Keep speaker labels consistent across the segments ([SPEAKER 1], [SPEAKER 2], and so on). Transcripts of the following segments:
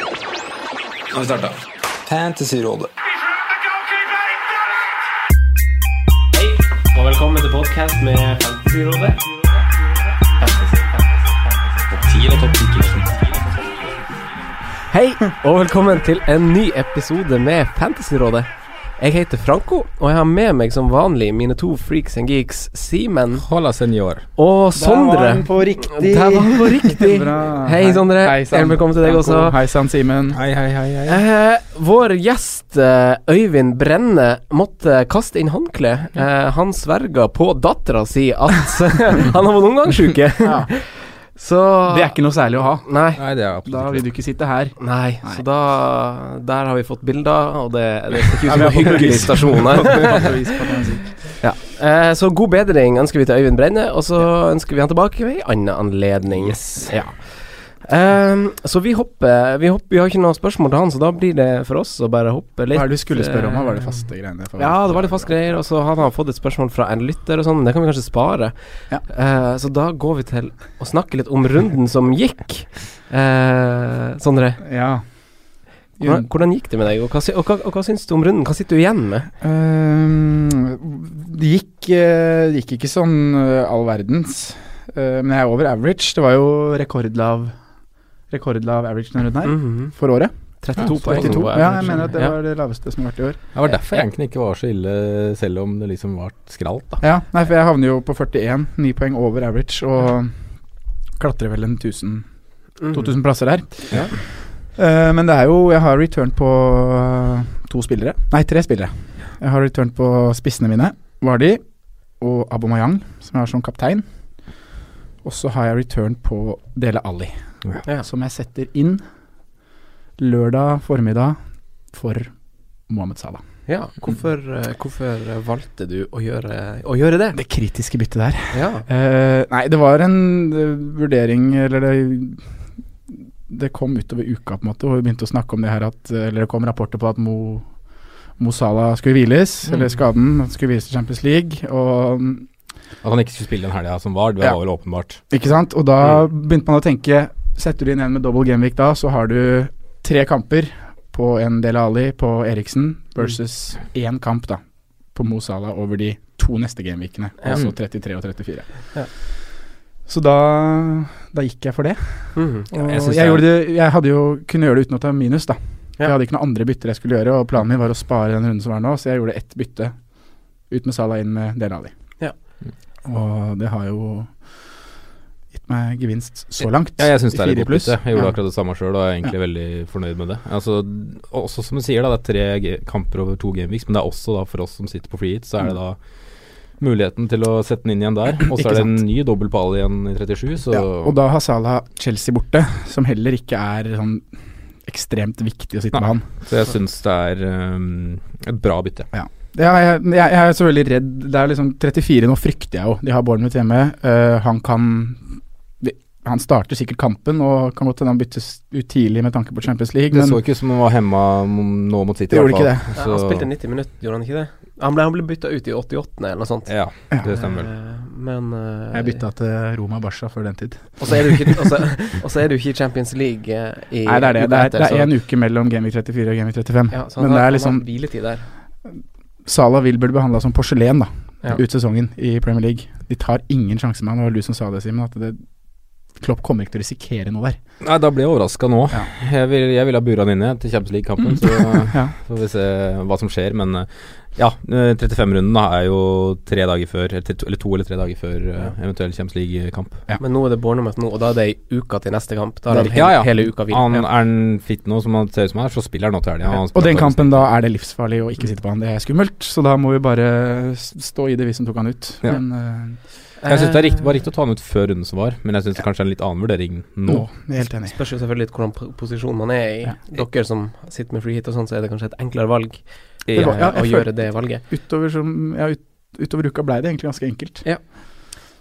[SPEAKER 1] Nå har vi starta.
[SPEAKER 2] Fantasyrådet.
[SPEAKER 3] The goalkeeper, he done it!
[SPEAKER 4] Hei, og velkommen til podcast med Fantasyrådet. Hei, og velkommen til en ny episode med Fantasyrådet. Jeg heter Franco, og jeg har med meg som vanlig mine to freaks and geeks, Simen
[SPEAKER 1] Hola, senor.
[SPEAKER 4] og
[SPEAKER 5] Der var
[SPEAKER 4] Sondre.
[SPEAKER 5] han på riktig.
[SPEAKER 4] Der var han på riktig.
[SPEAKER 5] Bra.
[SPEAKER 4] Hei, Sondre.
[SPEAKER 5] Hei, sann.
[SPEAKER 4] Velkommen til deg
[SPEAKER 5] Franco.
[SPEAKER 4] også.
[SPEAKER 5] Hei sann, Simen.
[SPEAKER 1] Hei, hei, hei. hei.
[SPEAKER 4] Eh, vår gjest eh, Øyvind Brenne måtte kaste inn håndkle.
[SPEAKER 5] Mm.
[SPEAKER 4] Eh, han sverga på dattera si at han har fått omgangsuke.
[SPEAKER 5] Ja.
[SPEAKER 4] Så
[SPEAKER 5] Det er ikke noe særlig å ha.
[SPEAKER 4] Nei.
[SPEAKER 1] Nei, det er
[SPEAKER 5] Da
[SPEAKER 1] absolutt
[SPEAKER 5] vil du ikke sitte her.
[SPEAKER 4] Nei, så da Der har vi fått bilder, og det, det ser ikke ut som
[SPEAKER 5] Ja,
[SPEAKER 4] en
[SPEAKER 5] vi har fått
[SPEAKER 4] hyggelig
[SPEAKER 5] bevis.
[SPEAKER 4] stasjon her.
[SPEAKER 5] Hei,
[SPEAKER 4] Eh, så god bedring ønsker vi til Øyvind Brenne, og så ønsker vi han tilbake ved en annen anledning. Ja. Eh, så vi hopper, vi hopper Vi har ikke noe spørsmål til han, så da blir det for oss å bare hoppe litt.
[SPEAKER 5] Hva er det du skulle spørre om?
[SPEAKER 4] eh,
[SPEAKER 5] Hva var det faste greiene? for-
[SPEAKER 4] Ja, det var litt fast greier, og så hadde han fått et spørsmål fra en lytter og sånn, men det kan vi kanskje spare.
[SPEAKER 5] Ja.
[SPEAKER 4] Eh, så da går vi til å snakke litt om runden som gikk. Eh, Sondre,
[SPEAKER 5] Ja.
[SPEAKER 4] hvordan, hvordan gikk det med deg, og hva, sy- og, hva, og hva syns du om runden? Hva sitter du igjen med?
[SPEAKER 5] Ehm, det gikk, eh, det gikk ikke sånn eh, all verdens. Eh, men jeg er over average. Det var jo rekordlav Rekordlav average denne runden her.
[SPEAKER 4] Mhm.
[SPEAKER 5] For året.
[SPEAKER 4] 32 poeng.
[SPEAKER 5] 32.
[SPEAKER 4] på
[SPEAKER 5] Ja, jeg
[SPEAKER 4] average.
[SPEAKER 5] mener at det
[SPEAKER 4] Ja.
[SPEAKER 5] var det laveste som har vært i år.
[SPEAKER 1] Det var derfor jeg egentlig ikke var så ille, selv om det liksom var skralt, da.
[SPEAKER 5] Ja, nei, for jeg havner jo på 41, 9 poeng over average, og klatrer vel en 1000
[SPEAKER 4] Mhm.
[SPEAKER 5] 2000 plasser der.
[SPEAKER 1] Ja.
[SPEAKER 5] Eh, men det er jo Jeg har return på eh, to spillere. Nei, tre spillere. Jeg har return på spissene mine, Vardi og Abomayang, som jeg har som kaptein. Og så har jeg return på Dele Alli,
[SPEAKER 4] Ja.
[SPEAKER 5] som jeg setter inn lørdag formiddag for Mohammed Salah.
[SPEAKER 4] Ja, hvorfor, eh, hvorfor eh, valgte du å gjøre, å gjøre det?
[SPEAKER 5] Det kritiske byttet der.
[SPEAKER 4] Ja.
[SPEAKER 5] Eh, nei, det var en eh, vurdering Eller det, det kom utover uka, på en måte, og vi begynte å snakke om det her at eh, Eller det kom rapporter på at Mo, Mo Salah skulle hviles, eller skaden. At han skulle hviles til Champions League. Og, mm,
[SPEAKER 1] At han ikke skulle spille den helga som var, det var
[SPEAKER 5] Ja.
[SPEAKER 1] vel åpenbart.
[SPEAKER 5] ikke sant? og da begynte man å tenke Setter du inn en med double gameweek da, så har du tre kamper på en Del Ali på Eriksen versus én kamp da på Mo Salah over de to neste gameweekene.
[SPEAKER 4] Ja.
[SPEAKER 5] Altså 33 og 34.
[SPEAKER 4] Ja.
[SPEAKER 5] Så da, da gikk jeg for det.
[SPEAKER 4] Mhm.
[SPEAKER 5] Og
[SPEAKER 1] jeg
[SPEAKER 5] jeg,
[SPEAKER 1] synes det er-
[SPEAKER 5] gjorde det, jeg hadde jo kunne gjøre det uten å ta minus, da.
[SPEAKER 4] Ja.
[SPEAKER 5] Jeg hadde ikke noen andre bytter jeg skulle gjøre, og planen min var å spare den runden som var nå, så jeg gjorde ett bytte. Ut med Salah, inn med Del Ali.
[SPEAKER 4] Ja.
[SPEAKER 5] Og det har jo gitt meg gevinst så langt.
[SPEAKER 1] Ja, jeg syns det er et
[SPEAKER 5] Fire
[SPEAKER 1] godt
[SPEAKER 5] pluss.
[SPEAKER 1] bytte. Jeg gjorde
[SPEAKER 5] Ja.
[SPEAKER 1] akkurat det samme sjøl og er egentlig veldig fornøyd med det. Altså, også som du sier, da, det er tre ge- kamper over to gameweeks, men det er også da for oss som sitter på free hit, så er det da muligheten til å sette den inn igjen der. Og så
[SPEAKER 5] Ikke
[SPEAKER 1] er det en
[SPEAKER 5] sant.
[SPEAKER 1] ny dobbel pall igjen i 37, så
[SPEAKER 5] Ja, og da har Salah Chelsea borte, som heller ikke er sånn ekstremt viktig å sitte med han.
[SPEAKER 1] Så jeg syns det er ehm, et bra bytte.
[SPEAKER 5] Ja, jeg, jeg, jeg er så veldig redd. Det er liksom 34 nå, frykter jeg jo. De har Bournemouth hjemme. Eh, han kan de- Han starter sikkert kampen, og kan godt hende han byttes ut tidlig med tanke på Champions League,
[SPEAKER 1] Det
[SPEAKER 5] men
[SPEAKER 1] så ikke ut som han var hemma m- nå mot City.
[SPEAKER 5] Det
[SPEAKER 1] i
[SPEAKER 5] gjorde
[SPEAKER 1] hvert fall.
[SPEAKER 4] Ja, han
[SPEAKER 1] Så-
[SPEAKER 4] spilte 90 minutter, gjorde han ikke det? Han ble, han ble bytta ut i 88. eller noe sånt.
[SPEAKER 1] Ja,
[SPEAKER 5] Ja.
[SPEAKER 1] det stemmer vel.
[SPEAKER 4] Eh, Men eh,
[SPEAKER 5] jeg bytta til Roma Barca før den tid.
[SPEAKER 4] Og så er du ikke, og så- og så er du ikke i Champions League eh, i
[SPEAKER 5] Nei, det er det. Det
[SPEAKER 4] uka
[SPEAKER 5] er,
[SPEAKER 4] etter,
[SPEAKER 5] det er
[SPEAKER 4] så-
[SPEAKER 5] en uke mellom Gaming 34 og Gaming 35.
[SPEAKER 4] ja, så han
[SPEAKER 5] Men
[SPEAKER 4] har-
[SPEAKER 5] det er
[SPEAKER 4] Han har
[SPEAKER 5] liksom
[SPEAKER 4] hviletid der.
[SPEAKER 5] Salah vil bli behandla som porselen da
[SPEAKER 4] Ja.
[SPEAKER 5] ut sesongen i Premier League. De tar ingen sjanse med han, og det var du som sa det, Simen, at det, Klopp kommer ikke til å risikere noe der.
[SPEAKER 1] Nei, da ble jeg overraska nå.
[SPEAKER 5] Ja. Mm.
[SPEAKER 1] Jeg vil- jeg ville ha bura han inne til Champions League-kampen, så får vi se hva som skjer. Men eh, ja, 35-runden er jo tre dager før, eller to- eller to eller tre dager før eh, eventuell Champions League-kamp.
[SPEAKER 4] Men nå er det Bournemouth nå, og da er det ei uke til neste kamp. Da har
[SPEAKER 1] Det er
[SPEAKER 4] han hele,
[SPEAKER 1] riktig. Ja, ja.
[SPEAKER 4] hele uka hvile.
[SPEAKER 1] Han er han fit nå, som han ser ut som han er, så spiller han nå til helga. Han
[SPEAKER 5] Og
[SPEAKER 1] spiller
[SPEAKER 5] den
[SPEAKER 1] på-
[SPEAKER 5] kampen da er det livsfarlig å ikke sitte på han. Det er skummelt, så da må vi bare s- stå i det, vi som tok han ut.
[SPEAKER 1] Ja.
[SPEAKER 5] Men eh,
[SPEAKER 1] Jeg syns det er
[SPEAKER 4] Eh,
[SPEAKER 1] rikt, var riktig å ta han ut før runden som var, men jeg syns det kanskje er en litt annen vurdering nå.
[SPEAKER 5] nå, jeg er helt enig.
[SPEAKER 4] Spørs jo selvfølgelig litt hvordan po- posisjon man er i.
[SPEAKER 5] Ja.
[SPEAKER 4] Dere som sitter med free hit og sånn, så er det kanskje et enklere valg eh,
[SPEAKER 5] Det var- ja,
[SPEAKER 4] å
[SPEAKER 5] jeg
[SPEAKER 4] gjøre
[SPEAKER 5] følte-
[SPEAKER 4] det valget.
[SPEAKER 5] Utover, som, ja, ut, utover uka blei det egentlig ganske enkelt.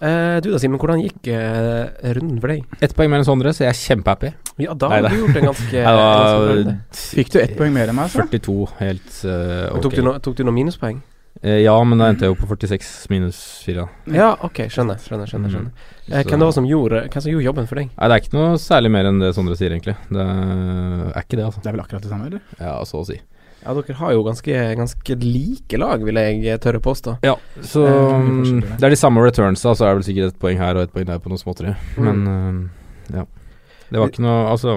[SPEAKER 4] Eh, du da, Simen. Hvordan gikk eh, runden for deg?
[SPEAKER 1] Ett poeng mer enn Sondre, så jeg er kjempehappy.
[SPEAKER 4] Ja, da
[SPEAKER 1] Neida.
[SPEAKER 4] har du gjort en ganske
[SPEAKER 1] Jeg var
[SPEAKER 4] ganske bra runde.
[SPEAKER 5] Fikk du ett poeng mer enn meg? altså? Så?
[SPEAKER 1] 42, helt eh,
[SPEAKER 4] Men Tok,
[SPEAKER 1] ok.
[SPEAKER 4] du no, tok du noen minuspoeng?
[SPEAKER 1] Eh, ja, men da endte jeg jo på 46 minus 4. Da.
[SPEAKER 5] Mm.
[SPEAKER 4] Ja, ok, skjønner. skjønner, skjønner, skjønner. Eh, hvem det var som gjorde, hvem som gjorde jobben for deg?
[SPEAKER 1] Nei, det er ikke noe særlig mer enn det Sondre sier, egentlig. Det er ikke det, altså.
[SPEAKER 5] Det er vel akkurat det samme, eller?
[SPEAKER 1] Ja, så å si.
[SPEAKER 4] Ja, dere har jo ganske, ganske like lag, vil jeg tørre påstå.
[SPEAKER 1] Ja, så
[SPEAKER 5] Eh, mye
[SPEAKER 1] mm,
[SPEAKER 5] forskjeller, ja.
[SPEAKER 1] Det er de samme returnsa, så er det vel sikkert et poeng her og et poeng der på noe småtteri.
[SPEAKER 4] Mm.
[SPEAKER 1] Men eh, ja. Det var ikke noe Altså,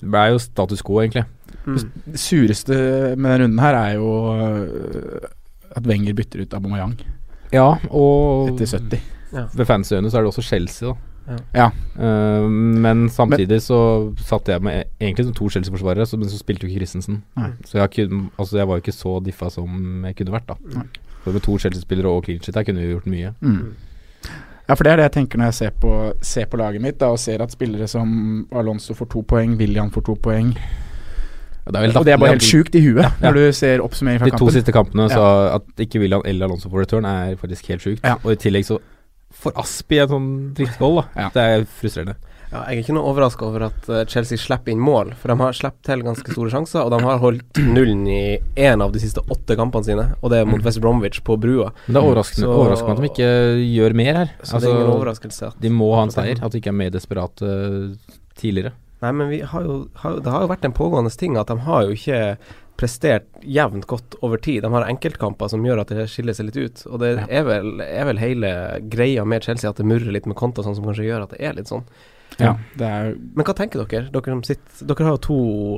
[SPEAKER 1] det ble jo status quo, egentlig.
[SPEAKER 4] Mm.
[SPEAKER 5] Det sureste med denne runden her er jo øh, at Wenger bytter ut Aubameyang
[SPEAKER 1] Ja, og
[SPEAKER 5] etter 70.
[SPEAKER 1] ved fans øyne så er det også Chelsea, da.
[SPEAKER 5] Ja.
[SPEAKER 1] Eh, men samtidig så satt jeg med e-, egentlig som to Chelsea-forsvarere, så- men så spilte jo ikke Christensen.
[SPEAKER 5] Nei.
[SPEAKER 1] Så jeg, kunne, altså jeg var jo ikke så diffa som jeg kunne vært, da.
[SPEAKER 5] Nei.
[SPEAKER 1] For med to Chelsea-spillere og clean shit, der kunne vi gjort mye.
[SPEAKER 5] Mm. Ja, for det er det jeg tenker når jeg ser på, ser på laget mitt da, og ser at spillere som Alonso får to poeng, William får to poeng.
[SPEAKER 1] Ja, det er
[SPEAKER 5] Og det er bare helt sjukt i huet
[SPEAKER 1] ja.
[SPEAKER 5] når du ser oppsummering fra
[SPEAKER 1] De to
[SPEAKER 5] kampen.
[SPEAKER 1] siste kampene, så at ikke William eller Alonso får return, er faktisk helt sjukt.
[SPEAKER 5] Ja.
[SPEAKER 1] Og i tillegg så får Aspi en sånn drittgoal, da.
[SPEAKER 5] Ja.
[SPEAKER 1] Det er frustrerende.
[SPEAKER 4] Ja, jeg er ikke noe overraska over at eh, Chelsea slipper inn mål, for de har sluppet til ganske store sjanser, og de har holdt nullen i én av de siste åtte kampene sine, og det er mot West Bromwich på brua.
[SPEAKER 1] Men det er overraskende,
[SPEAKER 4] Så-
[SPEAKER 1] overraskende at de ikke gjør mer her.
[SPEAKER 4] Så det er ingen
[SPEAKER 1] Altså,
[SPEAKER 4] overraskelse at
[SPEAKER 1] de må ha en seier, at de ikke er mer desperate eh, tidligere.
[SPEAKER 4] Nei, men vi har jo, har, jo- det har jo vært en pågående ting at de har jo ikke prestert jevnt godt over tid. De har enkeltkamper som gjør at det skiller seg litt ut. Og det er vel, er vel hele greia med Chelsea at det murrer litt med konta, sånn som kanskje gjør at det er litt sånn.
[SPEAKER 5] Ja, det er jo
[SPEAKER 4] Men hva tenker dere? Dere, som sitter, dere har jo to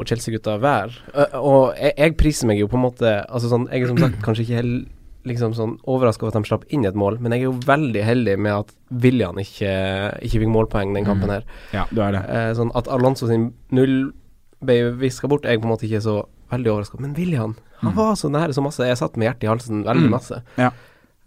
[SPEAKER 4] Chelsea-gutter hver. Ø, Og jeg, jeg priser meg jo på en måte altså sånn, Jeg er som sagt kanskje ikke helt liksom sånn overraska over at de slapp inn et mål, men jeg er jo veldig heldig med at William ikke, ikke fikk målpoeng den
[SPEAKER 5] Mm.
[SPEAKER 4] kampen her.
[SPEAKER 5] Ja, du er det.
[SPEAKER 4] Eh, sånn at Alonso sin null ble viska bort, er jeg på en måte ikke så veldig overraska. Men William, han var så nære så masse. Jeg satt med hjertet i halsen veldig
[SPEAKER 5] Mm.
[SPEAKER 4] masse.
[SPEAKER 5] Ja.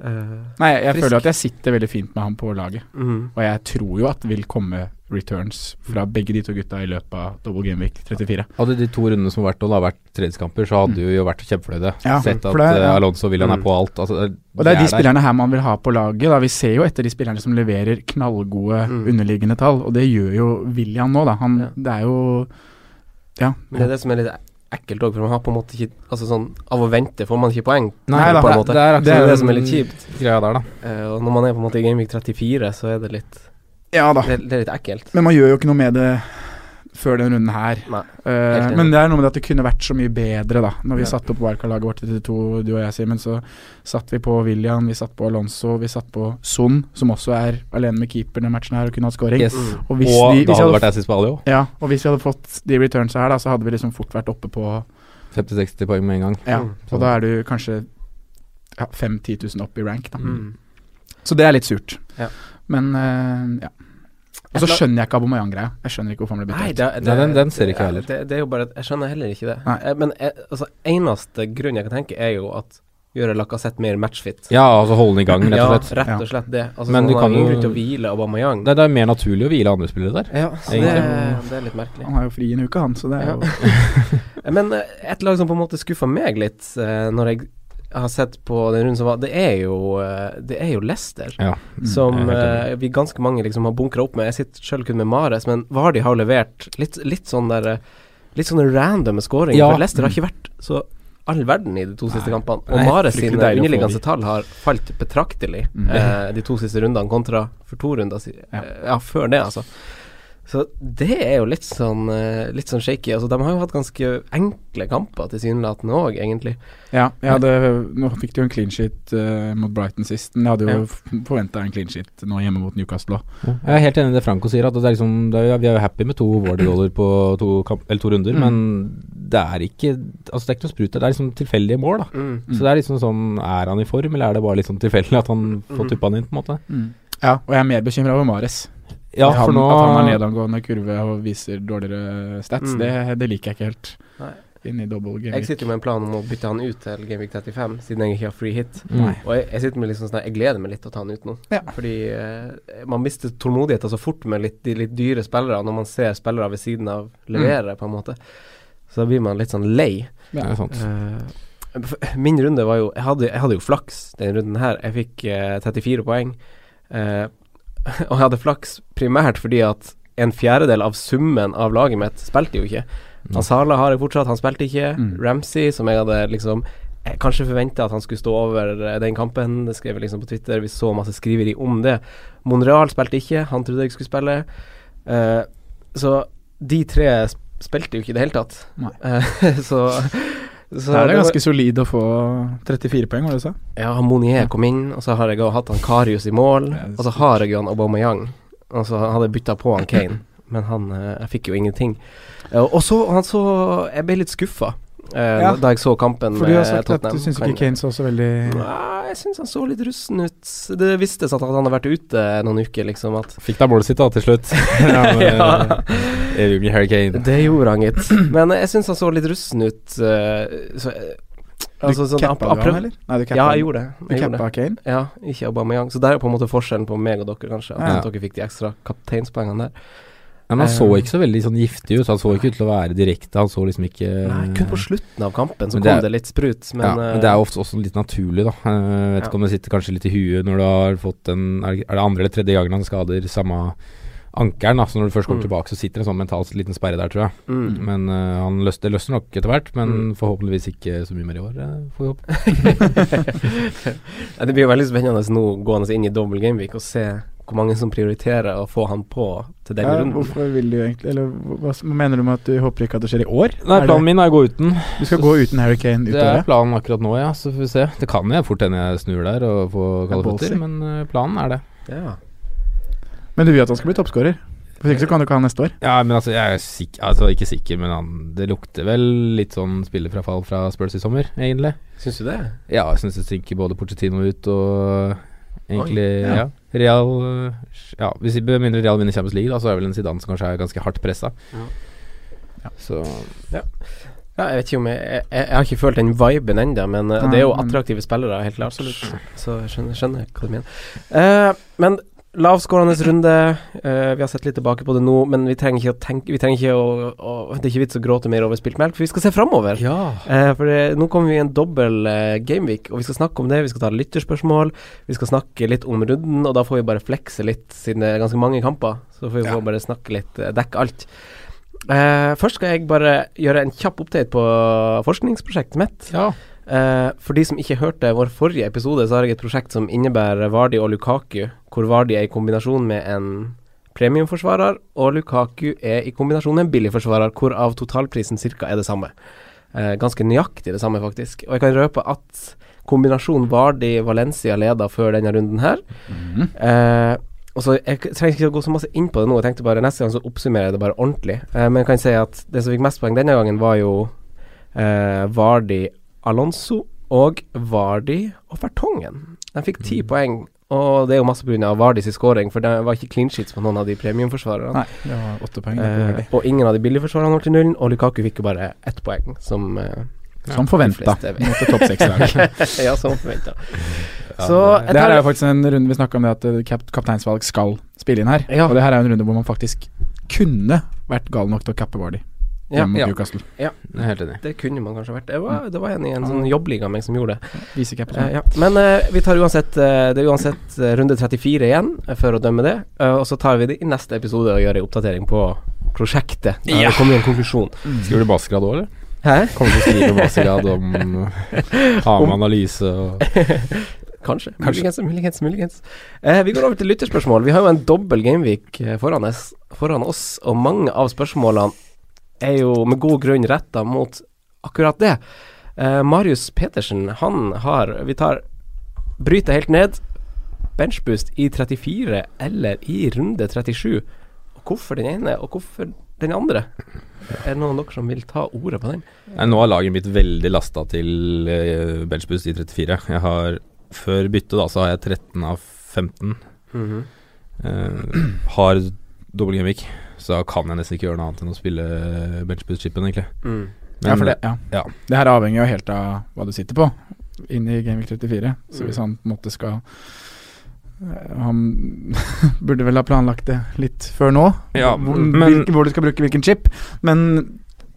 [SPEAKER 4] Eh,
[SPEAKER 5] Nei, jeg
[SPEAKER 4] Frisk.
[SPEAKER 5] føler at jeg sitter veldig fint med han på laget.
[SPEAKER 4] mm.
[SPEAKER 5] Og jeg tror jo at det vil komme returns fra begge de to gutta i løpet av Double Game Week 34.
[SPEAKER 1] Hadde de to rundene som har vært nå, da vært tredjeskamper, så hadde det jo vært kjempefløyde.
[SPEAKER 5] Mm. Ja,
[SPEAKER 1] Sett
[SPEAKER 5] for
[SPEAKER 1] at
[SPEAKER 5] det er-
[SPEAKER 1] eh, Alonso og William
[SPEAKER 4] Mm.
[SPEAKER 1] er på alt. Altså, det,
[SPEAKER 5] Og det er de
[SPEAKER 1] der.
[SPEAKER 5] spillerne her man vil ha på laget. Da. Vi ser jo etter de spillerne som leverer knallgode
[SPEAKER 4] Mm.
[SPEAKER 5] underliggende tall, og det gjør jo William nå, da. Han,
[SPEAKER 4] Ja.
[SPEAKER 5] Det er jo Ja.
[SPEAKER 4] Men det er det som er litt ekkelt òg, for man har på en måte ikke Altså sånn Av å vente får man ikke poeng.
[SPEAKER 5] Nei da,
[SPEAKER 4] på en
[SPEAKER 5] det-
[SPEAKER 4] måte.
[SPEAKER 1] det er akkurat
[SPEAKER 4] det, er det
[SPEAKER 1] den
[SPEAKER 4] som er litt kjipt.
[SPEAKER 1] Greia der, da.
[SPEAKER 4] Eh, og når man er på en måte i Gameweek 34, så er det litt
[SPEAKER 5] ja
[SPEAKER 1] Ah.
[SPEAKER 5] da.
[SPEAKER 4] Det, det er litt ekkelt.
[SPEAKER 5] Men man gjør jo ikke noe med det før den runden her.
[SPEAKER 4] Nei,
[SPEAKER 5] Eh,
[SPEAKER 4] helt enig.
[SPEAKER 5] men det er noe med det at det kunne vært så mye bedre, da. Når vi
[SPEAKER 4] Ja.
[SPEAKER 5] satte opp Wildcard-laget vårt til to, du og jeg, Simen, så satt vi på William, vi satt på Alonso, vi satt på Son, som også er alene med keeper denne matchen her og kunne hatt scoring.
[SPEAKER 1] Yes.
[SPEAKER 4] Mm.
[SPEAKER 5] Og
[SPEAKER 1] Og
[SPEAKER 5] hvis,
[SPEAKER 1] da hadde
[SPEAKER 5] vi, hvis, vi
[SPEAKER 1] det
[SPEAKER 5] hadde,
[SPEAKER 1] vært assist på alle, jo.
[SPEAKER 5] ja, og hvis vi hadde fått de returnsa her, da, så hadde vi liksom fort vært oppe på
[SPEAKER 1] 50-60 poeng med en gang.
[SPEAKER 5] Ja,
[SPEAKER 4] Mm.
[SPEAKER 5] og da er du kanskje ja, 5-10 000 opp i rank, da.
[SPEAKER 4] Mm.
[SPEAKER 5] Så det er litt surt.
[SPEAKER 4] Ja.
[SPEAKER 5] Men eh, ja. Og så skjønner jeg ikke Abomayang-greia. Jeg skjønner ikke hvorfor han ble
[SPEAKER 4] Nei,
[SPEAKER 5] byttet ut.
[SPEAKER 4] det, det,
[SPEAKER 1] Nei, den- den ser ikke jeg heller.
[SPEAKER 4] Det, det er jo bare Jeg skjønner heller ikke det.
[SPEAKER 5] Nei.
[SPEAKER 4] Eh, Men eh, altså, eneste grunn jeg kan tenke, er jo at gjøre Lacassette mer matchfit.
[SPEAKER 1] Ja, altså holde den i gang, rett
[SPEAKER 4] Ja,
[SPEAKER 1] og slett.
[SPEAKER 4] rett
[SPEAKER 5] Ja.
[SPEAKER 4] og slett det. Altså,
[SPEAKER 1] Men
[SPEAKER 4] sånn,
[SPEAKER 1] du kan
[SPEAKER 4] han har ingen
[SPEAKER 1] jo-
[SPEAKER 4] grunn til å hvile Aubameyang.
[SPEAKER 1] Det, det er mer naturlig å hvile andre spillere der.
[SPEAKER 4] Ja, så det,
[SPEAKER 5] Egentlig.
[SPEAKER 4] det er litt merkelig.
[SPEAKER 5] Han har jo fri en uke, han, så det er
[SPEAKER 4] Ja.
[SPEAKER 5] jo
[SPEAKER 4] Men eh, et lag som på en måte skuffa meg litt eh, når jeg har sett på den runden som var, det er jo, eh, det er jo Leicester.
[SPEAKER 1] Ja.
[SPEAKER 5] mm.
[SPEAKER 4] Som
[SPEAKER 1] Mm, jeg er helt enig.
[SPEAKER 4] eh, vi ganske mange liksom har bunkra opp med. Jeg sitter sjøl kun med Mares, men Vardi har levert litt, litt sånn der eh, Litt sånne random scoringer.
[SPEAKER 1] Ja.
[SPEAKER 4] For Leicester har ikke vært så all verden i de to siste kampene. Og
[SPEAKER 1] Nei,
[SPEAKER 4] Mares
[SPEAKER 1] fryktelig
[SPEAKER 4] sine
[SPEAKER 1] deilig å få
[SPEAKER 4] underliggende
[SPEAKER 1] de.
[SPEAKER 4] tall har falt betraktelig
[SPEAKER 5] Mm.
[SPEAKER 4] eh, de to siste rundene, kontra for to runder siden.
[SPEAKER 5] Ja.
[SPEAKER 4] Ja. ja, før det, altså. Så det er jo litt sånn, eh, litt sånn shaky. Altså, de har jo hatt ganske enkle kamper tilsynelatende òg, egentlig.
[SPEAKER 5] Ja, jeg hadde, nå fikk du jo en clean sheet eh, mot Brighton sist, men jeg hadde jo
[SPEAKER 4] Ja.
[SPEAKER 5] ja. forventa en clean sheet nå hjemme mot Newcastle òg.
[SPEAKER 1] Jeg er helt enig i det Franco sier, at det er liksom, det er, vi er jo happy med to Wardy-goaler på to, kamp, eller to runder,
[SPEAKER 5] Mm.
[SPEAKER 1] men det er ikke Altså det er ikke noe sprut der, det er liksom tilfeldige mål. da
[SPEAKER 5] Mm.
[SPEAKER 1] Så det er liksom sånn Er han i form, eller er det bare litt sånn tilfeldig at han får
[SPEAKER 5] Mm.
[SPEAKER 4] Mhm.
[SPEAKER 1] tuppa den inn, på en måte?
[SPEAKER 5] Ja, og jeg er mer bekymra over Mares.
[SPEAKER 1] Ja,
[SPEAKER 5] han,
[SPEAKER 1] for nå
[SPEAKER 5] At han har nedadgående kurve og viser dårligere stats,
[SPEAKER 4] Mm.
[SPEAKER 5] det, det liker jeg ikke helt.
[SPEAKER 4] Nei.
[SPEAKER 5] Inn i double game.
[SPEAKER 4] Jeg sitter jo med en plan om å bytte han ut til Gameweek 35, siden jeg ikke har free hit.
[SPEAKER 1] Mm.
[SPEAKER 4] Og jeg, jeg sitter med litt sånn sånn, Jeg gleder meg litt til å ta han ut nå.
[SPEAKER 5] Ja.
[SPEAKER 4] Fordi eh, man mister tålmodigheten så fort med litt, de litt dyre spillere, når man ser spillere ved siden av levere, på en måte. Så da blir man litt sånn lei.
[SPEAKER 1] Det er sant.
[SPEAKER 4] Eh, f- min runde var jo jeg hadde, jeg hadde jo flaks den runden her. Jeg fikk eh, 34 poeng. Eh, og jeg hadde flaks primært fordi at en fjerdedel av summen av laget mitt spilte jo ikke.
[SPEAKER 1] Mm.
[SPEAKER 4] Han Sala har jeg fortsatt, han spilte ikke.
[SPEAKER 5] Mm.
[SPEAKER 4] Ramsey, som jeg hadde liksom eh, kanskje forventa at han skulle stå over eh, den kampen. Det skrev jeg liksom på Twitter. Vi så masse skriveri om det. Monreal spilte ikke, han trodde jeg skulle spille. Eh, så de tre sp- spilte jo ikke i det hele tatt.
[SPEAKER 5] Nei.
[SPEAKER 4] Eh, så så
[SPEAKER 5] Da er det
[SPEAKER 4] var-
[SPEAKER 5] ganske solid å få 34 poeng, var det du sa?
[SPEAKER 4] Ja, han Monier kom inn, og så har jeg jo hatt han Karius i mål,
[SPEAKER 5] Ja, det
[SPEAKER 4] og så har jeg jo han Aubameyang, og så hadde jeg bytta på han Kane, men han eh, Jeg fikk jo ingenting. Eh, og så han så Jeg ble litt skuffa eh,
[SPEAKER 5] Ja.
[SPEAKER 4] da jeg så kampen
[SPEAKER 5] For du har sagt at du syns
[SPEAKER 4] Men-
[SPEAKER 5] ikke Kane så så veldig
[SPEAKER 4] Nei, jeg syns han så litt russen ut. Det vistes at han hadde vært ute noen uker, liksom. At
[SPEAKER 1] Fikk da målet sitt, da, til slutt.
[SPEAKER 4] Ja.
[SPEAKER 1] eh, Evig Hurricane.
[SPEAKER 4] Det gjorde han, gitt. Men jeg syns han så litt russen ut. eh, så, eh,
[SPEAKER 5] Du
[SPEAKER 4] altså, sånn,
[SPEAKER 5] cappa
[SPEAKER 4] han-
[SPEAKER 5] du
[SPEAKER 4] han
[SPEAKER 5] han,
[SPEAKER 4] prøv-
[SPEAKER 5] eller? Nei, du cappa
[SPEAKER 4] Ja,
[SPEAKER 5] han.
[SPEAKER 4] jeg gjorde det.
[SPEAKER 5] Du
[SPEAKER 4] Jeg gjorde det.
[SPEAKER 5] cappa Kane?
[SPEAKER 4] Ja, ikke Aubameyang. Så der er på en måte forskjellen på meg og dere, kanskje. At
[SPEAKER 5] Ja.
[SPEAKER 4] dere fikk de ekstra kapteinspoengene der.
[SPEAKER 1] Men han så ikke så veldig sånn giftig ut. Han så ikke ut til å være direkte. Han så liksom ikke
[SPEAKER 4] Nei, kun
[SPEAKER 5] Eh,
[SPEAKER 4] på slutten av kampen så
[SPEAKER 1] Men
[SPEAKER 4] kom
[SPEAKER 1] det
[SPEAKER 4] det,
[SPEAKER 1] er-
[SPEAKER 4] litt sprut, men, eh,
[SPEAKER 1] ja, men det er jo ofte også litt naturlig, da. Eh, Jeg vet
[SPEAKER 4] Ja.
[SPEAKER 1] ikke om det sitter kanskje litt i huet når du har fått en Er det er det andre eller tredje gangen han skader samme ankelen? da, Så når du først kommer
[SPEAKER 4] Mm.
[SPEAKER 1] tilbake, så sitter det en sånn mental liten sperre der, tror jeg.
[SPEAKER 4] eh, mm.
[SPEAKER 1] Men eh, han løs, det løsner nok etter hvert, men
[SPEAKER 4] Mm.
[SPEAKER 1] forhåpentligvis ikke så mye mer i år. eh, får vi håpe.
[SPEAKER 4] Ja, Det blir jo veldig spennende nå gående inn i dobbel gameweek og se hvor mange som prioriterer å få han på til den
[SPEAKER 5] Ja,
[SPEAKER 4] runden.
[SPEAKER 5] hvorfor vil du egentlig Eller hva hva mener du med at du håper ikke at det skjer i år?
[SPEAKER 1] Nei,
[SPEAKER 5] Er det-
[SPEAKER 1] planen min er å gå uten.
[SPEAKER 5] Du skal gå uten Harry Kane ut
[SPEAKER 1] Det er
[SPEAKER 5] året?
[SPEAKER 1] planen akkurat nå, ja. Så får vi se. Det kan jo fort hende jeg snur der og får kalde
[SPEAKER 5] ballsy.
[SPEAKER 1] føtter, men eh, planen er det.
[SPEAKER 4] Ja.
[SPEAKER 5] Men du vil at han skal bli toppskårer? Hvis ikke så kan du ikke ha han neste år.
[SPEAKER 1] Ja, men altså, jeg er sikk- altså, ikke sikker, men han, det lukter vel litt sånn spillerfrafall fra Spurs i sommer, egentlig.
[SPEAKER 4] Syns du det?
[SPEAKER 1] Ja, jeg syns det stryker både Porcetino ut og egentlig
[SPEAKER 5] ja.
[SPEAKER 1] ja. Real øh, Ja, hvis ikke- med mindre Real vinner Champions League, da, så er vel en Zidane som kanskje er ganske hardt pressa.
[SPEAKER 4] Ja.
[SPEAKER 1] Så
[SPEAKER 4] Ja, jeg vet ikke om jeg Jeg, jeg har ikke følt den viben ennå, men eh,
[SPEAKER 5] Nei,
[SPEAKER 4] det er jo
[SPEAKER 5] men-
[SPEAKER 4] attraktive spillere, helt klart. Så jeg skjønner, skjønner hva du mener. Eh, men lavskårende runde. eh, vi har sett litt tilbake på det nå, men vi trenger ikke å tenke Vi trenger ikke å, å Det er ikke vits å gråte mer over spilt melk, for vi skal se framover.
[SPEAKER 1] Ja.
[SPEAKER 4] Eh, for det, nå kommer vi i en dobbel eh, gameweek, og vi skal snakke om det. Vi skal ta lytterspørsmål, vi skal snakke litt om runden, og da får vi bare flekse litt, siden det er ganske mange kamper. Så får vi
[SPEAKER 5] Ja.
[SPEAKER 4] bare snakke litt, eh, dekke alt. Eh, først skal jeg bare gjøre en kjapp update på forskningsprosjektet mitt.
[SPEAKER 1] ja.
[SPEAKER 4] Eh, for de som ikke hørte vår forrige episode, så har jeg et prosjekt som innebærer Vardi og Lukaku, hvor Vardi er i kombinasjon med en premiumforsvarer, og Lukaku er i kombinasjon med en billigforsvarer, hvorav totalprisen ca. er det samme. Eh, ganske nøyaktig det samme, faktisk. Og jeg kan røpe at kombinasjonen Vardi-Valencia leda før denne runden her.
[SPEAKER 5] Mhm.
[SPEAKER 4] Eh, og så Jeg k- trenger ikke å gå så masse inn på det nå, jeg tenkte bare neste gang så oppsummerer jeg det bare ordentlig. Eh, men jeg kan si at det som fikk mest poeng denne gangen, var jo eh, Vardi Alonso og Vardi og Fertongen. De fikk ti poeng, og det er jo masse pga. Vardis scoring, for det var ikke clean sheets på noen av de premiumforsvarerne.
[SPEAKER 5] Nei, det var åtte poeng. det er
[SPEAKER 4] Eh,
[SPEAKER 5] veldig.
[SPEAKER 4] og ingen av de billige forsvarerne holdt i nullen, og Lukaku fikk jo bare ett poeng, som eh,
[SPEAKER 5] Som forventa.
[SPEAKER 4] fleste vet.
[SPEAKER 5] Mot et topp seks-lag.
[SPEAKER 4] Ja, som forventa.
[SPEAKER 1] Ja,
[SPEAKER 4] Så
[SPEAKER 1] det-
[SPEAKER 4] jeg
[SPEAKER 5] Det her
[SPEAKER 4] tar
[SPEAKER 5] er jo faktisk en runde vi snakka om det at eh, kap kapteinsvalg skal spille inn her.
[SPEAKER 4] Ja.
[SPEAKER 5] Og det her er jo en runde hvor man faktisk kunne vært gal nok til å cappe Vardy
[SPEAKER 4] ja,
[SPEAKER 5] hjemme mot
[SPEAKER 1] ja.
[SPEAKER 5] Newcastle.
[SPEAKER 1] Jeg er helt enig.
[SPEAKER 4] Det kunne man kanskje vært. Det var, det var en i en sånn jobbliga meg som gjorde det.
[SPEAKER 5] Visecapp og
[SPEAKER 4] Eh,
[SPEAKER 5] sånn.
[SPEAKER 4] ja. Men eh, vi tar uansett eh, Det er uansett eh, runde 34 igjen eh, for å dømme det. Eh, og så tar vi det i neste episode og gjør en oppdatering på prosjektet. Da
[SPEAKER 1] Ja.
[SPEAKER 4] det kommer en konklusjon.
[SPEAKER 1] Skriver du mastergrad òg, eller?
[SPEAKER 4] Hæ?
[SPEAKER 1] Kommer du til å skrive mastergrad om eh, Ha med analyse og
[SPEAKER 4] Kanskje. Muligens, muligens, muligens. Eh, vi går over til lytterspørsmål. Vi har jo en dobbel gameweek eh, foran oss, foran oss, og mange av spørsmålene er jo med god grunn retta mot akkurat det. Eh, Marius Petersen, han har Vi tar Bryter helt ned. Benchboost i 34 eller i runde 37. Og hvorfor den ene, og hvorfor den andre? Er det noen av dere som vil ta ordet på den?
[SPEAKER 1] Nei, nå er laget mitt veldig lasta til uh, benchboost i 34. Jeg har, før byttet da, så har jeg 13 av 15.
[SPEAKER 4] Mm-hmm.
[SPEAKER 1] Eh, har dobbel gameweek, så kan jeg nesten ikke gjøre noe annet enn å spille benchboost-chipen, egentlig.
[SPEAKER 4] Mm.
[SPEAKER 1] Men,
[SPEAKER 5] ja, for det, ja.
[SPEAKER 1] ja.
[SPEAKER 5] det her avhenger jo helt av hva du sitter på inn i Gameweek 34.
[SPEAKER 1] Mm.
[SPEAKER 5] Så hvis han på en måte skal eh, Han burde vel ha planlagt det litt før nå,
[SPEAKER 1] Ja,
[SPEAKER 5] hvor,
[SPEAKER 1] men-
[SPEAKER 5] hvilken, hvor du skal bruke hvilken chip. Men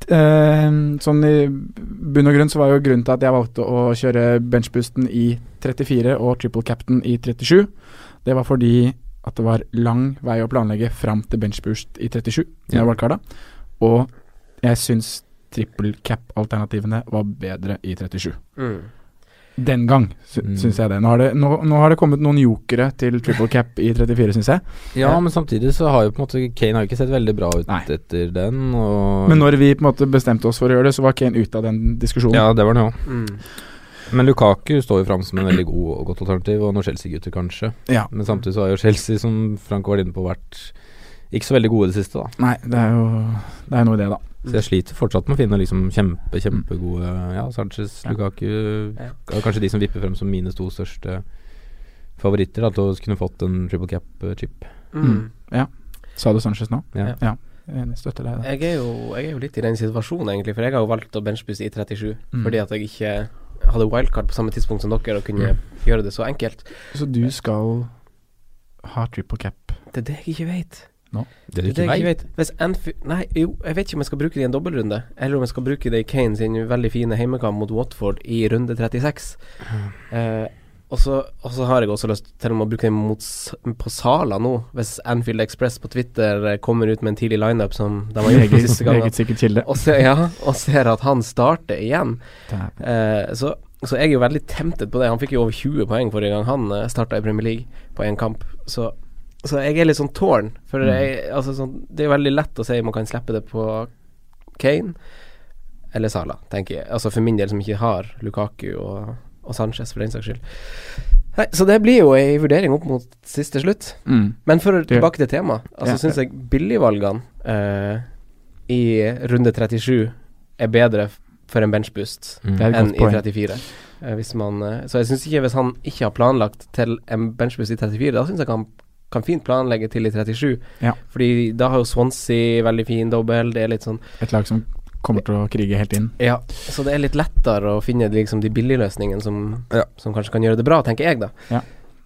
[SPEAKER 5] eh, sånn i bunn og grunn så var jo grunnen til at jeg valgte å kjøre benchboosten i 34 og triple captain i 37, det var fordi at det var lang vei å planlegge fram til benchboost i 37, som
[SPEAKER 1] Ja.
[SPEAKER 5] jeg valgte da. Og jeg syns triple cap-alternativene var bedre i 37.
[SPEAKER 4] Mm.
[SPEAKER 5] Den gang, sy
[SPEAKER 1] Mm.
[SPEAKER 5] syns jeg det. Nå har det, nå, nå har det kommet noen jokere til triple cap i 34, syns jeg.
[SPEAKER 1] Ja, men samtidig så har jo på en måte Kane har jo ikke sett veldig bra ut
[SPEAKER 5] Nei.
[SPEAKER 1] etter den. Og
[SPEAKER 5] Men når vi på en måte bestemte oss for å gjøre det, så var Kane ute av den diskusjonen.
[SPEAKER 1] Ja, det var det òg.
[SPEAKER 4] Mm.
[SPEAKER 1] Men Lukaku står jo fram som en veldig god og godt alternativ, og noen Chelsea-gutter kanskje.
[SPEAKER 5] Ja.
[SPEAKER 1] Men samtidig så har jo Chelsea, som Frank var inne på, vært ikke så veldig gode i det siste, da.
[SPEAKER 5] Nei, det er jo det er noe i det, da.
[SPEAKER 1] Så jeg sliter fortsatt med å finne liksom kjempe, kjempegode Ja, Sanchez,
[SPEAKER 5] Mm. Ja.
[SPEAKER 1] Lukaku
[SPEAKER 4] Ja.
[SPEAKER 1] er Kanskje de som vipper frem som mine to største favoritter, da, til å kunne fått en triple cap-chip.
[SPEAKER 5] Mm. Sa du Sanchez nå?
[SPEAKER 1] Ja.
[SPEAKER 4] Ja.
[SPEAKER 5] Jeg støtter deg,
[SPEAKER 1] Eh,
[SPEAKER 5] da.
[SPEAKER 4] Jeg, er jo, jeg er jo litt i den situasjonen, egentlig, for jeg har jo valgt å benchbuse i 37
[SPEAKER 5] Mm.
[SPEAKER 4] fordi at jeg ikke hadde wildcard på samme tidspunkt som dere og kunne gjøre det så enkelt.
[SPEAKER 5] Så du
[SPEAKER 1] eh.
[SPEAKER 5] skal ha triple cap?
[SPEAKER 4] Det er det jeg ikke vet.
[SPEAKER 1] Det
[SPEAKER 4] Det er det jeg ikke vet. Hvis Anfi- Nei, jo, jeg vet ikke om jeg skal bruke det i en dobbeltrunde, eller om jeg skal bruke det i Kane sin veldig fine heimekamp mot Watford i runde 36. Eh, og så og så har jeg også lyst til å bruke det mot, S- på Sala nå, hvis Anfield Express på Twitter eh, kommer ut med en tidlig lineup som de har gjort de
[SPEAKER 5] Meget
[SPEAKER 4] siste gangene.
[SPEAKER 5] meget sikkert kilde.
[SPEAKER 4] Og, se, ja, og ser at han starter igjen.
[SPEAKER 5] Dæven.
[SPEAKER 4] Eh, så, så jeg er jo veldig tempted på det. Han fikk jo over 20 poeng forrige gang han starta i Premier League på én kamp. Så, så jeg er litt sånn torn. For jeg, altså, sånn, det er jo veldig lett å si man kan slippe det på Kane eller Salah, tenker jeg. Altså for min del som ikke har Lukaku og, og Sanchez, for den saks skyld. Nei, så det blir jo ei vurdering opp mot siste slutt.
[SPEAKER 5] Mm.
[SPEAKER 4] Men for å
[SPEAKER 5] Det-
[SPEAKER 4] tilbake til temaet, altså
[SPEAKER 5] Ja.
[SPEAKER 4] synes syns jeg billigvalgene eh, i runde 37 er bedre f- for en benchboost
[SPEAKER 1] Mm.
[SPEAKER 5] Det er et
[SPEAKER 4] enn
[SPEAKER 5] godt
[SPEAKER 4] i
[SPEAKER 5] poeng.
[SPEAKER 4] 34. Eh, hvis man, eh, så jeg syns ikke hvis han ikke har planlagt til en benchboost i 34, da syns jeg han kan fint planlegge til i 37.
[SPEAKER 5] Ja.
[SPEAKER 4] Fordi da har jo Swansea veldig fin dobbel, det er litt sånn
[SPEAKER 5] Et lag som kommer til å krige helt inn.
[SPEAKER 4] Ja, så det er litt lettere å finne liksom de billige løsningene som,
[SPEAKER 1] Ja.
[SPEAKER 4] som kanskje kan gjøre det bra, tenker jeg, da.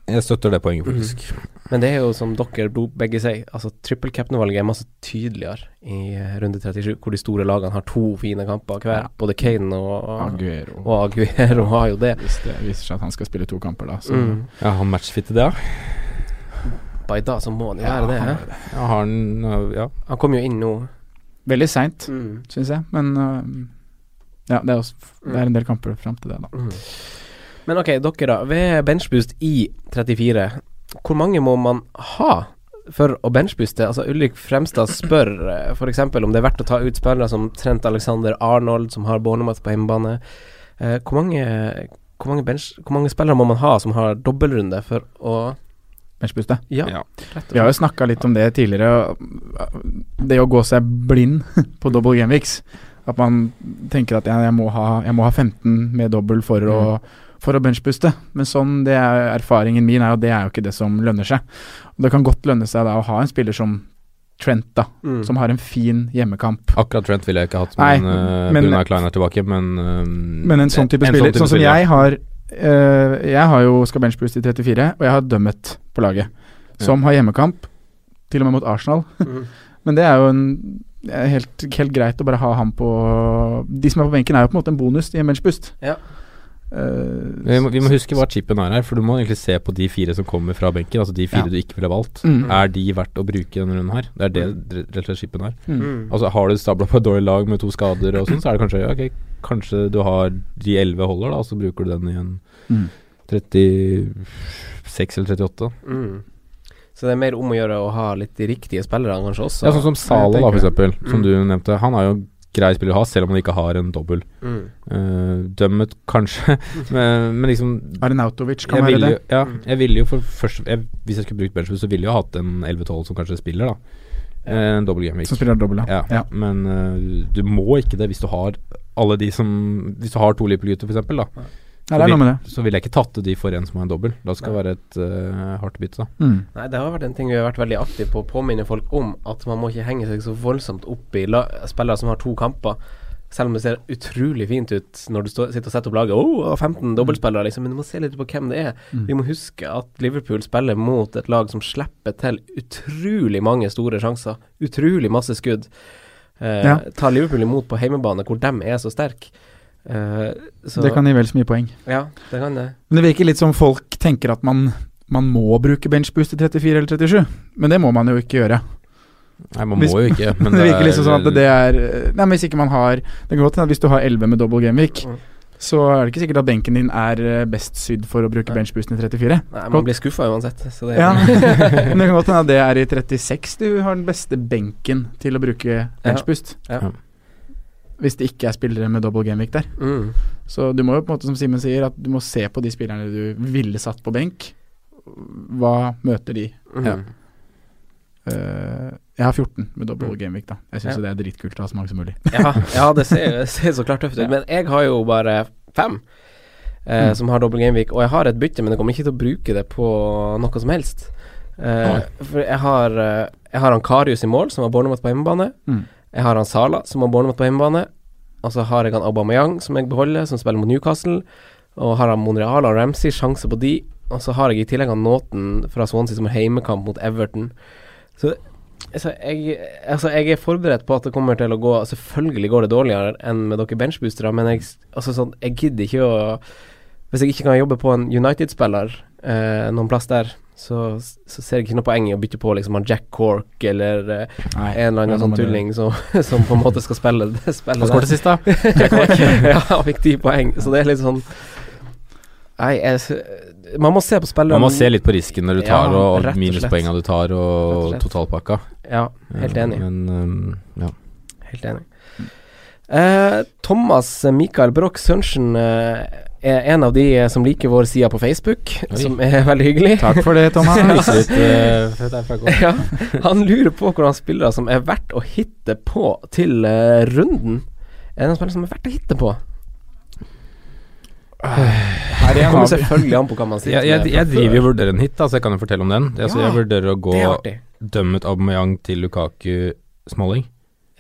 [SPEAKER 1] Jeg støtter det poenget,
[SPEAKER 5] Mhm.
[SPEAKER 1] faktisk.
[SPEAKER 4] Men det er jo som dere bo- begge sier, altså triple cap-valget er masse tydeligere i eh, runde 37, hvor de store lagene har to fine kamper hver.
[SPEAKER 5] Ja.
[SPEAKER 4] Både Kane og, og,
[SPEAKER 5] Aguero.
[SPEAKER 4] og Aguero har jo det.
[SPEAKER 5] Hvis det viser seg at han skal spille to kamper, da. Så
[SPEAKER 4] Mm.
[SPEAKER 1] Ja, han matchfitter det, ja.
[SPEAKER 4] By da så må han jo
[SPEAKER 5] Ja,
[SPEAKER 4] være det.
[SPEAKER 5] han
[SPEAKER 4] hæ?
[SPEAKER 5] er det.
[SPEAKER 1] ja. Har han øh, Ja.
[SPEAKER 4] Han kom jo inn nå.
[SPEAKER 5] Veldig seint,
[SPEAKER 4] Mm.
[SPEAKER 5] syns jeg. Men øhm, ja, det er, også, det er en del kamper fram til det, da.
[SPEAKER 4] Mm. Men ok, dere da. Ved benchboost i 34, hvor mange må man ha for å benchbooste? Altså Ulrik Fremstad spør f.eks. om det er verdt å ta ut spillere som Trent Alexander Arnold, som har Bornermoth på hjemmebane. Eh, hvor, mange, hvor, mange bench, hvor mange spillere må man ha som har dobbeltrunde for å
[SPEAKER 5] Benchbuste.
[SPEAKER 4] Ja,
[SPEAKER 1] Ja.
[SPEAKER 4] rett og
[SPEAKER 5] Vi har
[SPEAKER 4] slett.
[SPEAKER 5] jo snakka litt om det tidligere. og Det å gå seg blind på double gameweeks. At man tenker at jeg, jeg, må ha, jeg må ha 15 med dobbel for å for å benchbuste, men sånn det er erfaringen min er jo det er jo ikke det som lønner seg. Og det kan godt lønne seg da å ha en spiller som Trent, da,
[SPEAKER 4] Mm.
[SPEAKER 5] som har en fin hjemmekamp.
[SPEAKER 1] Akkurat Trent ville jeg ikke hatt,
[SPEAKER 5] Nei,
[SPEAKER 1] men, øh,
[SPEAKER 5] men-
[SPEAKER 1] på grunn av Klein er tilbake, men øh,
[SPEAKER 5] Men en sånn type spiller,
[SPEAKER 1] type
[SPEAKER 5] sånn som
[SPEAKER 1] spiller, ja.
[SPEAKER 5] jeg har eh, Jeg har jo skal benchboost i 34, og jeg har Dummet på laget. Som har hjemmekamp, til og med mot Arsenal.
[SPEAKER 4] Mm.
[SPEAKER 5] Men det er jo en det er helt, helt greit å bare ha han på De som er på benken, er jo på en måte en bonus i en benchboost.
[SPEAKER 4] Ja.
[SPEAKER 5] Eh,
[SPEAKER 1] Vi må, vi må huske hva chipen er her, for du må egentlig se på de fire som kommer fra benken. Altså de fire
[SPEAKER 5] Ja.
[SPEAKER 1] du ikke ville valgt.
[SPEAKER 5] Mm.
[SPEAKER 1] Er de verdt å bruke denne runden her? Det er det dre- rett og slett chipen er.
[SPEAKER 5] Mm.
[SPEAKER 4] Mm.
[SPEAKER 1] Altså Har du stabla på et dårlig lag med to skader og sånn, så er det kanskje Ok, kanskje du har de elleve holder, da, og så bruker du den i en
[SPEAKER 5] Mm.
[SPEAKER 1] 36 eller 38.
[SPEAKER 4] Mm. Så det er mer om å gjøre å ha litt de riktige spillerne, kanskje også.
[SPEAKER 1] Ja, sånn som Sala, da, for eksempel, som
[SPEAKER 4] Mm.
[SPEAKER 1] du nevnte. Han er jo en grei spiller å ha, selv om han ikke har en dobbel.
[SPEAKER 4] mm.
[SPEAKER 1] Eh, dømmet, kanskje, men, men liksom
[SPEAKER 5] Arnautovic kan
[SPEAKER 1] jeg
[SPEAKER 5] være
[SPEAKER 1] ville
[SPEAKER 5] det.
[SPEAKER 1] jo- Ja,
[SPEAKER 4] Mm.
[SPEAKER 1] jeg ville jo for først jeg, Hvis jeg skulle brukt benchboost, så ville jeg jo hatt en 11-12 som kanskje spiller, da. Eh, En dobbel gameweek.
[SPEAKER 5] Som spiller dobbel,
[SPEAKER 1] Ja.
[SPEAKER 5] Ja.
[SPEAKER 1] Men eh, du må ikke det hvis du har alle de som Hvis du har to Liverpool-gutter, f.eks., da.
[SPEAKER 5] Ja, det er noe med det.
[SPEAKER 1] Så ville jeg ikke tatt ut de for en som har en dobbel. Da skal det
[SPEAKER 4] Nei.
[SPEAKER 1] være et eh, hardt bytte, da.
[SPEAKER 5] Mm.
[SPEAKER 4] Nei, det har vært en ting vi har vært veldig aktive på å påminne folk om, at man må ikke henge seg så voldsomt opp i la spillere som har to kamper. Selv om det ser utrolig fint ut når du står, sitter og setter opp laget. Åh, 15 dobbeltspillere, liksom. Men du må se litt på hvem det er.
[SPEAKER 5] Mm.
[SPEAKER 4] Vi må huske at Liverpool spiller mot et lag som slipper til utrolig mange store sjanser. Utrolig masse skudd. Eh,
[SPEAKER 5] Ja.
[SPEAKER 4] Tar Liverpool imot på heimebane, hvor dem er så sterke. Eh, så
[SPEAKER 5] Det kan gi vel så mye poeng.
[SPEAKER 4] Ja, det kan det.
[SPEAKER 5] Men det virker litt som folk tenker at man, man må bruke benchboost i 34 eller 37, men det må man jo ikke gjøre.
[SPEAKER 1] Nei, man
[SPEAKER 5] Hvis-
[SPEAKER 1] må jo ikke, men
[SPEAKER 5] det, virker
[SPEAKER 1] er-
[SPEAKER 5] liksom sånn at det er Nei, men hvis ikke man har Det kan godt hende at hvis du har 11 med double gameweek,
[SPEAKER 4] Mm.
[SPEAKER 5] så er det ikke sikkert at benken din er eh, best sydd for å bruke
[SPEAKER 4] Nei.
[SPEAKER 5] benchboosten i 34.
[SPEAKER 4] Nei,
[SPEAKER 5] Godt.
[SPEAKER 4] man blir skuffa uansett. Så det,
[SPEAKER 5] Ja, Men det kan godt hende at det er i 36 du har den beste benken til å bruke benchboost.
[SPEAKER 4] Ja.
[SPEAKER 1] Ja.
[SPEAKER 5] Hvis det ikke er spillere med double gameweek der.
[SPEAKER 4] Mm.
[SPEAKER 5] Så du må jo på en måte, som Simen sier, at du må se på de spillerne du ville satt på benk. Hva møter de?
[SPEAKER 4] Mm.
[SPEAKER 1] Ja.
[SPEAKER 5] Eh, jeg har 14 med double
[SPEAKER 4] Mm.
[SPEAKER 5] gameweek, da. Jeg syns
[SPEAKER 4] Ja.
[SPEAKER 5] jo det er dritkult å ha så mange som mulig.
[SPEAKER 4] ja, ja, det ser, ser så klart tøft ut. Men jeg har jo bare fem eh,
[SPEAKER 5] Mm.
[SPEAKER 4] som har dobbel gameweek, og jeg har et bytte, men jeg kommer ikke til å bruke det på noe som helst. Eh, for jeg har, eh, jeg har han Karius i mål, som har Bornermoth på hjemmebane.
[SPEAKER 5] Mm.
[SPEAKER 4] Jeg har han Sala, som har Bornermoth på hjemmebane. Og så har jeg han Aubameyang, som jeg beholder, som spiller mot Newcastle. Og har han Monreal og Ramsey, sjanse på de. Og så har jeg i tillegg han Naughton fra Swansea, som har heimekamp mot Everton. Altså jeg, altså, jeg er forberedt på at det kommer til å gå Selvfølgelig går det dårligere enn med dere benchboostere, men jeg, altså, sånn, jeg gidder ikke å Hvis jeg ikke kan jobbe på en United-spiller eh, noen plass der, så, så ser jeg ikke noe poeng i å bytte på liksom han Jack Cork eller eh,
[SPEAKER 5] Nei,
[SPEAKER 4] en eller
[SPEAKER 5] det er
[SPEAKER 4] annen
[SPEAKER 5] noe
[SPEAKER 4] sånn
[SPEAKER 5] med det.
[SPEAKER 4] tulling som, som på en måte skal spille det
[SPEAKER 5] Hva
[SPEAKER 4] spillet
[SPEAKER 5] skåret sist, da?
[SPEAKER 4] ja, han fikk ti poeng, så det er litt sånn Nei, jeg, man må se på spilleren.
[SPEAKER 1] Man må se litt på risken når du tar,
[SPEAKER 4] Ja,
[SPEAKER 1] og,
[SPEAKER 4] rett og
[SPEAKER 1] og
[SPEAKER 4] slett.
[SPEAKER 1] minuspoengene du tar,
[SPEAKER 4] Rett og
[SPEAKER 1] og
[SPEAKER 4] slett.
[SPEAKER 1] totalpakka.
[SPEAKER 4] Ja, helt
[SPEAKER 1] Ja,
[SPEAKER 4] enig.
[SPEAKER 1] Men um, ja.
[SPEAKER 4] Helt enig. Eh, Thomas Mikael Broch Sørensen eh, er en av de eh, som liker vår side på Facebook,
[SPEAKER 1] Oi.
[SPEAKER 4] som er veldig hyggelig.
[SPEAKER 5] Takk for det, Thomas.
[SPEAKER 1] Viser litt, eh, fett derfra, godt.
[SPEAKER 4] Ja, han lurer på hvordan spillere som er verdt å hitte på til eh, runden. Er det noen spillere som er verdt å hitte på?
[SPEAKER 5] Her
[SPEAKER 4] Det
[SPEAKER 5] igjen
[SPEAKER 4] kommer
[SPEAKER 5] har vi
[SPEAKER 4] selvfølgelig an på hva man sier.
[SPEAKER 1] Jeg, jeg, jeg driver jo og vurderer en hit, da, så jeg kan jo fortelle om den. Altså,
[SPEAKER 4] Ja,
[SPEAKER 1] jeg vurderer å gå
[SPEAKER 4] Det er artig.
[SPEAKER 1] dømmet Aubameyang til Lukaku Smalling.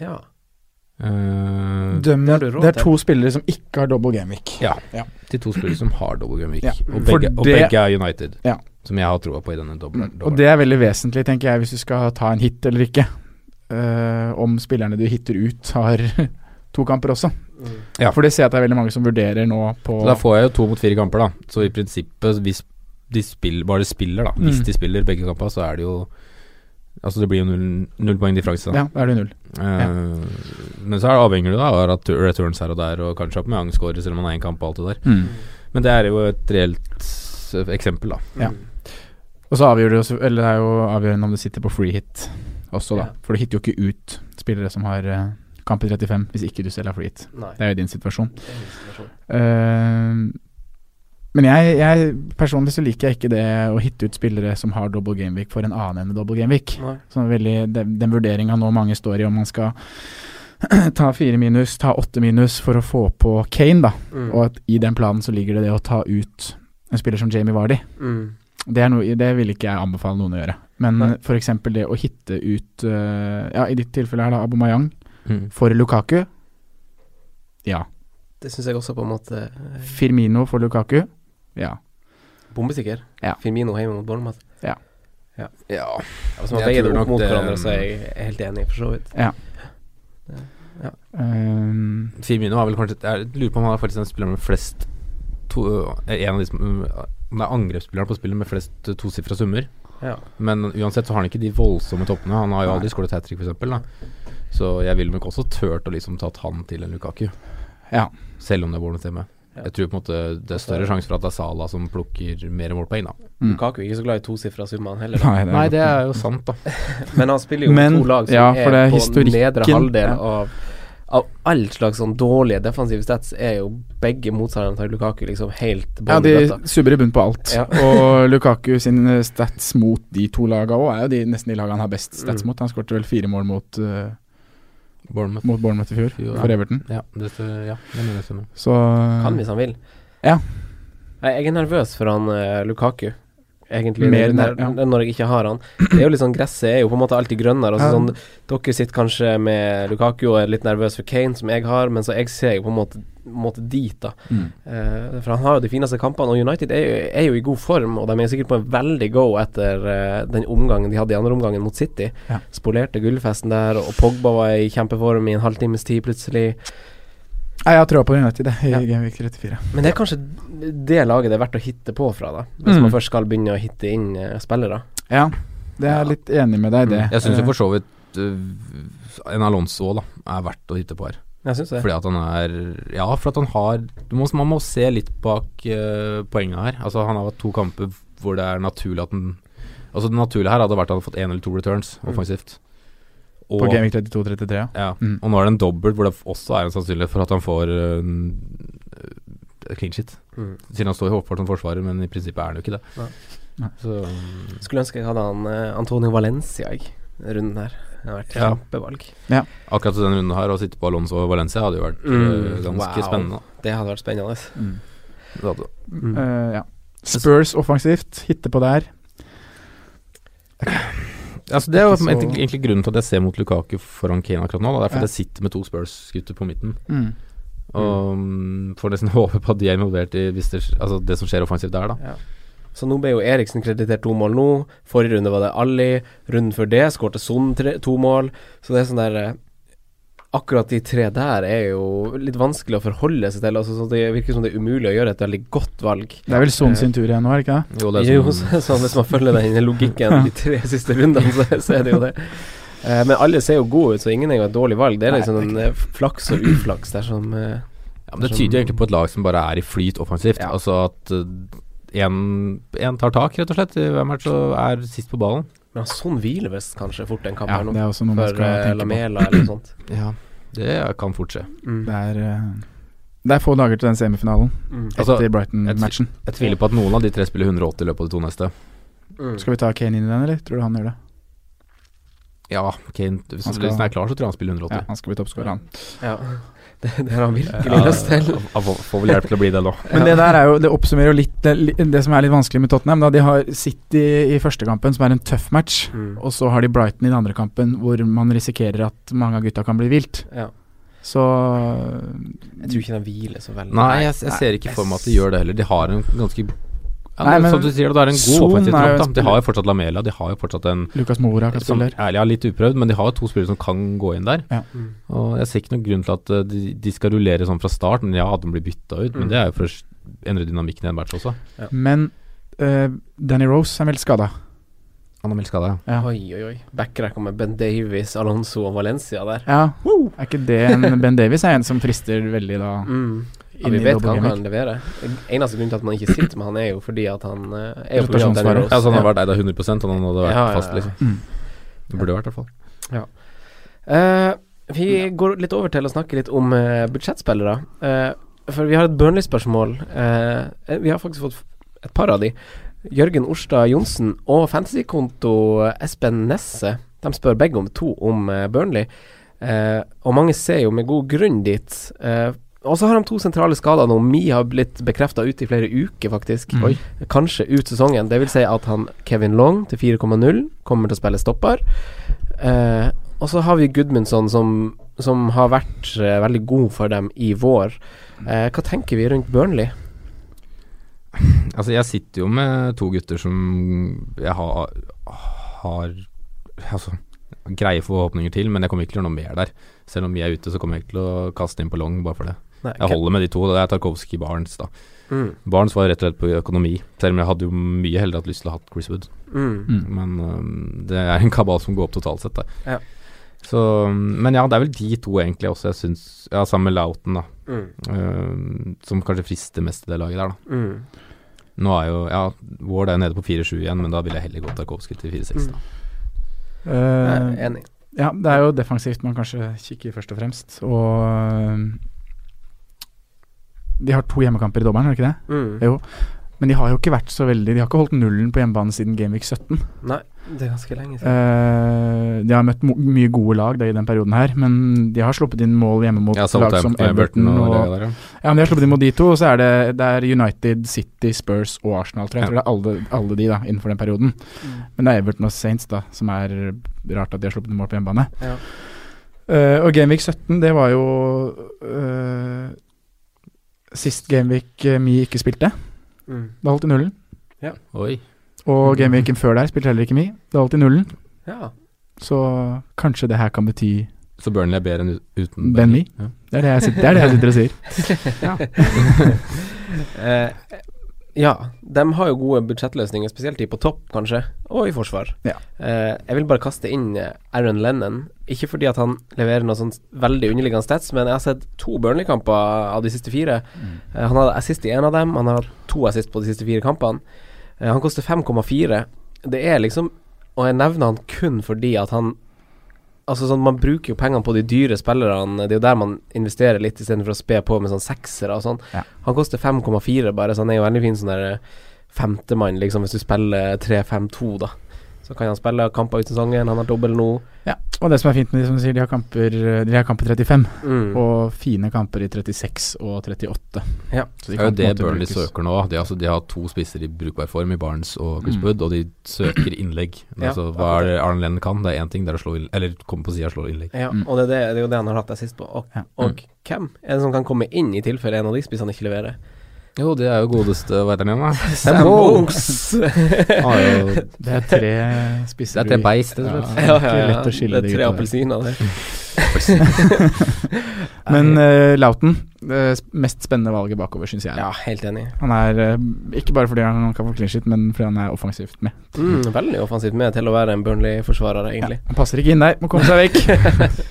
[SPEAKER 4] Ja.
[SPEAKER 1] Eh,
[SPEAKER 5] Dømmer-
[SPEAKER 4] Det har du råd
[SPEAKER 5] Det er
[SPEAKER 4] til.
[SPEAKER 5] to spillere som ikke har double gameweek.
[SPEAKER 1] ja,
[SPEAKER 5] Ja.
[SPEAKER 1] til to spillere som har double game week.
[SPEAKER 5] Ja,
[SPEAKER 1] Og,
[SPEAKER 5] for
[SPEAKER 1] begge, og
[SPEAKER 5] det-
[SPEAKER 1] begge er United,
[SPEAKER 5] Ja. Mm.
[SPEAKER 1] som jeg har troa på i denne dobbelen.
[SPEAKER 5] Og det er veldig vesentlig, tenker jeg, hvis du skal ta en hit eller ikke. Eh, om spillerne du hitter ut, har to kamper også.
[SPEAKER 1] Ja.
[SPEAKER 5] For det ser jeg at det er veldig mange som vurderer nå på
[SPEAKER 1] Så da får jeg jo to mot fire kamper, da. Så i prinsippet, hvis de spill, bare spiller, da Hvis
[SPEAKER 5] Mm.
[SPEAKER 1] de spiller begge kamper, så er det jo Altså det blir jo null, null poeng differanse, da.
[SPEAKER 5] Ja, da er det null.
[SPEAKER 1] Eh, Men så er det avhengig da, av at returns her og der, og kanskje at Aubameyang scorer selv om han har én kamp og alt det der.
[SPEAKER 5] Mm.
[SPEAKER 4] Mm.
[SPEAKER 1] Men det er jo et reelt eh, eksempel, da.
[SPEAKER 5] Ja. Og så avgjør det jo Eller det er jo avgjørende om du sitter på free hit også, da.
[SPEAKER 4] Ja.
[SPEAKER 5] For du hitter jo ikke ut spillere som har eh, kamp i 35, hvis ikke du selv har free hit.
[SPEAKER 4] Nei.
[SPEAKER 5] Det er jo din situasjon.
[SPEAKER 4] det er en inspirasjon.
[SPEAKER 5] Eh, men jeg, jeg personlig så liker jeg ikke det å hitte ut spillere som har double gameweek for en annen enn double gameweek.
[SPEAKER 4] Nei.
[SPEAKER 5] Sånn veldig, den, den vurderinga nå mange står i, om man skal ta fire minus, ta åtte minus for å få på Kane, da.
[SPEAKER 4] Mm.
[SPEAKER 5] Og at i den planen så ligger det det å ta ut en spiller som Jamie Vardy.
[SPEAKER 4] Mm.
[SPEAKER 5] Det, er noe, det vil ikke jeg anbefale noen å gjøre. Men
[SPEAKER 4] Nei.
[SPEAKER 5] f.eks. det å hitte ut eh, Ja, i ditt tilfelle her, da, Abomayang
[SPEAKER 1] Mm.
[SPEAKER 5] for Lukaku. Ja.
[SPEAKER 4] Det syns jeg også på en måte eh,
[SPEAKER 5] Firmino for Lukaku. Ja.
[SPEAKER 4] Bombesikker.
[SPEAKER 5] Ja.
[SPEAKER 4] Firmino hjemme mot Bournemouth.
[SPEAKER 1] Ja.
[SPEAKER 4] Ja, Hvis man
[SPEAKER 1] Jeg
[SPEAKER 4] veier det
[SPEAKER 1] tror
[SPEAKER 4] opp
[SPEAKER 1] nok
[SPEAKER 4] mot
[SPEAKER 1] det-
[SPEAKER 4] hverandre, så er jeg helt enig, for så vidt.
[SPEAKER 5] Ehm,
[SPEAKER 1] Firmino har vel kanskje Jeg lurer på om han er faktisk den spilleren med flest to, eh, En av de som Om det er angrepsspilleren på spillet med flest eh, tosifra summer.
[SPEAKER 4] Ja.
[SPEAKER 1] Men uansett så har han ikke de voldsomme toppene. Han har jo aldri skåret hat trick, f.eks. Så jeg ville nok også turt å liksom tatt han til en Lukaku.
[SPEAKER 5] Ja.
[SPEAKER 1] Selv om det er Bournemouth hjemme.
[SPEAKER 4] Ja.
[SPEAKER 1] Jeg tror på en måte det er større sjanse for at det er Salah som plukker mer målpoeng, da.
[SPEAKER 5] Mm.
[SPEAKER 4] Lukaku er ikke så glad i tosifra summer, han heller. da.
[SPEAKER 5] Nei, det er,
[SPEAKER 1] Nei, det er jo sant, da.
[SPEAKER 4] Men han spiller jo
[SPEAKER 5] Men-
[SPEAKER 4] to lag som
[SPEAKER 5] ja, for
[SPEAKER 4] er,
[SPEAKER 5] det er
[SPEAKER 4] på
[SPEAKER 5] historikken,
[SPEAKER 4] nedre halvdel
[SPEAKER 5] ja.
[SPEAKER 4] av Av all slags sånn dårlige defensive stats er jo begge motstanderne til Lukaku liksom helt
[SPEAKER 5] Ja,
[SPEAKER 4] bånn i bøtta.
[SPEAKER 5] de subber i bunn på alt.
[SPEAKER 4] Ja.
[SPEAKER 5] og Lukaku sine stats mot de to laga òg, er jo de, nesten de laga han har best stats
[SPEAKER 4] Mm.
[SPEAKER 5] mot. Han skåret vel fire mål mot, eh,
[SPEAKER 1] Bournemouth.
[SPEAKER 5] mot Bournemouth i fjor,
[SPEAKER 1] Ja.
[SPEAKER 5] for Everton.
[SPEAKER 1] Ja, det, står- ja, det mener jeg stemmer.
[SPEAKER 5] Så
[SPEAKER 4] Kan hvis han vil.
[SPEAKER 5] Ja.
[SPEAKER 4] Nei, Jeg er nervøs for han eh, Lukaku, egentlig,
[SPEAKER 5] Mer
[SPEAKER 4] når-
[SPEAKER 5] ner- ja.
[SPEAKER 4] når, når jeg ikke har han. Det er jo litt sånn, Gresset er jo på en måte alltid grønnere. Altså,
[SPEAKER 5] Ja.
[SPEAKER 4] sånn, dere sitter kanskje med Lukaku og er litt nervøs for Kane, som jeg har, men så jeg ser jo på en måte, måte dit, da.
[SPEAKER 5] mm.
[SPEAKER 4] Eh, for han har jo de fineste kampene, og United er jo, er jo i god form. Og de er sikkert på en veldig go etter eh, den omgangen de hadde i andre omgangen mot City.
[SPEAKER 5] Ja.
[SPEAKER 4] Spolerte gullfesten der, og Pogba var i kjempeform i en halvtimes tid plutselig.
[SPEAKER 5] Nei, jeg har trua på United jeg, i
[SPEAKER 4] Ja.
[SPEAKER 5] Gameweek 34.
[SPEAKER 4] Men det er kanskje det laget det er verdt å hitte på fra, da. Hvis
[SPEAKER 5] Mm.
[SPEAKER 4] man først skal begynne å hitte inn eh, spillere.
[SPEAKER 5] Ja, det
[SPEAKER 1] Ja.
[SPEAKER 5] er
[SPEAKER 1] Mm.
[SPEAKER 5] jeg litt enig med deg i det.
[SPEAKER 1] Jeg syns jo
[SPEAKER 5] Eh,
[SPEAKER 1] eh, for så vidt øh, en Alonso òg, da, er verdt å hitte på her.
[SPEAKER 4] Jeg syns det.
[SPEAKER 1] Fordi at han er Ja, for at han har du må, Man må se litt bak uh, poenget her. Altså Han har hatt to kamper hvor det er naturlig at han Altså Det naturlige her hadde vært at han hadde fått én eller to returns
[SPEAKER 4] Mm.
[SPEAKER 1] offensivt.
[SPEAKER 5] På Gaming 32-33, ja.
[SPEAKER 1] Ja.
[SPEAKER 5] Mm.
[SPEAKER 1] Og nå er det en dobbelt hvor det også er en sannsynlighet for at han får uh, clean shit.
[SPEAKER 4] Mm.
[SPEAKER 1] Siden han står jo åpenbart som forsvarer, men i prinsippet er han jo ikke det.
[SPEAKER 4] Nei.
[SPEAKER 5] Nei.
[SPEAKER 1] Så
[SPEAKER 4] Skulle ønske jeg hadde han eh, Antonio Valencia jeg, runden her. Det har vært
[SPEAKER 1] Ja.
[SPEAKER 4] kjempevalg.
[SPEAKER 1] akkurat i denne runden her, å sitte på Alonso og Valencia hadde jo vært
[SPEAKER 4] Mm.
[SPEAKER 1] øh, ganske
[SPEAKER 4] Wow.
[SPEAKER 1] spennende.
[SPEAKER 4] Det hadde vært spennende.
[SPEAKER 5] Mm.
[SPEAKER 1] Det hadde-
[SPEAKER 4] Mm.
[SPEAKER 5] Eh, ja. Spurs offensivt, hitte på der.
[SPEAKER 1] Altså, det er jo
[SPEAKER 5] Ikke så-
[SPEAKER 1] egentlig, egentlig grunnen til at jeg ser mot Lukaku foran Kane akkurat nå. Da. Det er fordi
[SPEAKER 5] Ja.
[SPEAKER 1] jeg sitter med to Spurs-gutter på midten.
[SPEAKER 5] Mm.
[SPEAKER 1] Og mm, får nesten håpe på at de er involvert i hvis det, altså det som skjer offensivt der, da.
[SPEAKER 4] Så nå ble jo Eriksen kreditert to mål nå. Forrige runde var det Ali. Runden før det skårte Son tre, to mål. Så det er sånn der eh, Akkurat de tre der er jo litt vanskelig å forholde seg til. Altså, så det virker som det er umulig å gjøre et veldig godt valg.
[SPEAKER 5] Det er vel Son sin tur igjen nå, er det ikke det?
[SPEAKER 1] Jo, det er
[SPEAKER 4] Jo,
[SPEAKER 1] sånn-
[SPEAKER 4] så, så hvis man følger den logikken de tre siste rundene, så, så er det jo det. Eh, men alle ser jo gode ut, så ingen er jo et dårlig valg. Det er
[SPEAKER 5] Nei,
[SPEAKER 4] liksom en eh, flaks og uflaks der som eh,
[SPEAKER 1] ja, men det tyder jo egentlig på et lag som bare er i flyt offensivt.
[SPEAKER 4] Ja.
[SPEAKER 1] Altså at én tar tak, rett og slett, i hver match og er sist på ballen.
[SPEAKER 4] Men sånn hviler visst kanskje fort en kamp
[SPEAKER 5] Ja,
[SPEAKER 4] her nå,
[SPEAKER 5] det er også noe man
[SPEAKER 4] for
[SPEAKER 5] skal
[SPEAKER 4] eh,
[SPEAKER 5] tenke på.
[SPEAKER 4] Lamela eller noe sånt.
[SPEAKER 1] Ja, det kan fort skje.
[SPEAKER 5] Det er, eh, det er få dager til den semifinalen
[SPEAKER 4] Mm.
[SPEAKER 1] Altså,
[SPEAKER 5] etter
[SPEAKER 1] jeg tvi-
[SPEAKER 5] Brighton-matchen.
[SPEAKER 1] Jeg tviler på at noen av de tre spiller 180 i løpet av de to neste.
[SPEAKER 4] Mm.
[SPEAKER 5] Skal vi ta Kane inn i den, eller tror du han gjør det?
[SPEAKER 1] Ja, Kane Hvis
[SPEAKER 5] Han
[SPEAKER 1] han,
[SPEAKER 5] skal-
[SPEAKER 1] hvis han er klar, så tror jeg han spiller 180.
[SPEAKER 5] Ja, han skal bli toppskårer, han.
[SPEAKER 4] Ja, det, det har han virkelig
[SPEAKER 1] Ja,
[SPEAKER 4] lyst til.
[SPEAKER 1] Eh, han får- får vel hjelp til å bli det nå.
[SPEAKER 5] Men det der er jo, det oppsummerer jo litt det, li- det som er litt vanskelig med Tottenham. Da. De har City i første kampen, som er en tøff match.
[SPEAKER 4] Mm.
[SPEAKER 5] Og så har de Brighton i den andre kampen, hvor man risikerer at mange av gutta kan bli vilt.
[SPEAKER 4] Ja.
[SPEAKER 5] Så eh,
[SPEAKER 4] Jeg tror ikke den hviler så veldig.
[SPEAKER 1] Nei, jeg, jeg ser ikke for meg at de gjør det heller. De har en ganske ja,
[SPEAKER 5] Nei,
[SPEAKER 1] det-
[SPEAKER 5] men
[SPEAKER 1] Som du sier, det er en god
[SPEAKER 5] Son
[SPEAKER 1] offensiv
[SPEAKER 5] er jo en
[SPEAKER 1] kamp. da. De
[SPEAKER 5] spiller-
[SPEAKER 1] har jo fortsatt Lamela, de har jo fortsatt en
[SPEAKER 5] Lucas Mora kan
[SPEAKER 1] som
[SPEAKER 5] spille der.
[SPEAKER 1] ærlig er litt uprøvd, men de har jo to spillere som kan gå inn der.
[SPEAKER 4] Mm.
[SPEAKER 1] Og Jeg ser ikke noen grunn til at eh, de, de skal rullere sånn fra start. Men ja, at de blir bytta ut,
[SPEAKER 4] Mm.
[SPEAKER 1] men det er jo for å s- endre dynamikken i en match også.
[SPEAKER 5] Men eh, Danny Rose er meldt skada.
[SPEAKER 1] Han er meldt skada, ja.
[SPEAKER 5] Ja.
[SPEAKER 4] Oi, oi, oi. Backrekka med Ben Davies, Alonso og Valencia der.
[SPEAKER 5] ja. Er ikke det en Ben Davies er en som frister veldig da?
[SPEAKER 4] Mm. Ja,
[SPEAKER 5] Inn
[SPEAKER 4] vi
[SPEAKER 5] i
[SPEAKER 4] vet
[SPEAKER 5] double
[SPEAKER 4] hva han
[SPEAKER 5] gamer.
[SPEAKER 4] kan levere. Eneste grunn til at man ikke sitter med han, er jo fordi at han eh, sånn er jo på grunn av Danny
[SPEAKER 5] Rotasjonsvarer.
[SPEAKER 4] Rose.
[SPEAKER 1] Ja, så han har vært eid av 100 og han hadde vært
[SPEAKER 4] Ja, ja, ja.
[SPEAKER 1] fast, liksom.
[SPEAKER 5] Mm.
[SPEAKER 1] Det burde vært, i hvert fall.
[SPEAKER 4] Eh, vi går litt over til å snakke litt om eh, budsjettspillere. Eh, for vi har et Burnley-spørsmål. Eh, vi har faktisk fått et par av de. Jørgen Orstad Johnsen og fantasykonto eh, Espen Nesse. De spør begge om to om eh, Burnley. Eh, og mange ser jo med god grunn dit. Eh, og så har de to sentrale skader nå. Mi har blitt bekrefta ut i flere uker, faktisk.
[SPEAKER 5] Mm. Oi.
[SPEAKER 4] Kanskje ut sesongen. Det vil si at han Kevin Long til 4,0 kommer til å spille stopper. Eh, og så har vi Gudmundsson som, som har vært eh, veldig god for dem i vår. Eh, hva tenker vi rundt Burnley?
[SPEAKER 1] Altså, jeg sitter jo med to gutter som jeg har, har altså, greie forhåpninger til, men jeg kommer ikke til å gjøre noe mer der. Selv om vi er ute, så kommer jeg ikke til å kaste inn på long bare for det.
[SPEAKER 4] Nei,
[SPEAKER 1] Jeg holder med de to. Det er Tarkovskij Barnes, da.
[SPEAKER 4] Mm,
[SPEAKER 1] Barnes var rett og slett på økonomi, selv om jeg hadde jo mye heller hatt lyst til å ha hatt Chris Wood.
[SPEAKER 4] mm,
[SPEAKER 5] Mm.
[SPEAKER 1] Men øhm, det er en kabal som går opp totalt sett, da.
[SPEAKER 4] Ja.
[SPEAKER 1] Så, øhm, men ja, det er vel de to egentlig også jeg syns Ja, sammen med Lauten, da.
[SPEAKER 4] mm,
[SPEAKER 1] øhm, som kanskje frister mest i det laget der, da.
[SPEAKER 4] mm.
[SPEAKER 1] Nå er jo Ja, Ward er nede på 4-7 igjen, men da ville jeg heller gått Tarkovskij til 4-6, da.
[SPEAKER 4] Jeg
[SPEAKER 5] Eh,
[SPEAKER 4] er enig.
[SPEAKER 5] ja, det er jo defensivt man kanskje kikker først og fremst. Og eh, de har to hjemmekamper i dommeren, har de ikke det?
[SPEAKER 4] Mm.
[SPEAKER 5] Jo. Men de har jo ikke vært så veldig De har ikke holdt nullen på hjemmebane siden Gameweek 17.
[SPEAKER 4] Nei, det er ganske lenge siden.
[SPEAKER 5] Eh, de har møtt mo mye gode lag da, i den perioden her, men de har sluppet inn mål hjemme mot
[SPEAKER 1] Ja,
[SPEAKER 5] lag som
[SPEAKER 1] Southampton,
[SPEAKER 5] Everton. Og,
[SPEAKER 1] det der, ja.
[SPEAKER 5] ja, men de har sluppet inn mot de to, og så er det, det er United, City, Spurs og Arsenal. Tror jeg. jeg
[SPEAKER 1] Ja.
[SPEAKER 5] tror det er alle, alle de da, innenfor den perioden.
[SPEAKER 4] Mm,
[SPEAKER 5] Men det er Everton og Saints da, som er rart at de har sluppet inn mål på hjemmebane.
[SPEAKER 4] Ja.
[SPEAKER 5] Eh, og Gameweek 17, det var jo eh, sist Gameweek eh, Mi ikke spilte.
[SPEAKER 4] Mm.
[SPEAKER 5] Da holdt de nullen.
[SPEAKER 1] Oi.
[SPEAKER 5] Og gameweeken før der spilte heller ikke mi. Det er alltid nullen.
[SPEAKER 4] Ja.
[SPEAKER 5] Så kanskje det her kan bety
[SPEAKER 1] Så Burnley er bedre enn u- uten
[SPEAKER 5] Ben Mee?
[SPEAKER 1] Ja.
[SPEAKER 5] Det er det jeg sitter, det er det jeg sitter og sier.
[SPEAKER 4] Eh, Ja, de har jo gode budsjettløsninger, spesielt de på topp, kanskje, og i forsvar.
[SPEAKER 5] Ja.
[SPEAKER 4] Eh, jeg vil bare kaste inn eh, Aaron Lennon. Ikke fordi at han leverer noe sånn veldig underliggende stats, men jeg har sett to Burnley-kamper av de siste fire.
[SPEAKER 1] Mm.
[SPEAKER 4] Eh, han hadde assist i én av dem, han har hatt to assist på de siste fire kampene. Eh, han koster 5,4. Det er liksom Og jeg nevner han kun fordi at han Altså sånn, Man bruker jo pengene på de dyre spillerne. Det er jo der man investerer litt, istedenfor å spe på med sånn seksere og sånn.
[SPEAKER 5] Ja.
[SPEAKER 4] Han koster 5,4 bare, så han er jo veldig fin sånn der femtemann, liksom, hvis du spiller 3-5-2, da. Så kan han spille kamper ut sesongen, han har dobbel nå.
[SPEAKER 5] Ja, og det som er fint med de som sier de har kamper De har kamper 35,
[SPEAKER 4] Mm.
[SPEAKER 5] og fine kamper i 36 og 38.
[SPEAKER 4] Ja.
[SPEAKER 5] Så de
[SPEAKER 1] Det er
[SPEAKER 5] kan
[SPEAKER 1] jo
[SPEAKER 5] på
[SPEAKER 1] det
[SPEAKER 5] en måte
[SPEAKER 1] Burnley
[SPEAKER 5] brukes.
[SPEAKER 1] søker nå. De, altså, de har to spisser i brukbar form i Barnes og
[SPEAKER 5] Mm.
[SPEAKER 1] Goosewood, og de søker innlegg.
[SPEAKER 4] Ja,
[SPEAKER 1] altså, hva er det Arne Lenn kan? Det er én ting, det er å slå inn, eller komme på sida og slå innlegg.
[SPEAKER 4] Ja,
[SPEAKER 5] Mm.
[SPEAKER 4] og det er, det, det er jo det han har hatt assist på. Og,
[SPEAKER 5] Ja. Mm.
[SPEAKER 4] og hvem er det som kan komme inn i tilfelle en av de spissene ikke leverer?
[SPEAKER 1] Jo, det er jo godeste Hva heter han igjen, da?
[SPEAKER 4] Sam Vokes!
[SPEAKER 1] Han har jo-
[SPEAKER 5] Det er tre
[SPEAKER 1] Det
[SPEAKER 5] spisser
[SPEAKER 1] er tre
[SPEAKER 5] du-
[SPEAKER 1] beist, rett
[SPEAKER 5] Ja,
[SPEAKER 1] og slett.
[SPEAKER 5] det er ikke lett å skille
[SPEAKER 4] Det
[SPEAKER 5] de
[SPEAKER 4] er tre
[SPEAKER 5] gutta der.
[SPEAKER 4] appelsiner, det.
[SPEAKER 5] Men uh, Lauten, det sp- mest spennende valget bakover, syns jeg.
[SPEAKER 4] Ja, helt enig.
[SPEAKER 5] Han er eh, ikke bare fordi han kan få clean shit, men fordi han er offensivt med.
[SPEAKER 4] Mm, veldig offensivt med til å være en Burnley-forsvarer, egentlig.
[SPEAKER 5] Han passer ikke inn der, må komme seg vekk.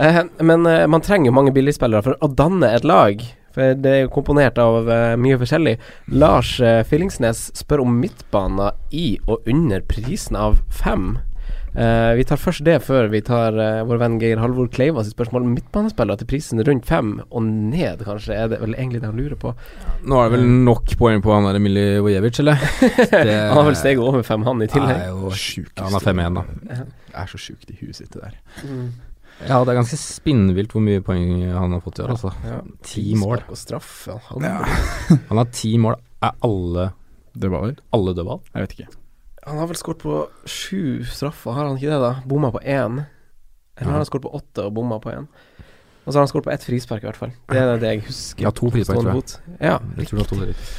[SPEAKER 4] Eh, men eh, man trenger jo mange billigspillere for å danne et lag. For det er jo komponert av eh, mye forskjellig. Lars eh, Fyllingsnes spør om midtbaner i og under prisen av fem. Eh, vi tar først det før vi tar eh, vår venn Geir Halvor Kleiva sitt spørsmål om midtbanespillere til prisen rundt fem og ned, kanskje, er det vel egentlig det han lurer på.
[SPEAKER 1] Nå er det vel nok poeng på han der Emilie Vojevic, eller?
[SPEAKER 4] han har vel steget over fem, han, i tillegg.
[SPEAKER 5] Sjuk
[SPEAKER 1] Ja, han er 5-1, da.
[SPEAKER 5] er så sjukt i huet sitt, det der.
[SPEAKER 4] Mm.
[SPEAKER 1] Ja, det er ganske spinnvilt hvor mye poeng han har fått i år, altså.
[SPEAKER 4] Ja.
[SPEAKER 1] Ti mål.
[SPEAKER 4] Frispark Og straff, ja. Han-
[SPEAKER 1] Han har ti mål. Er alle,
[SPEAKER 5] Dødballer?
[SPEAKER 1] alle dødball?
[SPEAKER 5] Jeg vet ikke.
[SPEAKER 4] Han har vel skåret på sju straffer, har han ikke det, da? Bomma på én. Eller har han skåret på åtte og bomma på én? Og så har han skåret på ett frispark, i hvert fall. Det er det jeg husker.
[SPEAKER 1] Ja, to frispark, tror jeg.
[SPEAKER 4] Ja.
[SPEAKER 1] Jeg tror det var to dritt.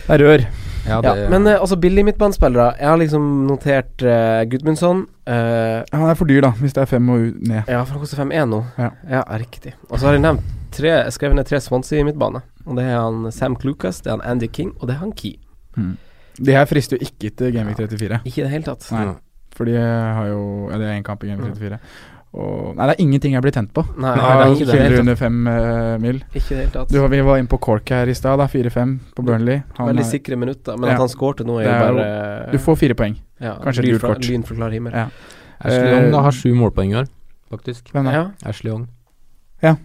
[SPEAKER 5] Det er rør.
[SPEAKER 1] Ja,
[SPEAKER 4] ja.
[SPEAKER 1] det,
[SPEAKER 4] Men eh, altså, billige midtbanespillere. Jeg har liksom notert eh, Gudmundsson. eh,
[SPEAKER 5] Han er for dyr, da, hvis det er fem og u- ned.
[SPEAKER 4] ja, for han koster 5-1 nå.
[SPEAKER 5] Ja.
[SPEAKER 4] riktig. Og så har jeg nevnt tre, jeg skrev ned tre Swansea i midtbane. Og det er han Sam Clucas, det er han Andy King, og det er han Key.
[SPEAKER 5] Hmm. De her frister jo ikke til Gameweek 34,
[SPEAKER 4] Ikke i det hele tatt.
[SPEAKER 5] Nei.
[SPEAKER 1] Ja.
[SPEAKER 5] for de eh, har jo Ja, det er én kamp i Gameweek 34. Og Nei, det er ingenting jeg blir tent på.
[SPEAKER 4] Nei,
[SPEAKER 5] Nei,
[SPEAKER 4] det er
[SPEAKER 5] ikke
[SPEAKER 4] ikke det i det hele tatt.
[SPEAKER 5] under fem eh, mil.
[SPEAKER 4] Ikke i det hele tatt.
[SPEAKER 5] Du, vi var inne på Cork her i stad, da. 4-5 på Burnley. Han
[SPEAKER 4] Veldig
[SPEAKER 5] er-
[SPEAKER 4] sikre minutter, men
[SPEAKER 5] Ja.
[SPEAKER 4] at han skårte nå, er jo
[SPEAKER 5] Det er jo-
[SPEAKER 4] bare
[SPEAKER 5] Du får fire poeng.
[SPEAKER 4] ja,
[SPEAKER 5] kanskje et
[SPEAKER 4] lyn
[SPEAKER 5] gult
[SPEAKER 4] fra-
[SPEAKER 5] kort.
[SPEAKER 4] Lyn for klar himmel.
[SPEAKER 5] Ja.
[SPEAKER 1] Ashley Young da har sju målpoeng i år, faktisk.
[SPEAKER 5] Hvem da?
[SPEAKER 4] Ja.
[SPEAKER 1] Ashley Young.
[SPEAKER 4] ja,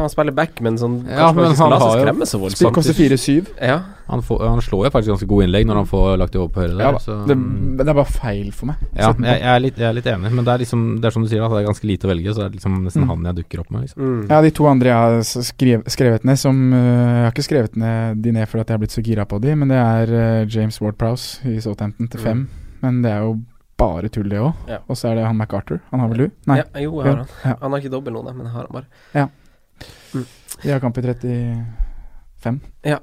[SPEAKER 4] han spiller back, men sånn
[SPEAKER 1] Ja,
[SPEAKER 4] Kanskje man
[SPEAKER 1] men
[SPEAKER 4] ikke skal
[SPEAKER 1] han
[SPEAKER 4] la seg
[SPEAKER 1] har jo-
[SPEAKER 4] skremme så
[SPEAKER 5] Spill
[SPEAKER 4] voldsomt.
[SPEAKER 5] koster 4-7.
[SPEAKER 4] Ja.
[SPEAKER 1] Han, får, han slår jo faktisk ganske gode innlegg når han får lagt det over på høyre der.
[SPEAKER 5] Ja da.
[SPEAKER 1] så,
[SPEAKER 5] Det, men det er bare feil for meg.
[SPEAKER 1] ja,
[SPEAKER 5] Sett den på.
[SPEAKER 1] jeg, jeg, er litt, jeg er litt enig, men det er liksom Det er som du sier, da, det er ganske lite å velge, så det er liksom nesten
[SPEAKER 5] Mm.
[SPEAKER 1] han jeg dukker opp med. Liksom.
[SPEAKER 4] Mm.
[SPEAKER 5] Ja, de to andre jeg har s- skrev, skrevet ned som øh, Jeg har ikke skrevet ned de ned fordi at jeg har blitt så gira på de, men det er øh, James Ward-Prowse i Southampton til fem.
[SPEAKER 4] Mm.
[SPEAKER 5] Men det er jo bare tull, det òg.
[SPEAKER 4] Ja.
[SPEAKER 5] Og så er det han MacArthur. Han har vel du? Nei,
[SPEAKER 4] Ja, jo, jeg har han.
[SPEAKER 5] Ja.
[SPEAKER 4] Han har ikke dobbel nå, da, men jeg har han bare.
[SPEAKER 5] de har kamp i 35.
[SPEAKER 4] Ja.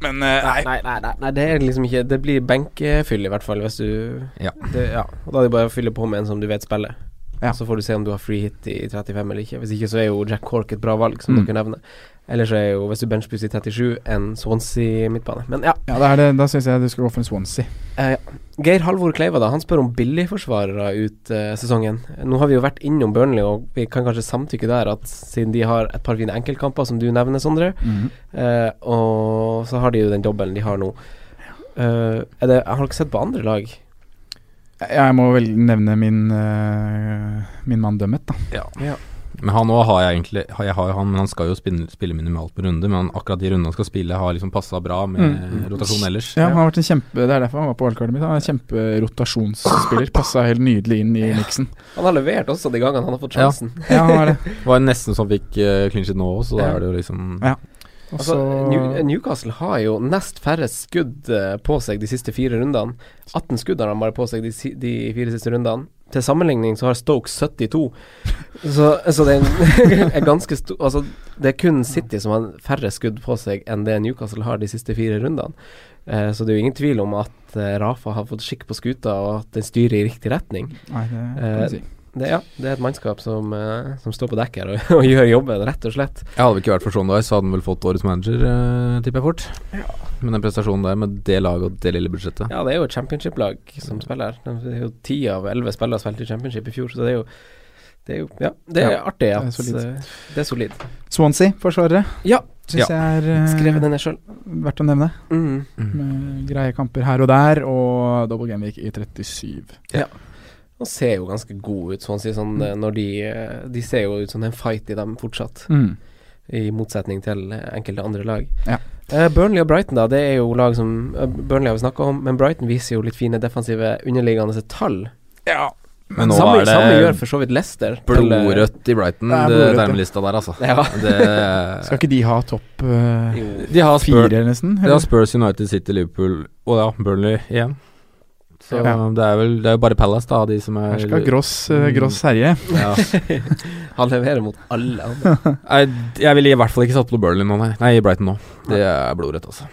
[SPEAKER 5] Men øh, nei.
[SPEAKER 4] Nei, nei, nei, nei, det er liksom ikke Det blir benkefyll, i hvert fall, hvis du
[SPEAKER 1] Ja.
[SPEAKER 4] Det, ja. Og da er det bare å fylle på med en som du vet spiller.
[SPEAKER 5] Ja.
[SPEAKER 4] Så får du se om du har free hit i 35 eller ikke. Hvis ikke så er jo Jack Cork et bra valg, som
[SPEAKER 5] Mm.
[SPEAKER 4] dere nevner. Eller så er jo, hvis du benchbooster i 37, en Swansea midtbane. Men ja,
[SPEAKER 5] Ja, da, er det, da syns jeg du skal gå for en Swansea.
[SPEAKER 4] Geir Halvor Kleiva da, han spør om billigforsvarere ut eh, sesongen. Nå har vi jo vært innom Burnley, og vi kan kanskje samtykke der at siden de har et par fine enkeltkamper, som du nevner, Sondre, eh, og så har de jo den dobbelen de har nå. Eh, er det, jeg har ikke sett på andre lag.
[SPEAKER 5] Jeg må vel nevne min, øh, min mann Dømmet, da.
[SPEAKER 1] Men han òg har jeg egentlig har, Jeg har jo han, men han skal jo spille, spille minimalt på runde, men han, akkurat de rundene han skal spille, har liksom passa bra med
[SPEAKER 5] Mm.
[SPEAKER 1] rotasjon ellers.
[SPEAKER 5] Ja, han har vært en kjempe, Det er derfor han var på wildcardet mitt. Han er en kjemperotasjonsspiller. Passa helt nydelig inn i miksen.
[SPEAKER 4] Han har levert også de gangene han har fått sjansen.
[SPEAKER 5] Ja, han er det.
[SPEAKER 1] Det var nesten sånn fikk uh, clinch it nå òg, så da
[SPEAKER 4] Ja.
[SPEAKER 1] er det jo liksom
[SPEAKER 5] Ja. Og
[SPEAKER 4] Altså,
[SPEAKER 5] så-
[SPEAKER 4] New, Newcastle har jo nest færre skudd eh, på seg de siste fire rundene. 18 skudd har han bare på seg de, si- de fire siste rundene. Til sammenligning så har Stoke 72. Så, så det er, en- er ganske stor Altså, det er kun City som har færre skudd på seg enn det Newcastle har de siste fire rundene. Eh, så det er jo ingen tvil om at eh, Rafa har fått skikk på skuta, og at den styrer i riktig retning.
[SPEAKER 5] Nei, det kan
[SPEAKER 4] Eh,
[SPEAKER 5] du si.
[SPEAKER 4] det, ja, det er et mannskap som, eh, som står på dekk her og, og gjør jobben, rett og slett.
[SPEAKER 1] Jeg hadde vel ikke vært for Sean Dice, så hadde han vel fått årets manager, eh, tipper jeg fort. Men den prestasjonen der, med det laget og det lille budsjettet
[SPEAKER 4] Ja, det er jo et championship-lag som spiller. Det er jo ti av elleve spillere som spilte i championship i fjor, så det er jo det er jo, ja, det er
[SPEAKER 5] Ja,
[SPEAKER 4] artig
[SPEAKER 5] er
[SPEAKER 4] at eh,
[SPEAKER 5] solid.
[SPEAKER 4] det er solid.
[SPEAKER 5] Swansea-forsvarere
[SPEAKER 4] Ja,
[SPEAKER 5] syns jeg er eh,
[SPEAKER 4] skrevet den jeg sjøl.
[SPEAKER 5] verdt å nevne.
[SPEAKER 4] Mm.
[SPEAKER 5] Med greie kamper her og der, og double game-week i 37.
[SPEAKER 4] Han ser jo ganske god ut, sånn å si,
[SPEAKER 5] Mm.
[SPEAKER 4] sånn, eh, når de eh, De ser jo ut som det er en fight i dem fortsatt,
[SPEAKER 5] Mm.
[SPEAKER 4] i motsetning til eh, enkelte andre lag.
[SPEAKER 5] Ja.
[SPEAKER 4] Eh, Burnley og Brighton, da, det er jo lag som eh, Burnley har vi snakka om, men Brighton viser jo litt fine defensive underliggende tall.
[SPEAKER 5] Ja.
[SPEAKER 1] Men nå
[SPEAKER 4] samme,
[SPEAKER 1] er det
[SPEAKER 4] samme gjør for så vidt Leicester. til, eh,
[SPEAKER 1] blodrødt i Brighton,
[SPEAKER 5] Det er
[SPEAKER 1] det
[SPEAKER 5] blodrødt, ja.
[SPEAKER 1] termelista der, altså.
[SPEAKER 4] Ja.
[SPEAKER 5] Skal
[SPEAKER 1] Det,
[SPEAKER 5] ikke de ha topp eh,
[SPEAKER 4] Jo.
[SPEAKER 1] de har Spurs,
[SPEAKER 5] fire, nesten?
[SPEAKER 1] de har Spurs United City, Liverpool og ja, Burnley igjen. Så
[SPEAKER 5] Ja.
[SPEAKER 1] det er vel det er jo bare Palace, da, de som er
[SPEAKER 5] Her skal Gross, eh, gross herje.
[SPEAKER 1] Ja.
[SPEAKER 4] Han leverer mot alle. han.
[SPEAKER 1] Nei, jeg ville i hvert fall ikke satt på Burnley nå, nei. Nei, Brighton nå. Det er blodrødt, altså.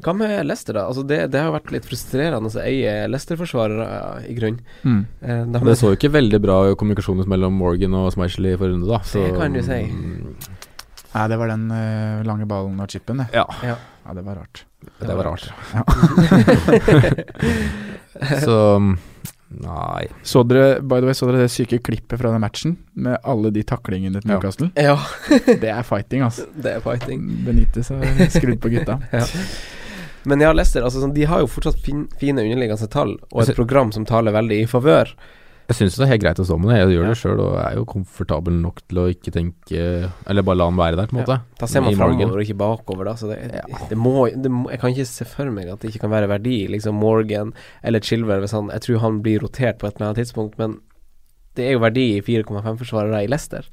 [SPEAKER 4] Hva med Leicester, da? Altså det, det har vært litt frustrerende å eie Leicester-forsvarere, ja, i grunnen.
[SPEAKER 5] Mm.
[SPEAKER 4] Eh, de-
[SPEAKER 1] Det så jo ikke veldig bra kommunikasjon ut mellom Morgan og Smeichley i forrige runde, da. Så,
[SPEAKER 4] Det kan du si.
[SPEAKER 1] mm,
[SPEAKER 5] Nei, det var den eh, lange ballen og chipen, det.
[SPEAKER 1] Ja.
[SPEAKER 4] Ja.
[SPEAKER 5] Ja, det var rart.
[SPEAKER 1] Det var rart. så mm, Nei.
[SPEAKER 5] Så dere, by the way, så dere det syke klippet fra den matchen? Med alle de taklingene til
[SPEAKER 1] Ja.
[SPEAKER 5] Newcastle?
[SPEAKER 4] ja,
[SPEAKER 5] Det er fighting, altså.
[SPEAKER 4] det er fighting.
[SPEAKER 5] Benitez har skrudd på gutta.
[SPEAKER 4] Men ja, Leicester altså, sånn, de har jo fortsatt fin, fine underliggende tall, og
[SPEAKER 1] Altså-
[SPEAKER 4] et program som taler veldig i favør.
[SPEAKER 1] Jeg syns det er helt greit å stå med det. Jeg gjør det sjøl og er jo komfortabel nok til å ikke tenke Eller bare la han være der, på en måte.
[SPEAKER 4] Da ser man
[SPEAKER 1] I Morgan.
[SPEAKER 4] framover og ikke bakover, da. Så det, det, må, det må Jeg kan ikke se for meg at det ikke kan være verdi. Liksom Morgan eller Chilwell hvis han Jeg tror han blir rotert på et eller annet tidspunkt, men det er jo verdi i 4,5-forsvarere i Leicester.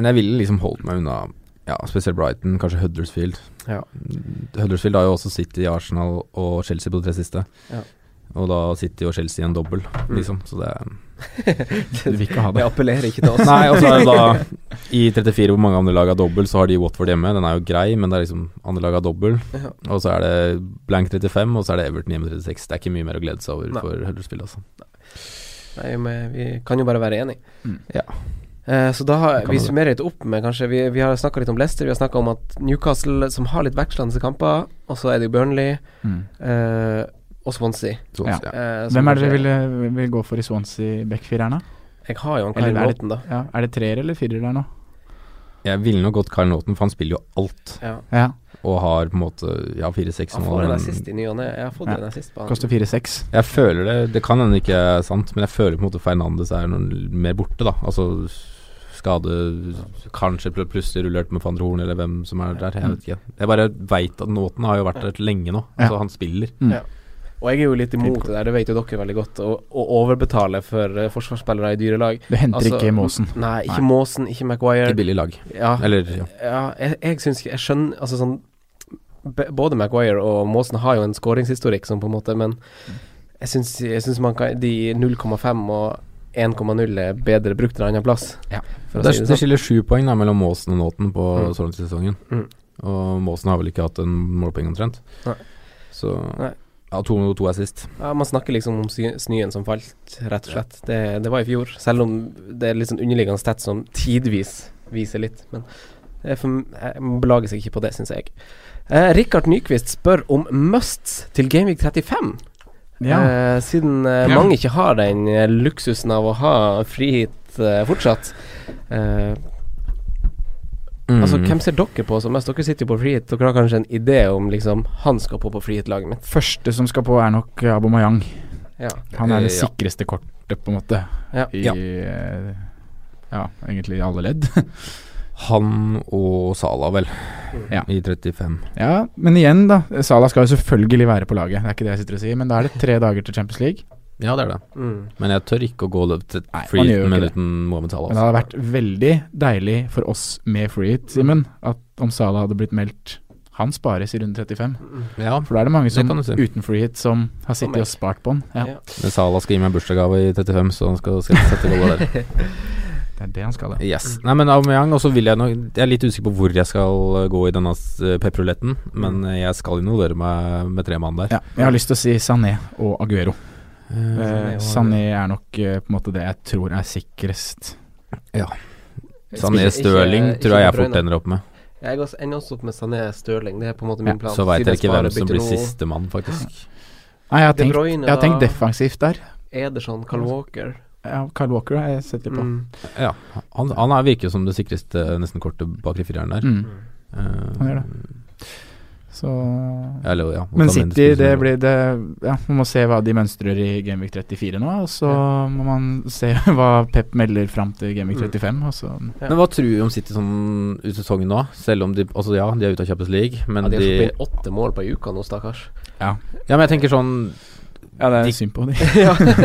[SPEAKER 1] Men jeg ville liksom holdt meg unna ja, spesielt Brighton, kanskje Huddersfield.
[SPEAKER 4] Ja.
[SPEAKER 1] Mm, Huddersfield har jo også City, Arsenal og Chelsea på de tre siste.
[SPEAKER 4] Ja. Mm.
[SPEAKER 1] Og da City og Chelsea i en dobbel, liksom. Så det er
[SPEAKER 5] Du vil ikke ha
[SPEAKER 4] Det
[SPEAKER 5] det.
[SPEAKER 4] appellerer ikke til oss.
[SPEAKER 1] Nei, og så er det da I 34 hvor mange andre lag har dobbel, så har de Watford hjemme. Den er jo grei, men det er liksom andre lag har dobbel.
[SPEAKER 4] Ja.
[SPEAKER 1] Og så er det blank 35, og så er det Everton hjemme 36. Det er ikke mye mer å glede seg over
[SPEAKER 4] Nei.
[SPEAKER 1] for Huddersfield, altså.
[SPEAKER 4] Nei, men vi kan jo bare være enige.
[SPEAKER 5] Mm.
[SPEAKER 1] Ja.
[SPEAKER 4] Eh, så da har
[SPEAKER 1] Kan
[SPEAKER 4] vi
[SPEAKER 1] man det.
[SPEAKER 4] summerer litt opp med kanskje Vi, vi har snakka litt om Leicester, vi har snakka om at Newcastle som har litt vekslende kamper, og så er det jo Burnley
[SPEAKER 5] Mm.
[SPEAKER 4] eh, og Swansea.
[SPEAKER 1] Så,
[SPEAKER 5] Ja.
[SPEAKER 1] ja.
[SPEAKER 4] eh, som
[SPEAKER 5] Hvem er det dere
[SPEAKER 4] kanskje-
[SPEAKER 5] ville, vil gå for i Swansea backfireren, da?
[SPEAKER 4] Jeg har jo en Kyle
[SPEAKER 5] Eller er det-
[SPEAKER 4] Walton, da.
[SPEAKER 5] Ja, er det treer eller firer der nå?
[SPEAKER 1] Jeg ville nok gått Kyle Naughton, for han spiller jo alt.
[SPEAKER 4] Ja.
[SPEAKER 5] Ja,
[SPEAKER 1] Og har på en måte Ja, 4-6
[SPEAKER 4] Han
[SPEAKER 1] nå,
[SPEAKER 4] får en
[SPEAKER 1] men-
[SPEAKER 4] assist i ny og ne. Jeg har fått
[SPEAKER 5] Ja.
[SPEAKER 4] en assist på han.
[SPEAKER 5] koster fire-seks.
[SPEAKER 1] Jeg føler det Det kan hende ikke er sant, men jeg føler på en måte Fernandes er noen mer borte, da. Altså skade Kanskje pl- plutselig rullert med van der Horn, eller hvem som er der. Jeg vet ikke. Jeg bare veit at Nåten har jo vært der lenge nå.
[SPEAKER 5] Ja.
[SPEAKER 1] Altså, han spiller.
[SPEAKER 4] Og jeg er jo litt imot
[SPEAKER 5] Fint.
[SPEAKER 4] det der, det vet jo dere veldig godt, å, å overbetale for eh, forsvarsspillere i dyre lag.
[SPEAKER 5] Du henter
[SPEAKER 4] Altså,
[SPEAKER 5] ikke Måsen.
[SPEAKER 4] Nei, ikke Maasen, ikke Maguire.
[SPEAKER 1] I billig lag.
[SPEAKER 4] Ja,
[SPEAKER 1] Eller ja.
[SPEAKER 4] Ja, jeg, jeg syns ikke Jeg skjønner Altså sånn b- Både Maguire og Maasen har jo en skåringshistorikk, sånn på en måte, men jeg syns, jeg synes man kan De 0,5 og 1,0 er bedre brukt en annen plass.
[SPEAKER 1] Ja.
[SPEAKER 4] For å
[SPEAKER 1] Det,
[SPEAKER 4] si
[SPEAKER 1] er-
[SPEAKER 4] det
[SPEAKER 1] det
[SPEAKER 4] sånn.
[SPEAKER 1] skiller sju poeng da, mellom Måsen og Nåten på
[SPEAKER 4] Mm.
[SPEAKER 1] så langt i sesongen.
[SPEAKER 4] Mm.
[SPEAKER 1] Og Måsen har vel ikke hatt en målpenge omtrent.
[SPEAKER 4] Nei.
[SPEAKER 1] Så
[SPEAKER 4] Nei.
[SPEAKER 1] Ja, to, to er sist.
[SPEAKER 4] Ja, man snakker liksom om sny- snøen som falt, rett og slett. Det, det var i fjor, selv om det er litt sånn underliggende tett som tidvis viser litt. Men det er for, jeg- man belager seg ikke på det, syns jeg. Eh, Rikard Nyquist spør om musts til Gameweek 35.
[SPEAKER 5] Ja.
[SPEAKER 4] Eh, siden eh,
[SPEAKER 5] Ja.
[SPEAKER 4] mange ikke har den eh, luksusen av å ha frihit eh, fortsatt. Eh, Altså,
[SPEAKER 1] Mm.
[SPEAKER 4] Hvem ser dere på som mest? Dere sitter jo på frihit. Dere har kanskje en idé om liksom Han skal på på frihit-laget mitt.
[SPEAKER 5] Første som skal på, er nok Abomayang.
[SPEAKER 4] Ja.
[SPEAKER 5] Han er det
[SPEAKER 1] Eh, ja.
[SPEAKER 5] sikreste kortet, på en måte.
[SPEAKER 4] Ja.
[SPEAKER 5] I
[SPEAKER 1] Ja.
[SPEAKER 5] eh, ja, egentlig i alle ledd.
[SPEAKER 1] Mm. Han og Sala, vel.
[SPEAKER 5] Ja.
[SPEAKER 1] I 35.
[SPEAKER 5] Ja, men igjen, da. Sala skal jo selvfølgelig være på laget, det er ikke det jeg sitter og sier. Men da er det tre dager til Champions League.
[SPEAKER 1] Ja, det er det.
[SPEAKER 4] Mm.
[SPEAKER 1] Men jeg tør ikke å gå løp til
[SPEAKER 5] Nei, man
[SPEAKER 1] free
[SPEAKER 5] gjør jo
[SPEAKER 1] men
[SPEAKER 5] ikke det.
[SPEAKER 1] uten Mohammed Salah.
[SPEAKER 5] Men det
[SPEAKER 1] altså.
[SPEAKER 5] hadde vært veldig deilig for oss med freehit, Simen, at om Sala hadde blitt meldt Han spares i runde 35.
[SPEAKER 4] Mm.
[SPEAKER 1] Ja,
[SPEAKER 5] For da er det mange som
[SPEAKER 1] kan du si.
[SPEAKER 5] uten freehit som har sittet
[SPEAKER 4] meg.
[SPEAKER 5] og spart på den. Ja,
[SPEAKER 4] Ja.
[SPEAKER 1] men Salah skal gi meg bursdagsgave i 35, så han skal, skal sette golla der.
[SPEAKER 5] det er det han skal, det.
[SPEAKER 1] Yes. Nei, men Aubameyang, og så vil jeg nok Jeg er litt usikker på hvor jeg skal eh, gå i denne eh,
[SPEAKER 5] Mm.
[SPEAKER 1] pepperuletten, men eh, jeg skal involvere meg med tre mann der.
[SPEAKER 5] Ja, jeg har lyst til å si Sané og Aguero.
[SPEAKER 1] Eh,
[SPEAKER 5] Eh, Sané er nok eh, på en måte det jeg tror er sikrest.
[SPEAKER 1] Sané E. Stirling tror jeg jeg fort ender opp med.
[SPEAKER 4] Jeg også- ender også opp med Sané Stirling, det er på en måte
[SPEAKER 1] Ja,
[SPEAKER 4] min plan.
[SPEAKER 1] så veit
[SPEAKER 4] Siden
[SPEAKER 1] jeg ikke
[SPEAKER 4] sparer
[SPEAKER 1] hvem som
[SPEAKER 4] bytter
[SPEAKER 1] blir
[SPEAKER 4] nå
[SPEAKER 1] sistemann, faktisk.
[SPEAKER 5] Nei, jeg har
[SPEAKER 4] De
[SPEAKER 5] tenkt,
[SPEAKER 4] Bruyne,
[SPEAKER 5] jeg har tenkt
[SPEAKER 4] da.
[SPEAKER 5] defensivt der.
[SPEAKER 4] Ederson, Carl Walker.
[SPEAKER 5] Ja, Kyle Walker har jeg sett litt på.
[SPEAKER 4] Mm.
[SPEAKER 1] Ja, han, han er, virker jo som det sikreste eh, nesten kortet bak i fireren der.
[SPEAKER 5] Mm.
[SPEAKER 1] Eh,
[SPEAKER 5] Han gjør Så
[SPEAKER 1] Eller, ja,
[SPEAKER 5] Men
[SPEAKER 1] Otamendi
[SPEAKER 5] City,
[SPEAKER 1] spiller som
[SPEAKER 5] det
[SPEAKER 1] det.
[SPEAKER 5] blir det Ja, man må se hva de mønstrer i Gameweek 34 nå, og så må man se hva Pep melder fram til Gameweek
[SPEAKER 4] Mm.
[SPEAKER 5] 35, og så
[SPEAKER 4] Ja.
[SPEAKER 1] Men hva tror du om City sånn ut sesongen nå? Selv om de Altså, ja, de er ute av Champions League, men
[SPEAKER 4] Ja, de har
[SPEAKER 1] de
[SPEAKER 4] sluppet inn åtte mål på ei uke nå, stakkars.
[SPEAKER 1] Ja, men jeg tenker sånn
[SPEAKER 5] Ja, det er synd på dem.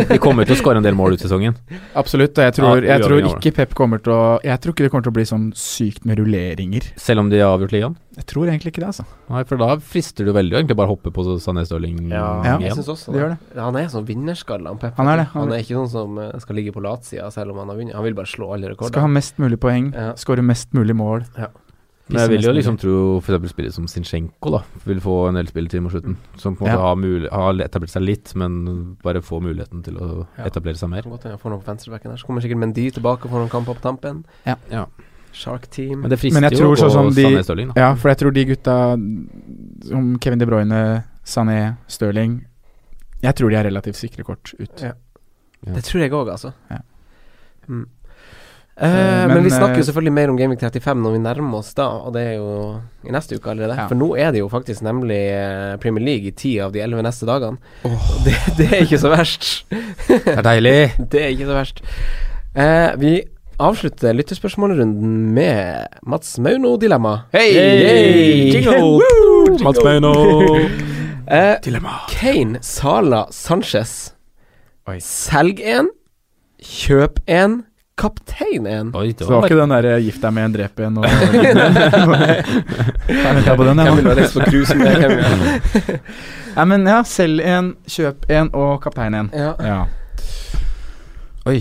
[SPEAKER 1] De kommer til å skåre en del mål ut sesongen.
[SPEAKER 5] Absolutt, og jeg tror,
[SPEAKER 1] Ja,
[SPEAKER 5] jeg tror
[SPEAKER 1] uavhengig av
[SPEAKER 5] ikke Pep kommer til å Jeg tror ikke det kommer til å bli sånn sykt med rulleringer.
[SPEAKER 1] Selv om de har avgjort ligaen.
[SPEAKER 5] Jeg tror egentlig ikke det, altså.
[SPEAKER 1] Nei, for da frister du veldig å egentlig bare hoppe på Sané Stirling
[SPEAKER 5] Ja.
[SPEAKER 4] Jeg
[SPEAKER 1] igjen.
[SPEAKER 4] synes også
[SPEAKER 5] Det gjør
[SPEAKER 4] det.
[SPEAKER 5] det.
[SPEAKER 4] Han er sånn vinnerskalle, han Pep.
[SPEAKER 5] Han er det, han
[SPEAKER 4] Han,
[SPEAKER 5] er
[SPEAKER 4] er ikke noen som eh, skal ligge på latsida selv om han har vunnet. Han vil bare slå alle
[SPEAKER 5] Skal
[SPEAKER 4] rekorder.
[SPEAKER 5] ha mest mulig poeng,
[SPEAKER 4] Ja.
[SPEAKER 5] skåre mest mulig mål.
[SPEAKER 4] Ja.
[SPEAKER 1] Men jeg vil jo
[SPEAKER 5] Pisse mest
[SPEAKER 1] liksom tro f.eks. spillere som Sinchenko da vil få en del spilletid mot slutten. Som på en måte
[SPEAKER 5] Ja.
[SPEAKER 1] har, mul har etablert seg litt, men bare får muligheten til å
[SPEAKER 4] Ja. Mm.
[SPEAKER 1] etablere seg
[SPEAKER 4] Det
[SPEAKER 1] mer.
[SPEAKER 4] kan godt hende han får noe på venstrebacken her. Så kommer sikkert Mendy tilbake og får noen kamper på tampen.
[SPEAKER 5] Ja.
[SPEAKER 1] Ja.
[SPEAKER 4] Shark Team.
[SPEAKER 1] Men det frister
[SPEAKER 5] Men jeg
[SPEAKER 1] jo
[SPEAKER 5] tror sånn som de-
[SPEAKER 1] Sané Stirling, da.
[SPEAKER 5] Ja, for jeg tror de gutta som Kevin De Bruyne, Sané, Stirling Jeg tror de er relativt sikre kort ut.
[SPEAKER 4] Ja. Det tror jeg òg, altså.
[SPEAKER 5] Ja.
[SPEAKER 4] Mm.
[SPEAKER 5] Eh,
[SPEAKER 4] Eh, men,
[SPEAKER 5] men,
[SPEAKER 4] vi snakker
[SPEAKER 5] eh,
[SPEAKER 4] jo selvfølgelig mer om Gaming 35 når vi nærmer oss da, og det er jo i neste uke allerede.
[SPEAKER 5] Ja.
[SPEAKER 4] For nå er det jo faktisk nemlig eh, Premier League i ti av de elleve neste dagene. Og Det, det er ikke så verst.
[SPEAKER 1] Det er deilig!
[SPEAKER 4] Det er ikke så verst. Eh, vi avslutter lytterspørsmålrunden med Mats Mauno-dilemma. Hei!
[SPEAKER 1] Hey! Jingle! Mats Mauno!
[SPEAKER 4] Eh,
[SPEAKER 1] Dilemma.
[SPEAKER 4] Kane, Sala, Sanchez.
[SPEAKER 5] Oi.
[SPEAKER 4] Selg en, kjøp en, kaptein en.
[SPEAKER 1] Oi, det
[SPEAKER 5] Så det var
[SPEAKER 1] var
[SPEAKER 5] ikke den der eh, 'gift deg med en, drep en' og Jeg venter på den, jeg nå. Nei, men ja, selg en, kjøp en og kaptein en.
[SPEAKER 4] Ja.
[SPEAKER 5] Ja.
[SPEAKER 1] Oi.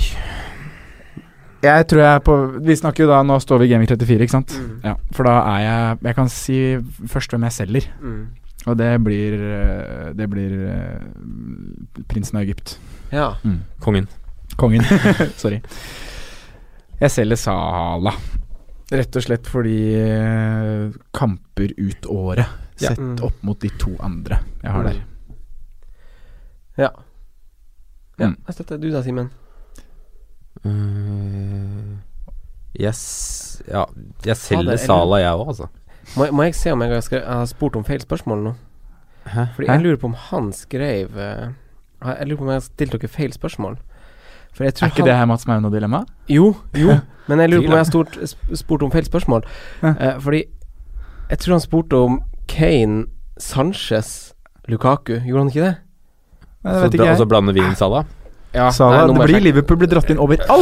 [SPEAKER 5] Jeg tror jeg er på Vi snakker jo da Nå står vi i Gaming 34, ikke sant?
[SPEAKER 4] Mm.
[SPEAKER 5] Ja, for da er jeg Jeg kan si først hvem jeg selger,
[SPEAKER 4] Mm.
[SPEAKER 5] og det blir øh, Det blir øh, prinsen av Egypt.
[SPEAKER 4] ja.
[SPEAKER 1] Kongen.
[SPEAKER 5] Kongen. Sorry. Jeg selger Sala. Rett og slett fordi eh, kamper ut året,
[SPEAKER 1] Ja.
[SPEAKER 5] sett
[SPEAKER 4] Mm.
[SPEAKER 5] opp mot de to andre jeg har der.
[SPEAKER 4] Ja. ja.
[SPEAKER 5] Mm.
[SPEAKER 4] Jeg støtter du da, Simen.
[SPEAKER 1] Eh, yes Ja, jeg selger
[SPEAKER 4] eller-
[SPEAKER 1] Sala, jeg òg, altså.
[SPEAKER 4] Må, må jeg se om jeg har, skre- jeg har spurt om feil spørsmål nå?
[SPEAKER 1] Hæ?
[SPEAKER 4] Fordi
[SPEAKER 5] Hæ?
[SPEAKER 4] jeg lurer på om han skrev eh, Jeg lurer på om jeg har stilt dere feil spørsmål. For jeg tror
[SPEAKER 5] Er ikke
[SPEAKER 4] han
[SPEAKER 5] det her Mats Maune-dilemma?
[SPEAKER 4] Jo, jo. Men jeg lurer på om
[SPEAKER 5] Tvil,
[SPEAKER 4] jeg har stort, sp- spurt om feil spørsmål.
[SPEAKER 5] Ja.
[SPEAKER 4] Eh, fordi jeg tror han spurte om Kane, Sanchez, Lukaku. Gjorde han ikke det?
[SPEAKER 5] Nei, det
[SPEAKER 1] Så dra-
[SPEAKER 4] Altså,
[SPEAKER 5] vet ikke
[SPEAKER 1] Og så
[SPEAKER 5] jeg.
[SPEAKER 1] blander vi inn Sala?
[SPEAKER 4] Ja,
[SPEAKER 5] Sala, det blir Liverpool blir dratt inn overalt! den
[SPEAKER 4] Ah,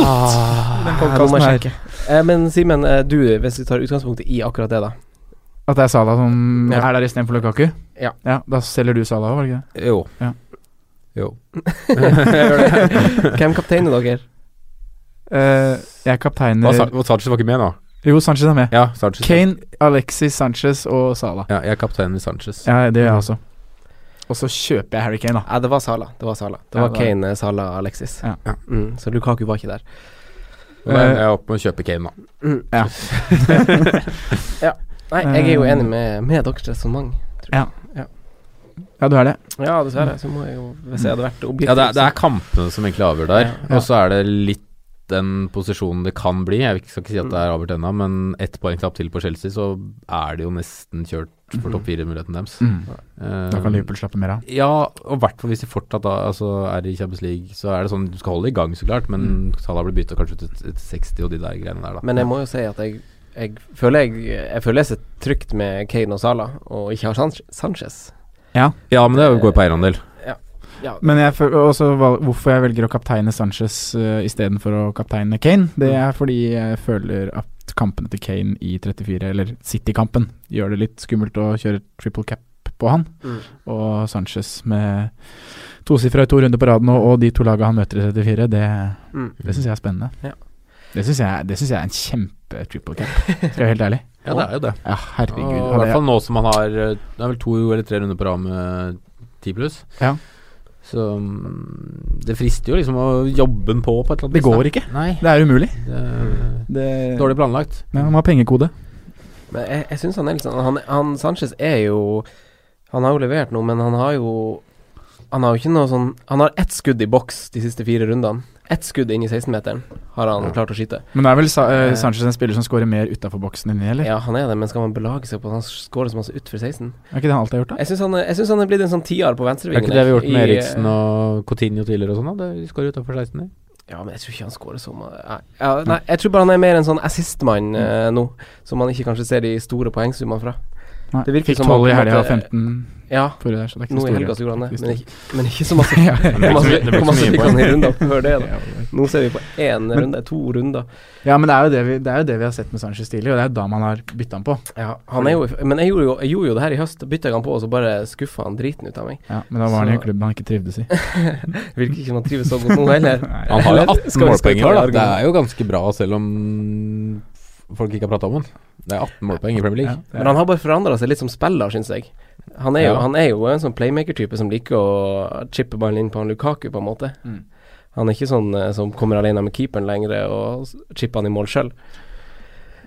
[SPEAKER 4] nå må
[SPEAKER 5] podcasten
[SPEAKER 4] jeg
[SPEAKER 5] her.
[SPEAKER 4] sjekke. Eh, men Simen, eh, du, hvis vi tar utgangspunktet i akkurat det, da.
[SPEAKER 5] At det er Sala som
[SPEAKER 4] Ja.
[SPEAKER 5] er der istedenfor Lukaku?
[SPEAKER 4] Ja.
[SPEAKER 5] ja. Da selger du Sala òg, var det ikke det?
[SPEAKER 1] Jo.
[SPEAKER 5] Ja.
[SPEAKER 1] Jo.
[SPEAKER 4] Hvem kapteiner dere?
[SPEAKER 5] Eh, jeg
[SPEAKER 1] Hva,
[SPEAKER 5] kapteiner
[SPEAKER 1] Sa- hva, Sanchez var ikke med nå?
[SPEAKER 5] Jo, Sanchez er med.
[SPEAKER 1] Ja, Sanchez.
[SPEAKER 5] Kane, Alexis Sanchez og Sala.
[SPEAKER 1] Ja, jeg er kapteinen i Sanchez.
[SPEAKER 5] Ja, det gjør jeg også. Og så kjøper jeg Harry Kane, da.
[SPEAKER 4] Ja, det var Sala. Det var Sala Det
[SPEAKER 5] Ja,
[SPEAKER 4] var
[SPEAKER 5] det var-
[SPEAKER 4] Kane, eh, Sala, Alexis.
[SPEAKER 5] Ja.
[SPEAKER 1] Ja.
[SPEAKER 4] Mm, så Lukaku var ikke der.
[SPEAKER 1] Og da er jeg oppe med å kjøpe Kane, da.
[SPEAKER 4] Mm.
[SPEAKER 5] Ja.
[SPEAKER 4] ja. Nei, jeg er jo enig med, med deres resonnement.
[SPEAKER 5] Ja, du er det.
[SPEAKER 4] Ja, dessverre. Så må jeg jo Hvis jeg hadde vært objektiv
[SPEAKER 1] Ja, det er, det er
[SPEAKER 5] sånn.
[SPEAKER 1] kampene som egentlig avgjør der.
[SPEAKER 4] Ja.
[SPEAKER 1] Og så er det litt den posisjonen det kan bli. Jeg skal ikke si at det er avgjort ennå, men ett poeng tapt til på Chelsea, så er det jo nesten kjørt for topp fire-muligheten deres. Eh,
[SPEAKER 5] Mm. Da kan Liverpool slappe mer av.
[SPEAKER 1] Ja, og i hvert fall hvis de fortsatt da, altså, er i Champions League, så er det sånn Du skal holde i gang, så klart, men Salah blir bytta kanskje ut et, et 60 og de der greiene der, da.
[SPEAKER 4] Mm. Men jeg må jo si at jeg, jeg føler jeg, jeg føler jeg sitter trygt med Kane og Sala, og ikke har Sanch- Sanchez.
[SPEAKER 1] ja, men det går på eierandel.
[SPEAKER 4] Ja,
[SPEAKER 5] Men jeg føl- også val- hvorfor jeg velger å kapteine Sanchez uh, istedenfor å kapteine Kane, det
[SPEAKER 1] Mm.
[SPEAKER 5] er fordi jeg føler at kampene til Kane i 34, eller City-kampen, gjør det litt skummelt å kjøre triple cap på han.
[SPEAKER 4] Mm.
[SPEAKER 5] Og Sanchez med tosifra i to runder på rad nå, og de to laga han møter i 34, det,
[SPEAKER 4] Mm.
[SPEAKER 5] det syns jeg er spennende.
[SPEAKER 4] Ja.
[SPEAKER 5] Det syns jeg, det synes jeg er en kjempe triple cap, skal jeg være helt ærlig.
[SPEAKER 1] Ja, det er jo det.
[SPEAKER 5] Ja, herregud.
[SPEAKER 1] Og I
[SPEAKER 5] hadde
[SPEAKER 1] hvert
[SPEAKER 5] jeg-
[SPEAKER 1] fall nå som han har eh, Det er vel to eller tre runder på rad med ti pluss.
[SPEAKER 5] Ja.
[SPEAKER 1] Så mm, det frister jo liksom å jobbe den på på et eller annet
[SPEAKER 5] Det går ikke.
[SPEAKER 1] Nei.
[SPEAKER 5] Det er umulig.
[SPEAKER 1] Det er
[SPEAKER 5] Det,
[SPEAKER 1] dårlig planlagt.
[SPEAKER 5] Ja, han har pengekode.
[SPEAKER 4] Men jeg, jeg syns han er litt sånn han, han Sanchez er jo Han har jo levert noe, men han har jo Han har jo ikke noe sånn Han har ett skudd i boks de siste fire rundene. Ett skudd inn i 16-meteren har han klart å skyte.
[SPEAKER 5] Men det er vel Sa eh, Sanchez en spiller som scorer mer utafor boksen enn inni, eller?
[SPEAKER 4] Ja, han er det, men skal man belage seg på at han skårer så masse utfor 16?
[SPEAKER 5] Er ikke det han alltid har gjort, da?
[SPEAKER 4] Jeg syns han, er- jeg synes han er blitt en sånn tier
[SPEAKER 1] Det
[SPEAKER 4] på
[SPEAKER 1] er
[SPEAKER 4] venstrevingen.
[SPEAKER 1] ikke det vi har gjort med
[SPEAKER 4] eh,
[SPEAKER 1] Eriksen og Coutinho tidligere og sånn? da? Det- De skårer utafor 16. de.
[SPEAKER 4] Ja, men jeg tror ikke han skårer så mye. Nei, ja, nei, jeg tror bare han er mer en sånn assistmann
[SPEAKER 1] Mm.
[SPEAKER 4] eh, nå, som man ikke kanskje ser de store poengsummene fra.
[SPEAKER 5] Nei.
[SPEAKER 4] Det virker
[SPEAKER 5] Fikk
[SPEAKER 4] som han
[SPEAKER 5] 12 i
[SPEAKER 4] på en
[SPEAKER 5] helga og
[SPEAKER 4] måte-
[SPEAKER 5] 15
[SPEAKER 4] Ja,
[SPEAKER 5] forrige der, så det er ikke
[SPEAKER 4] nå i
[SPEAKER 5] så stor
[SPEAKER 4] helga så gjorde han det,
[SPEAKER 5] hvis
[SPEAKER 4] men ikke, men ikke så masse.
[SPEAKER 5] Ja, ja.
[SPEAKER 1] Det blir ikke så mye- det blir
[SPEAKER 4] Hvor
[SPEAKER 1] ikke så
[SPEAKER 4] masse
[SPEAKER 1] mye
[SPEAKER 4] fikk han i
[SPEAKER 1] poeng.
[SPEAKER 4] runder før det, da?
[SPEAKER 5] Ja, det-
[SPEAKER 4] Nå ser vi på én
[SPEAKER 5] Men-
[SPEAKER 4] runde, to runder.
[SPEAKER 5] Ja, men det er, jo det, vi, det er jo det vi har sett med Sanchez tidlig, og det er da man har bytta han på.
[SPEAKER 4] Ja, han er jo, men jeg gjorde jo, jeg gjorde jo det her i høst. Bytta jeg han på, og så bare skuffa han driten ut av meg.
[SPEAKER 5] Ja, men da var han i en
[SPEAKER 4] Så-
[SPEAKER 5] klubb han ikke trivdes i.
[SPEAKER 4] Virker ikke som han trives så godt nå heller.
[SPEAKER 5] Nei.
[SPEAKER 1] Han har jo 18
[SPEAKER 4] Eller, skal vi- skal
[SPEAKER 1] målpoeng
[SPEAKER 4] vi
[SPEAKER 1] i
[SPEAKER 4] ta
[SPEAKER 1] år, da.
[SPEAKER 4] det
[SPEAKER 1] Det er jo ganske bra, selv om folk ikke har prata om den. Det er 18 målpoeng i Premier
[SPEAKER 5] Ja,
[SPEAKER 1] League.
[SPEAKER 5] det er-
[SPEAKER 4] Men han har bare forandra seg litt som spiller, syns jeg. Han er, jo,
[SPEAKER 1] Ja.
[SPEAKER 4] han er jo en sånn playmaker-type som liker å chippe ballen inn på han Lukaku, på en måte.
[SPEAKER 5] Mm.
[SPEAKER 4] Han er ikke sånn eh, som kommer alene med keeperen lenger og s- chipper han i mål sjøl.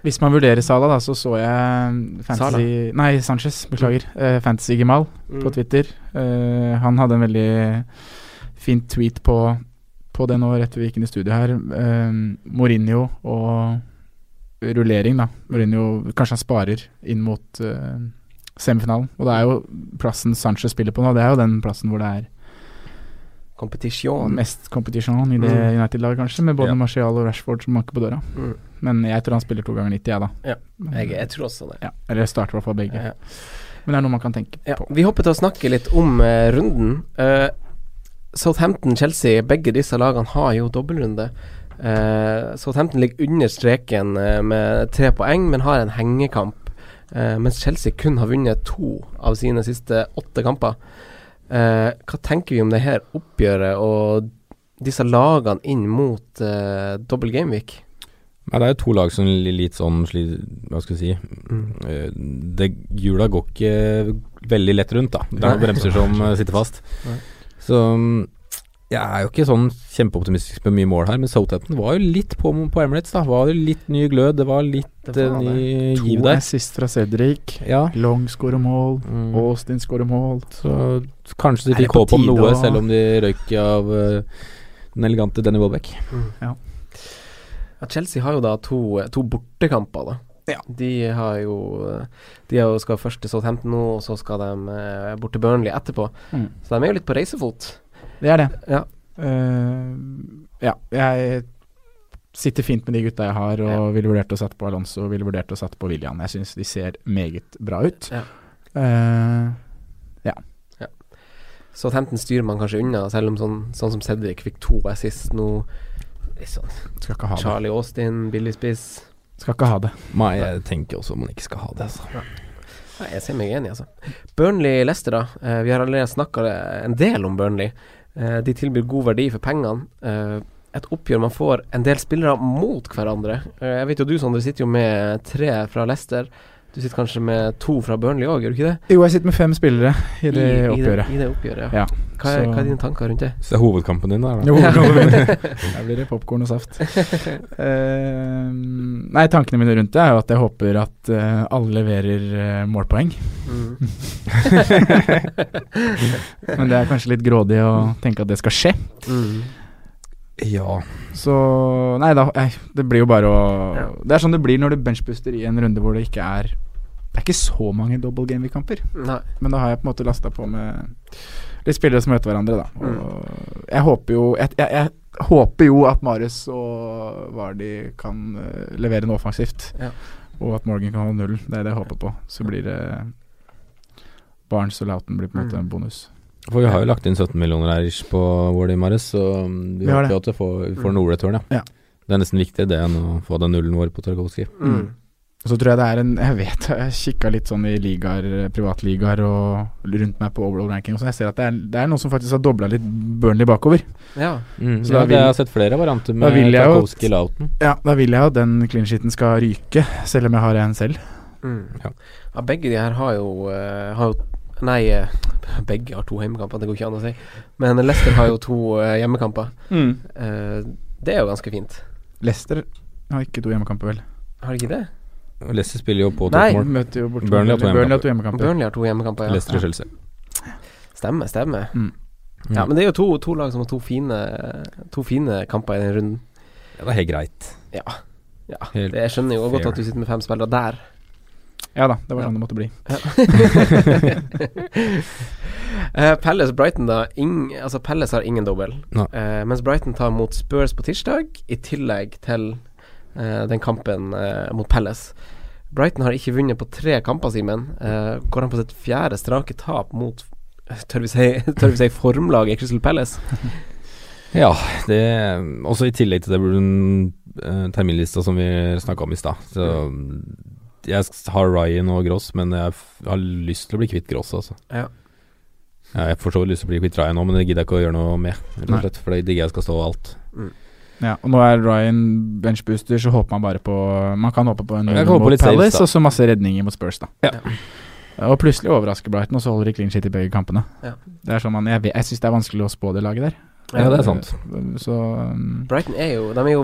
[SPEAKER 5] Hvis man vurderer Sala, da, så så jeg eh, Fantasy Nei, Sanchez, beklager. Eh, Fantasy Gimal
[SPEAKER 4] Mm.
[SPEAKER 5] på Twitter. Eh, han hadde en veldig fin tweet på, på det nå rett før vi gikk inn i studio her. Eh, Mourinho og rullering, da. Mourinho Kanskje han sparer inn mot eh, semifinalen. Og det er jo plassen Sanchez spiller på nå, det er jo den plassen hvor det er
[SPEAKER 4] Mm. Competition.
[SPEAKER 1] Mm.
[SPEAKER 5] mest competition i det
[SPEAKER 4] Mm.
[SPEAKER 5] United-laget, kanskje, med både
[SPEAKER 1] Ja.
[SPEAKER 5] Martial og Rashford som banker på døra.
[SPEAKER 4] Mm.
[SPEAKER 5] Men jeg tror han spiller to ganger 90, jeg, da.
[SPEAKER 4] Ja. Jeg, jeg tror også det.
[SPEAKER 5] Ja, eller starter i hvert fall begge.
[SPEAKER 4] Ja.
[SPEAKER 5] Men det er noe man kan tenke
[SPEAKER 4] Ja,
[SPEAKER 5] på.
[SPEAKER 4] vi hopper til å snakke litt om eh, runden. Eh, Southampton, Chelsea, begge disse lagene har jo dobbeltrunde. Eh, Southampton ligger under streken eh, med tre poeng, men har en hengekamp. eh, mens Chelsea kun har vunnet to av sine siste åtte kamper. Eh, hva tenker vi om det her oppgjøret og disse lagene inn mot uh, dobbel gameweek?
[SPEAKER 1] Nei, det er jo to lag som li- litt sånn sli- Hva skal vi si
[SPEAKER 4] Mm.
[SPEAKER 1] eh, det, Hjula går ikke veldig lett rundt, da. Det er noen
[SPEAKER 4] Nei.
[SPEAKER 1] bremser som eh, sitter fast.
[SPEAKER 4] Nei.
[SPEAKER 1] Så mm, jeg er jo ikke sånn kjempeoptimistisk med mye mål her, men Southampton var jo litt på, på Emirates, da. Var jo litt ny glød, det var litt
[SPEAKER 4] Det var
[SPEAKER 1] eh, ny
[SPEAKER 5] To
[SPEAKER 1] giv der.
[SPEAKER 5] assist fra Cedric.
[SPEAKER 1] Ja.
[SPEAKER 5] Long scorer mål.
[SPEAKER 1] Mm.
[SPEAKER 5] Austin scorer mål.
[SPEAKER 1] Så kanskje de
[SPEAKER 5] Er det
[SPEAKER 1] fikk
[SPEAKER 5] på
[SPEAKER 1] håp om
[SPEAKER 5] tide
[SPEAKER 1] noe,
[SPEAKER 5] å-
[SPEAKER 1] selv om de røyk av eh, den elegante Danny Welbeck.
[SPEAKER 4] Ja, Chelsea har jo da to, eh, to bortekamper, da.
[SPEAKER 5] Ja.
[SPEAKER 4] De har jo De har jo skal først til Southampton nå, og så skal de eh, bort til Burnley etterpå.
[SPEAKER 5] Mm.
[SPEAKER 4] Så de er jo litt på reisefot.
[SPEAKER 5] Det er det.
[SPEAKER 4] Ja.
[SPEAKER 5] Eh, ja, jeg sitter fint med de gutta jeg har, og ville vurdert å sette på Alonso ville vurdert å sette på William. Jeg syns de ser meget bra ut.
[SPEAKER 4] Ja.
[SPEAKER 5] Eh,
[SPEAKER 4] Southampton styrer man kanskje unna, selv om sånn, sånn som Cedric fikk to assist nå. Litt Sånn.
[SPEAKER 5] skal ikke ha det.
[SPEAKER 4] Charlie Austin, billig spiss.
[SPEAKER 5] Skal ikke ha det.
[SPEAKER 1] Nei, jeg tenker også man ikke skal ha det, altså.
[SPEAKER 4] Nei, jeg ser meg enig, altså. Burnley-Lester, da. Eh, vi har allerede snakka en del om Burnley. Eh, de tilbyr god verdi for pengene. Eh, et oppgjør man får en del spillere mot hverandre. Eh, jeg vet jo du, Sondre, sitter jo med tre fra Lester. Du sitter kanskje med to fra Burnley òg, gjør du ikke det?
[SPEAKER 5] Jo, jeg sitter med fem spillere i det oppgjøret.
[SPEAKER 4] I, det oppgjøret, ja.
[SPEAKER 5] Ja,
[SPEAKER 4] hva, er,
[SPEAKER 5] så-
[SPEAKER 4] hva er dine tanker rundt det?
[SPEAKER 1] Så det er hovedkampen din der, da.
[SPEAKER 5] Jo, Der blir det popkorn og saft. Eh, nei, tankene mine rundt det er jo at jeg håper at eh, alle leverer eh, målpoeng.
[SPEAKER 4] Mm.
[SPEAKER 5] Men det er kanskje litt grådig å tenke at det skal skje.
[SPEAKER 4] Mm.
[SPEAKER 1] Ja.
[SPEAKER 5] Så Nei da, nei, det blir jo bare å
[SPEAKER 4] Ja.
[SPEAKER 5] Det er sånn det blir når du benchbuster i en runde hvor det ikke er Det er ikke så mange double game-kamper,
[SPEAKER 4] Nei.
[SPEAKER 5] men da har jeg på en måte lasta på med litt spillere som møter hverandre, da.
[SPEAKER 4] Mm.
[SPEAKER 5] Og jeg håper jo jeg, jeg, jeg håper jo at Marius og Vardi kan eh, levere noe offensivt,
[SPEAKER 4] Ja.
[SPEAKER 5] og at Morgan kan holde nullen. Det er det jeg håper på. Så blir det Barnes og Lauten blir på en
[SPEAKER 4] Mm.
[SPEAKER 5] måte en bonus.
[SPEAKER 1] For vi har jo lagt inn 17 millioner her ish på Wardy Mares, så mm, vi Mm.
[SPEAKER 5] Vi har
[SPEAKER 1] håper
[SPEAKER 5] det.
[SPEAKER 1] jo at vi får, vi får noe return,
[SPEAKER 5] Ja.
[SPEAKER 1] Det er nesten viktigere det enn å få den nullen vår på Tarkovskij.
[SPEAKER 4] Mm.
[SPEAKER 5] Og Så tror jeg det er en Jeg vet jeg kikka litt sånn i ligaer, privatligaer og rundt meg på overall ranking og sånn. Jeg ser at det er, det er noen som faktisk har dobla litt Burnley bakover.
[SPEAKER 4] Ja.
[SPEAKER 5] Så
[SPEAKER 1] ja,
[SPEAKER 5] da vil-
[SPEAKER 1] det- jeg har sett flere varianter med
[SPEAKER 5] Da vil jeg jo-
[SPEAKER 1] Tarkovskij Lauten.
[SPEAKER 5] Ja, da vil jeg at den clean sheeten skal ryke, selv om jeg har en selv.
[SPEAKER 4] Mm.
[SPEAKER 1] Ja.
[SPEAKER 4] Ja. Begge de her har jo, eh, har jo Nei, eh, begge har to hjemmekamper, det går ikke an å si. Men Leicester har jo to eh, hjemmekamper. Eh, det er jo ganske fint.
[SPEAKER 5] Leicester har ikke to hjemmekamper, vel?
[SPEAKER 4] Har de ikke det?
[SPEAKER 1] Leicester spiller jo på
[SPEAKER 4] Nei.
[SPEAKER 1] Tottenham.
[SPEAKER 5] Møter jo bort
[SPEAKER 1] Burnley har to
[SPEAKER 5] Burnley har to hjemmekamper.
[SPEAKER 4] Burnley har to hjemmekamper, ja.
[SPEAKER 1] Leicester og Chelsea.
[SPEAKER 4] Stemmer, stemmer.
[SPEAKER 5] Mm.
[SPEAKER 4] Ja, men det er jo to, to lag som har to fine, to fine kamper i den runden.
[SPEAKER 1] Ja, det er helt greit.
[SPEAKER 4] Ja. ja.
[SPEAKER 1] Helt
[SPEAKER 4] Det, jeg skjønner jo godt
[SPEAKER 1] fair.
[SPEAKER 4] at du sitter med fem spillere der.
[SPEAKER 5] Ja da, det var
[SPEAKER 4] Ja.
[SPEAKER 5] sånn det måtte bli.
[SPEAKER 4] Eh, Palace Brighton, da. Ing, altså Palace har ingen dobbel.
[SPEAKER 1] Nei.
[SPEAKER 4] Eh, mens Brighton tar mot Spurs på tirsdag, i tillegg til eh, den kampen eh, mot Palace. Brighton har ikke vunnet på tre kamper, Simen. Eh, går han på sitt fjerde strake tap mot eh, Tør vi si, tør vi si formlaget Crystal Palace?
[SPEAKER 1] Ja, det Også i tillegg til det burde den eh, terminlista som vi snakka om i stad. Så jeg s- har Ryan og Gross, men jeg f har lyst til å bli kvitt Gross, altså.
[SPEAKER 4] Ja.
[SPEAKER 1] Ja, jeg får så lyst til å bli kvitt Ryan nå, men det gidder jeg ikke å gjøre noe med. Rett
[SPEAKER 5] Nei.
[SPEAKER 1] og slett, for det digger jeg skal stå alt.
[SPEAKER 5] Ja, og nå er Ryan benchbooster, så håper man bare på Man kan håpe på en
[SPEAKER 1] Jeg
[SPEAKER 5] runde
[SPEAKER 1] kan håpe på
[SPEAKER 5] mot
[SPEAKER 1] litt saves,
[SPEAKER 5] Palace,
[SPEAKER 1] da.
[SPEAKER 5] og så masse redninger mot Spurs, da.
[SPEAKER 1] Ja.
[SPEAKER 5] Og plutselig overrasker Brighton, og så holder de clean shit i begge kampene.
[SPEAKER 4] Ja.
[SPEAKER 5] Det er sånn man, Jeg, vet- jeg syns det er vanskelig å spå det laget der. Eh,
[SPEAKER 1] Ja, det er sant.
[SPEAKER 5] Så um,
[SPEAKER 4] Brighton er jo De er jo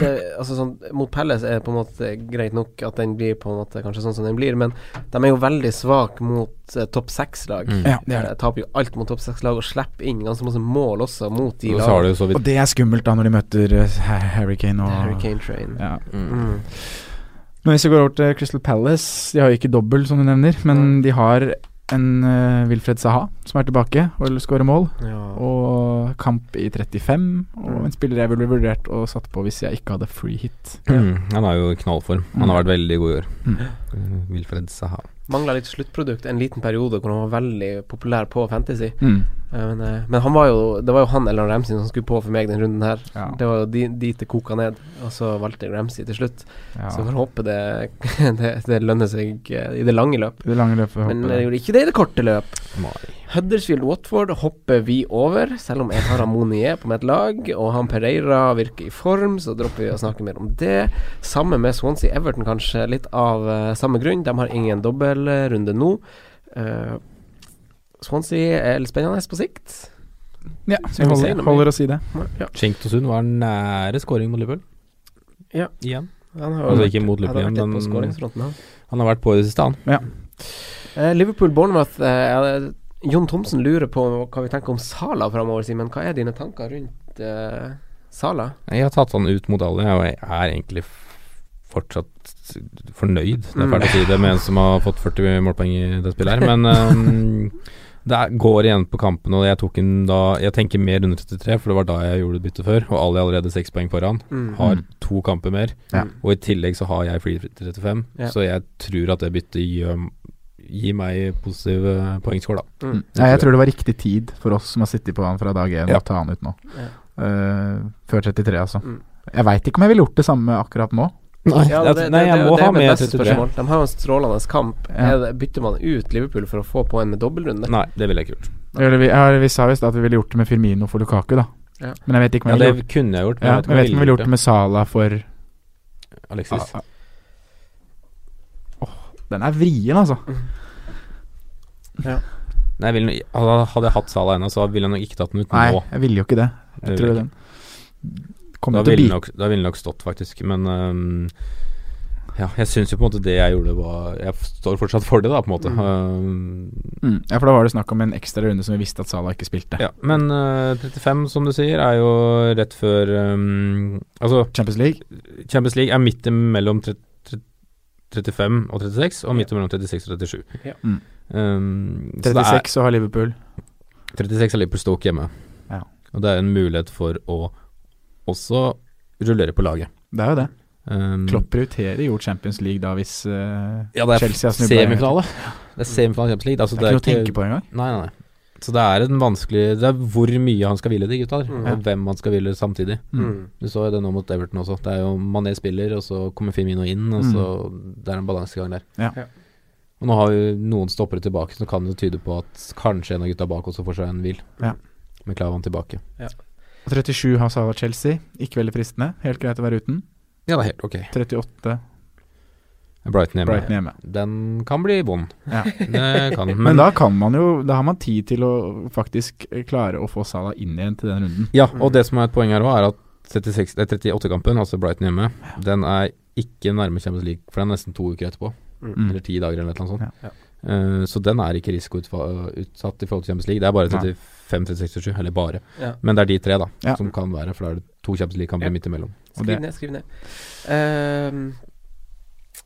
[SPEAKER 4] det, Altså sånn Mot Palace er det på en måte greit nok at den blir på en måte kanskje sånn som den blir, men de er jo veldig svake mot eh, topp seks-lag.
[SPEAKER 1] Mm.
[SPEAKER 5] Ja, det er det.
[SPEAKER 4] Eh, Taper jo alt mot topp seks-lag og slipper inn ganske masse mål også mot de
[SPEAKER 1] Og så har
[SPEAKER 4] lagene.
[SPEAKER 1] du jo så
[SPEAKER 5] Og
[SPEAKER 1] vidt
[SPEAKER 5] det er skummelt, da, når de møter eh, Harry Kane og
[SPEAKER 4] Hurricane Train.
[SPEAKER 5] Ja.
[SPEAKER 1] mm.
[SPEAKER 4] Mm.
[SPEAKER 5] Men hvis vi går over til Crystal Palace De har jo ikke dobbel, som du nevner, men
[SPEAKER 4] Mm.
[SPEAKER 5] de har en eh, Wilfred Saha som er tilbake og skårer mål.
[SPEAKER 4] Ja.
[SPEAKER 5] Og kamp i 35, og
[SPEAKER 4] Mm.
[SPEAKER 5] en spiller jeg ville vurdert og satt på hvis jeg ikke hadde free hit.
[SPEAKER 1] Mm, Han er jo i knallform. Han har vært veldig god i år.
[SPEAKER 5] Mm.
[SPEAKER 1] Eh, Wilfred Saha.
[SPEAKER 4] Mangla litt sluttprodukt en liten periode hvor han var veldig populær på Fantasy.
[SPEAKER 5] Mm.
[SPEAKER 4] Eh, Men, eh, men han var jo det var jo han eller Ramsey som skulle på for meg den runden her.
[SPEAKER 5] Ja.
[SPEAKER 4] Det var jo de, dit det koka ned, og så valgte jeg Ramsey til slutt.
[SPEAKER 5] ja.
[SPEAKER 4] Så vi får håpe det, det, det lønner seg eh, i det lange løp.
[SPEAKER 5] I det lange løpet,
[SPEAKER 4] Men
[SPEAKER 5] håper
[SPEAKER 4] det
[SPEAKER 5] jeg.
[SPEAKER 4] gjorde ikke det i det korte løp.
[SPEAKER 1] Nei.
[SPEAKER 4] Huddersfield-Watford hopper vi over, selv om jeg har Amonier på mitt lag, og han Pereira virker i form, så dropper vi å snakke mer om det. Samme med Swansea-Everton, kanskje litt av eh, samme grunn. De har ingen dobbeltrunde nå. Eh, Swansea er litt spennende på sikt.
[SPEAKER 5] Ja,
[SPEAKER 4] vi si
[SPEAKER 5] vi
[SPEAKER 4] noe
[SPEAKER 5] holder, holder å si det.
[SPEAKER 4] Ja,
[SPEAKER 1] Sund var nære scoring mot Liverpool.
[SPEAKER 4] Ja.
[SPEAKER 1] Igjen.
[SPEAKER 4] han har jo
[SPEAKER 1] Altså
[SPEAKER 4] vært-
[SPEAKER 1] ikke mot
[SPEAKER 4] han har
[SPEAKER 1] Liverpool
[SPEAKER 4] vært litt
[SPEAKER 1] igjen,
[SPEAKER 4] på
[SPEAKER 1] men
[SPEAKER 4] skåringsfronten, han.
[SPEAKER 1] han har vært på i det siste, han.
[SPEAKER 4] Eh, Liverpool-Bournemouth eh, eh, Jon Thomsen lurer på hva vi tenker om Sala framover, Simen. Hva er dine tanker rundt eh, Sala?
[SPEAKER 1] Jeg har tatt han ut mot alle, og jeg er egentlig f- fortsatt fornøyd. Det er fælt å si det med en som har fått 40 målpoeng i det spillet her, men ehm, det er- går igjen på kampene, og jeg tok en da Jeg tenker mer under 33, for det var da jeg gjorde et bytte før, og alle er allerede seks poeng foran.
[SPEAKER 4] Mm.
[SPEAKER 1] Har
[SPEAKER 5] Mm.
[SPEAKER 1] to kamper mer,
[SPEAKER 5] Ja.
[SPEAKER 1] og i tillegg så har jeg free 35,
[SPEAKER 4] Ja.
[SPEAKER 1] så jeg tror at det byttet gjør Gir meg positiv eh, poengscore, da.
[SPEAKER 4] Mm.
[SPEAKER 5] Ja, jeg tror det var riktig tid for oss som har sittet på han fra dag én,
[SPEAKER 1] Ja.
[SPEAKER 5] å ta han ut nå.
[SPEAKER 4] Ja.
[SPEAKER 5] Eh, før 33, altså.
[SPEAKER 4] Mm.
[SPEAKER 5] Jeg veit ikke om jeg ville gjort det samme akkurat nå.
[SPEAKER 1] Nei,
[SPEAKER 4] Ja,
[SPEAKER 1] jeg-
[SPEAKER 5] altså,
[SPEAKER 4] det- det-
[SPEAKER 1] nei, jeg
[SPEAKER 4] det-
[SPEAKER 1] må
[SPEAKER 4] det er
[SPEAKER 1] ha
[SPEAKER 4] mitt
[SPEAKER 1] med
[SPEAKER 4] neste
[SPEAKER 1] 33.
[SPEAKER 4] spørsmål. De har jo en strålende kamp.
[SPEAKER 5] Ja.
[SPEAKER 4] Er det- Bytter man ut Liverpool for å få på en med dobbeltrunde?
[SPEAKER 1] Nei, det ville jeg ikke gjort.
[SPEAKER 5] Eller vi, ja, vi sa visst at vi ville gjort det med Firmino for Lukaku, da.
[SPEAKER 4] Ja.
[SPEAKER 5] Men jeg vet ikke
[SPEAKER 1] Ja,
[SPEAKER 5] om jeg ville
[SPEAKER 1] det
[SPEAKER 5] gjort,
[SPEAKER 1] kunne jeg gjort, men jeg
[SPEAKER 5] ja,
[SPEAKER 1] vet ikke
[SPEAKER 5] men jeg vet ikke om jeg ville gjort
[SPEAKER 1] det.
[SPEAKER 5] det med Sala for
[SPEAKER 1] Alexis.
[SPEAKER 5] Ah, ah. Åh, den er vrien, altså.
[SPEAKER 1] Nei, jeg vil, nok- hadde hadde jeg hatt Salah ennå, så ville jeg nok ikke tatt den ut
[SPEAKER 5] Nei,
[SPEAKER 1] nå.
[SPEAKER 5] jeg ville jo ikke det.
[SPEAKER 1] Det
[SPEAKER 5] Jeg tror
[SPEAKER 1] ville
[SPEAKER 5] den kommer
[SPEAKER 1] Da
[SPEAKER 5] til å
[SPEAKER 1] ville
[SPEAKER 5] bite.
[SPEAKER 1] nok, da ville nok stått, faktisk. Men øhm, ja, jeg syns jo på en måte det jeg gjorde, var Jeg står fortsatt for det, da, på en måte.
[SPEAKER 4] Mm.
[SPEAKER 1] Øhm,
[SPEAKER 5] Mm. Ja, for da var det snakk om en ekstra runde som vi visste at Salah ikke spilte.
[SPEAKER 1] ja. Men øh, 35, som du sier, er jo rett før øhm, Altså,
[SPEAKER 5] Champions League.
[SPEAKER 1] Champions League er midt mellom 35 og 36, og midt mellom 36 og 37.
[SPEAKER 4] Ja.
[SPEAKER 5] Mm.
[SPEAKER 1] Øhm, så det er-
[SPEAKER 5] 36 så har Liverpool.
[SPEAKER 1] 36 er Liverpool Stoke hjemme.
[SPEAKER 5] Ja.
[SPEAKER 1] Og det er en mulighet for å også rullere på laget.
[SPEAKER 5] Det er jo det.
[SPEAKER 1] Um,
[SPEAKER 5] Klopp prioriterer jo Champions League da hvis eh,
[SPEAKER 1] Ja, det er
[SPEAKER 5] Chelsea har snublet.
[SPEAKER 1] semifinale. Det er semifinale i Champions League. Altså,
[SPEAKER 5] Det er ikke noe å tenke på engang.
[SPEAKER 1] Nei, nei, nei. Så det er en vanskelig Det er hvor mye han skal hvile de gutta der,
[SPEAKER 4] Mm.
[SPEAKER 1] og hvem han skal hvile samtidig.
[SPEAKER 4] Mm.
[SPEAKER 1] Du så jo det nå mot Everton også. Det er jo Mané spiller, og så kommer Firmino inn, og
[SPEAKER 5] Mm.
[SPEAKER 1] så Det er en balansegang der.
[SPEAKER 5] Ja.
[SPEAKER 4] Ja.
[SPEAKER 1] Og nå har jo noen stoppere tilbake, så kan det tyde på at kanskje en av gutta bak også får seg en hvil.
[SPEAKER 5] Ja.
[SPEAKER 1] Med Klavan tilbake.
[SPEAKER 5] 37 har Salah Chelsea. Ikke veldig fristende. Helt greit å være uten.
[SPEAKER 1] Ja, det er helt ok.
[SPEAKER 5] 38
[SPEAKER 1] Brighton hjemme.
[SPEAKER 5] Brighton hjemme.
[SPEAKER 1] Den kan bli vond.
[SPEAKER 5] Ja.
[SPEAKER 1] Det kan den.
[SPEAKER 5] Men, da kan man jo Da har man tid til å faktisk eh, klare å få Salah inn igjen til den runden.
[SPEAKER 1] Ja, og det som er et poeng her òg, er at 36 nei, 38-kampen, altså Brighton hjemme, den er ikke nærme Champions League, for det er nesten to uker etterpå.
[SPEAKER 5] Mm.
[SPEAKER 1] Eller ti dager, eller noe sånt.
[SPEAKER 5] Ja.
[SPEAKER 4] Ja.
[SPEAKER 1] Eh, så den er ikke risikoutsatt i forhold til Champions League. Det er bare
[SPEAKER 5] Nei.
[SPEAKER 1] 35, 36 og 7, eller bare.
[SPEAKER 4] Ja.
[SPEAKER 1] Men det er de tre, da,
[SPEAKER 5] Ja.
[SPEAKER 1] som kan være, for da er det to Champions League-kamper
[SPEAKER 4] Ja.
[SPEAKER 1] midt imellom.
[SPEAKER 5] Og det,
[SPEAKER 4] Skriv ned, skriv ned. Ehm,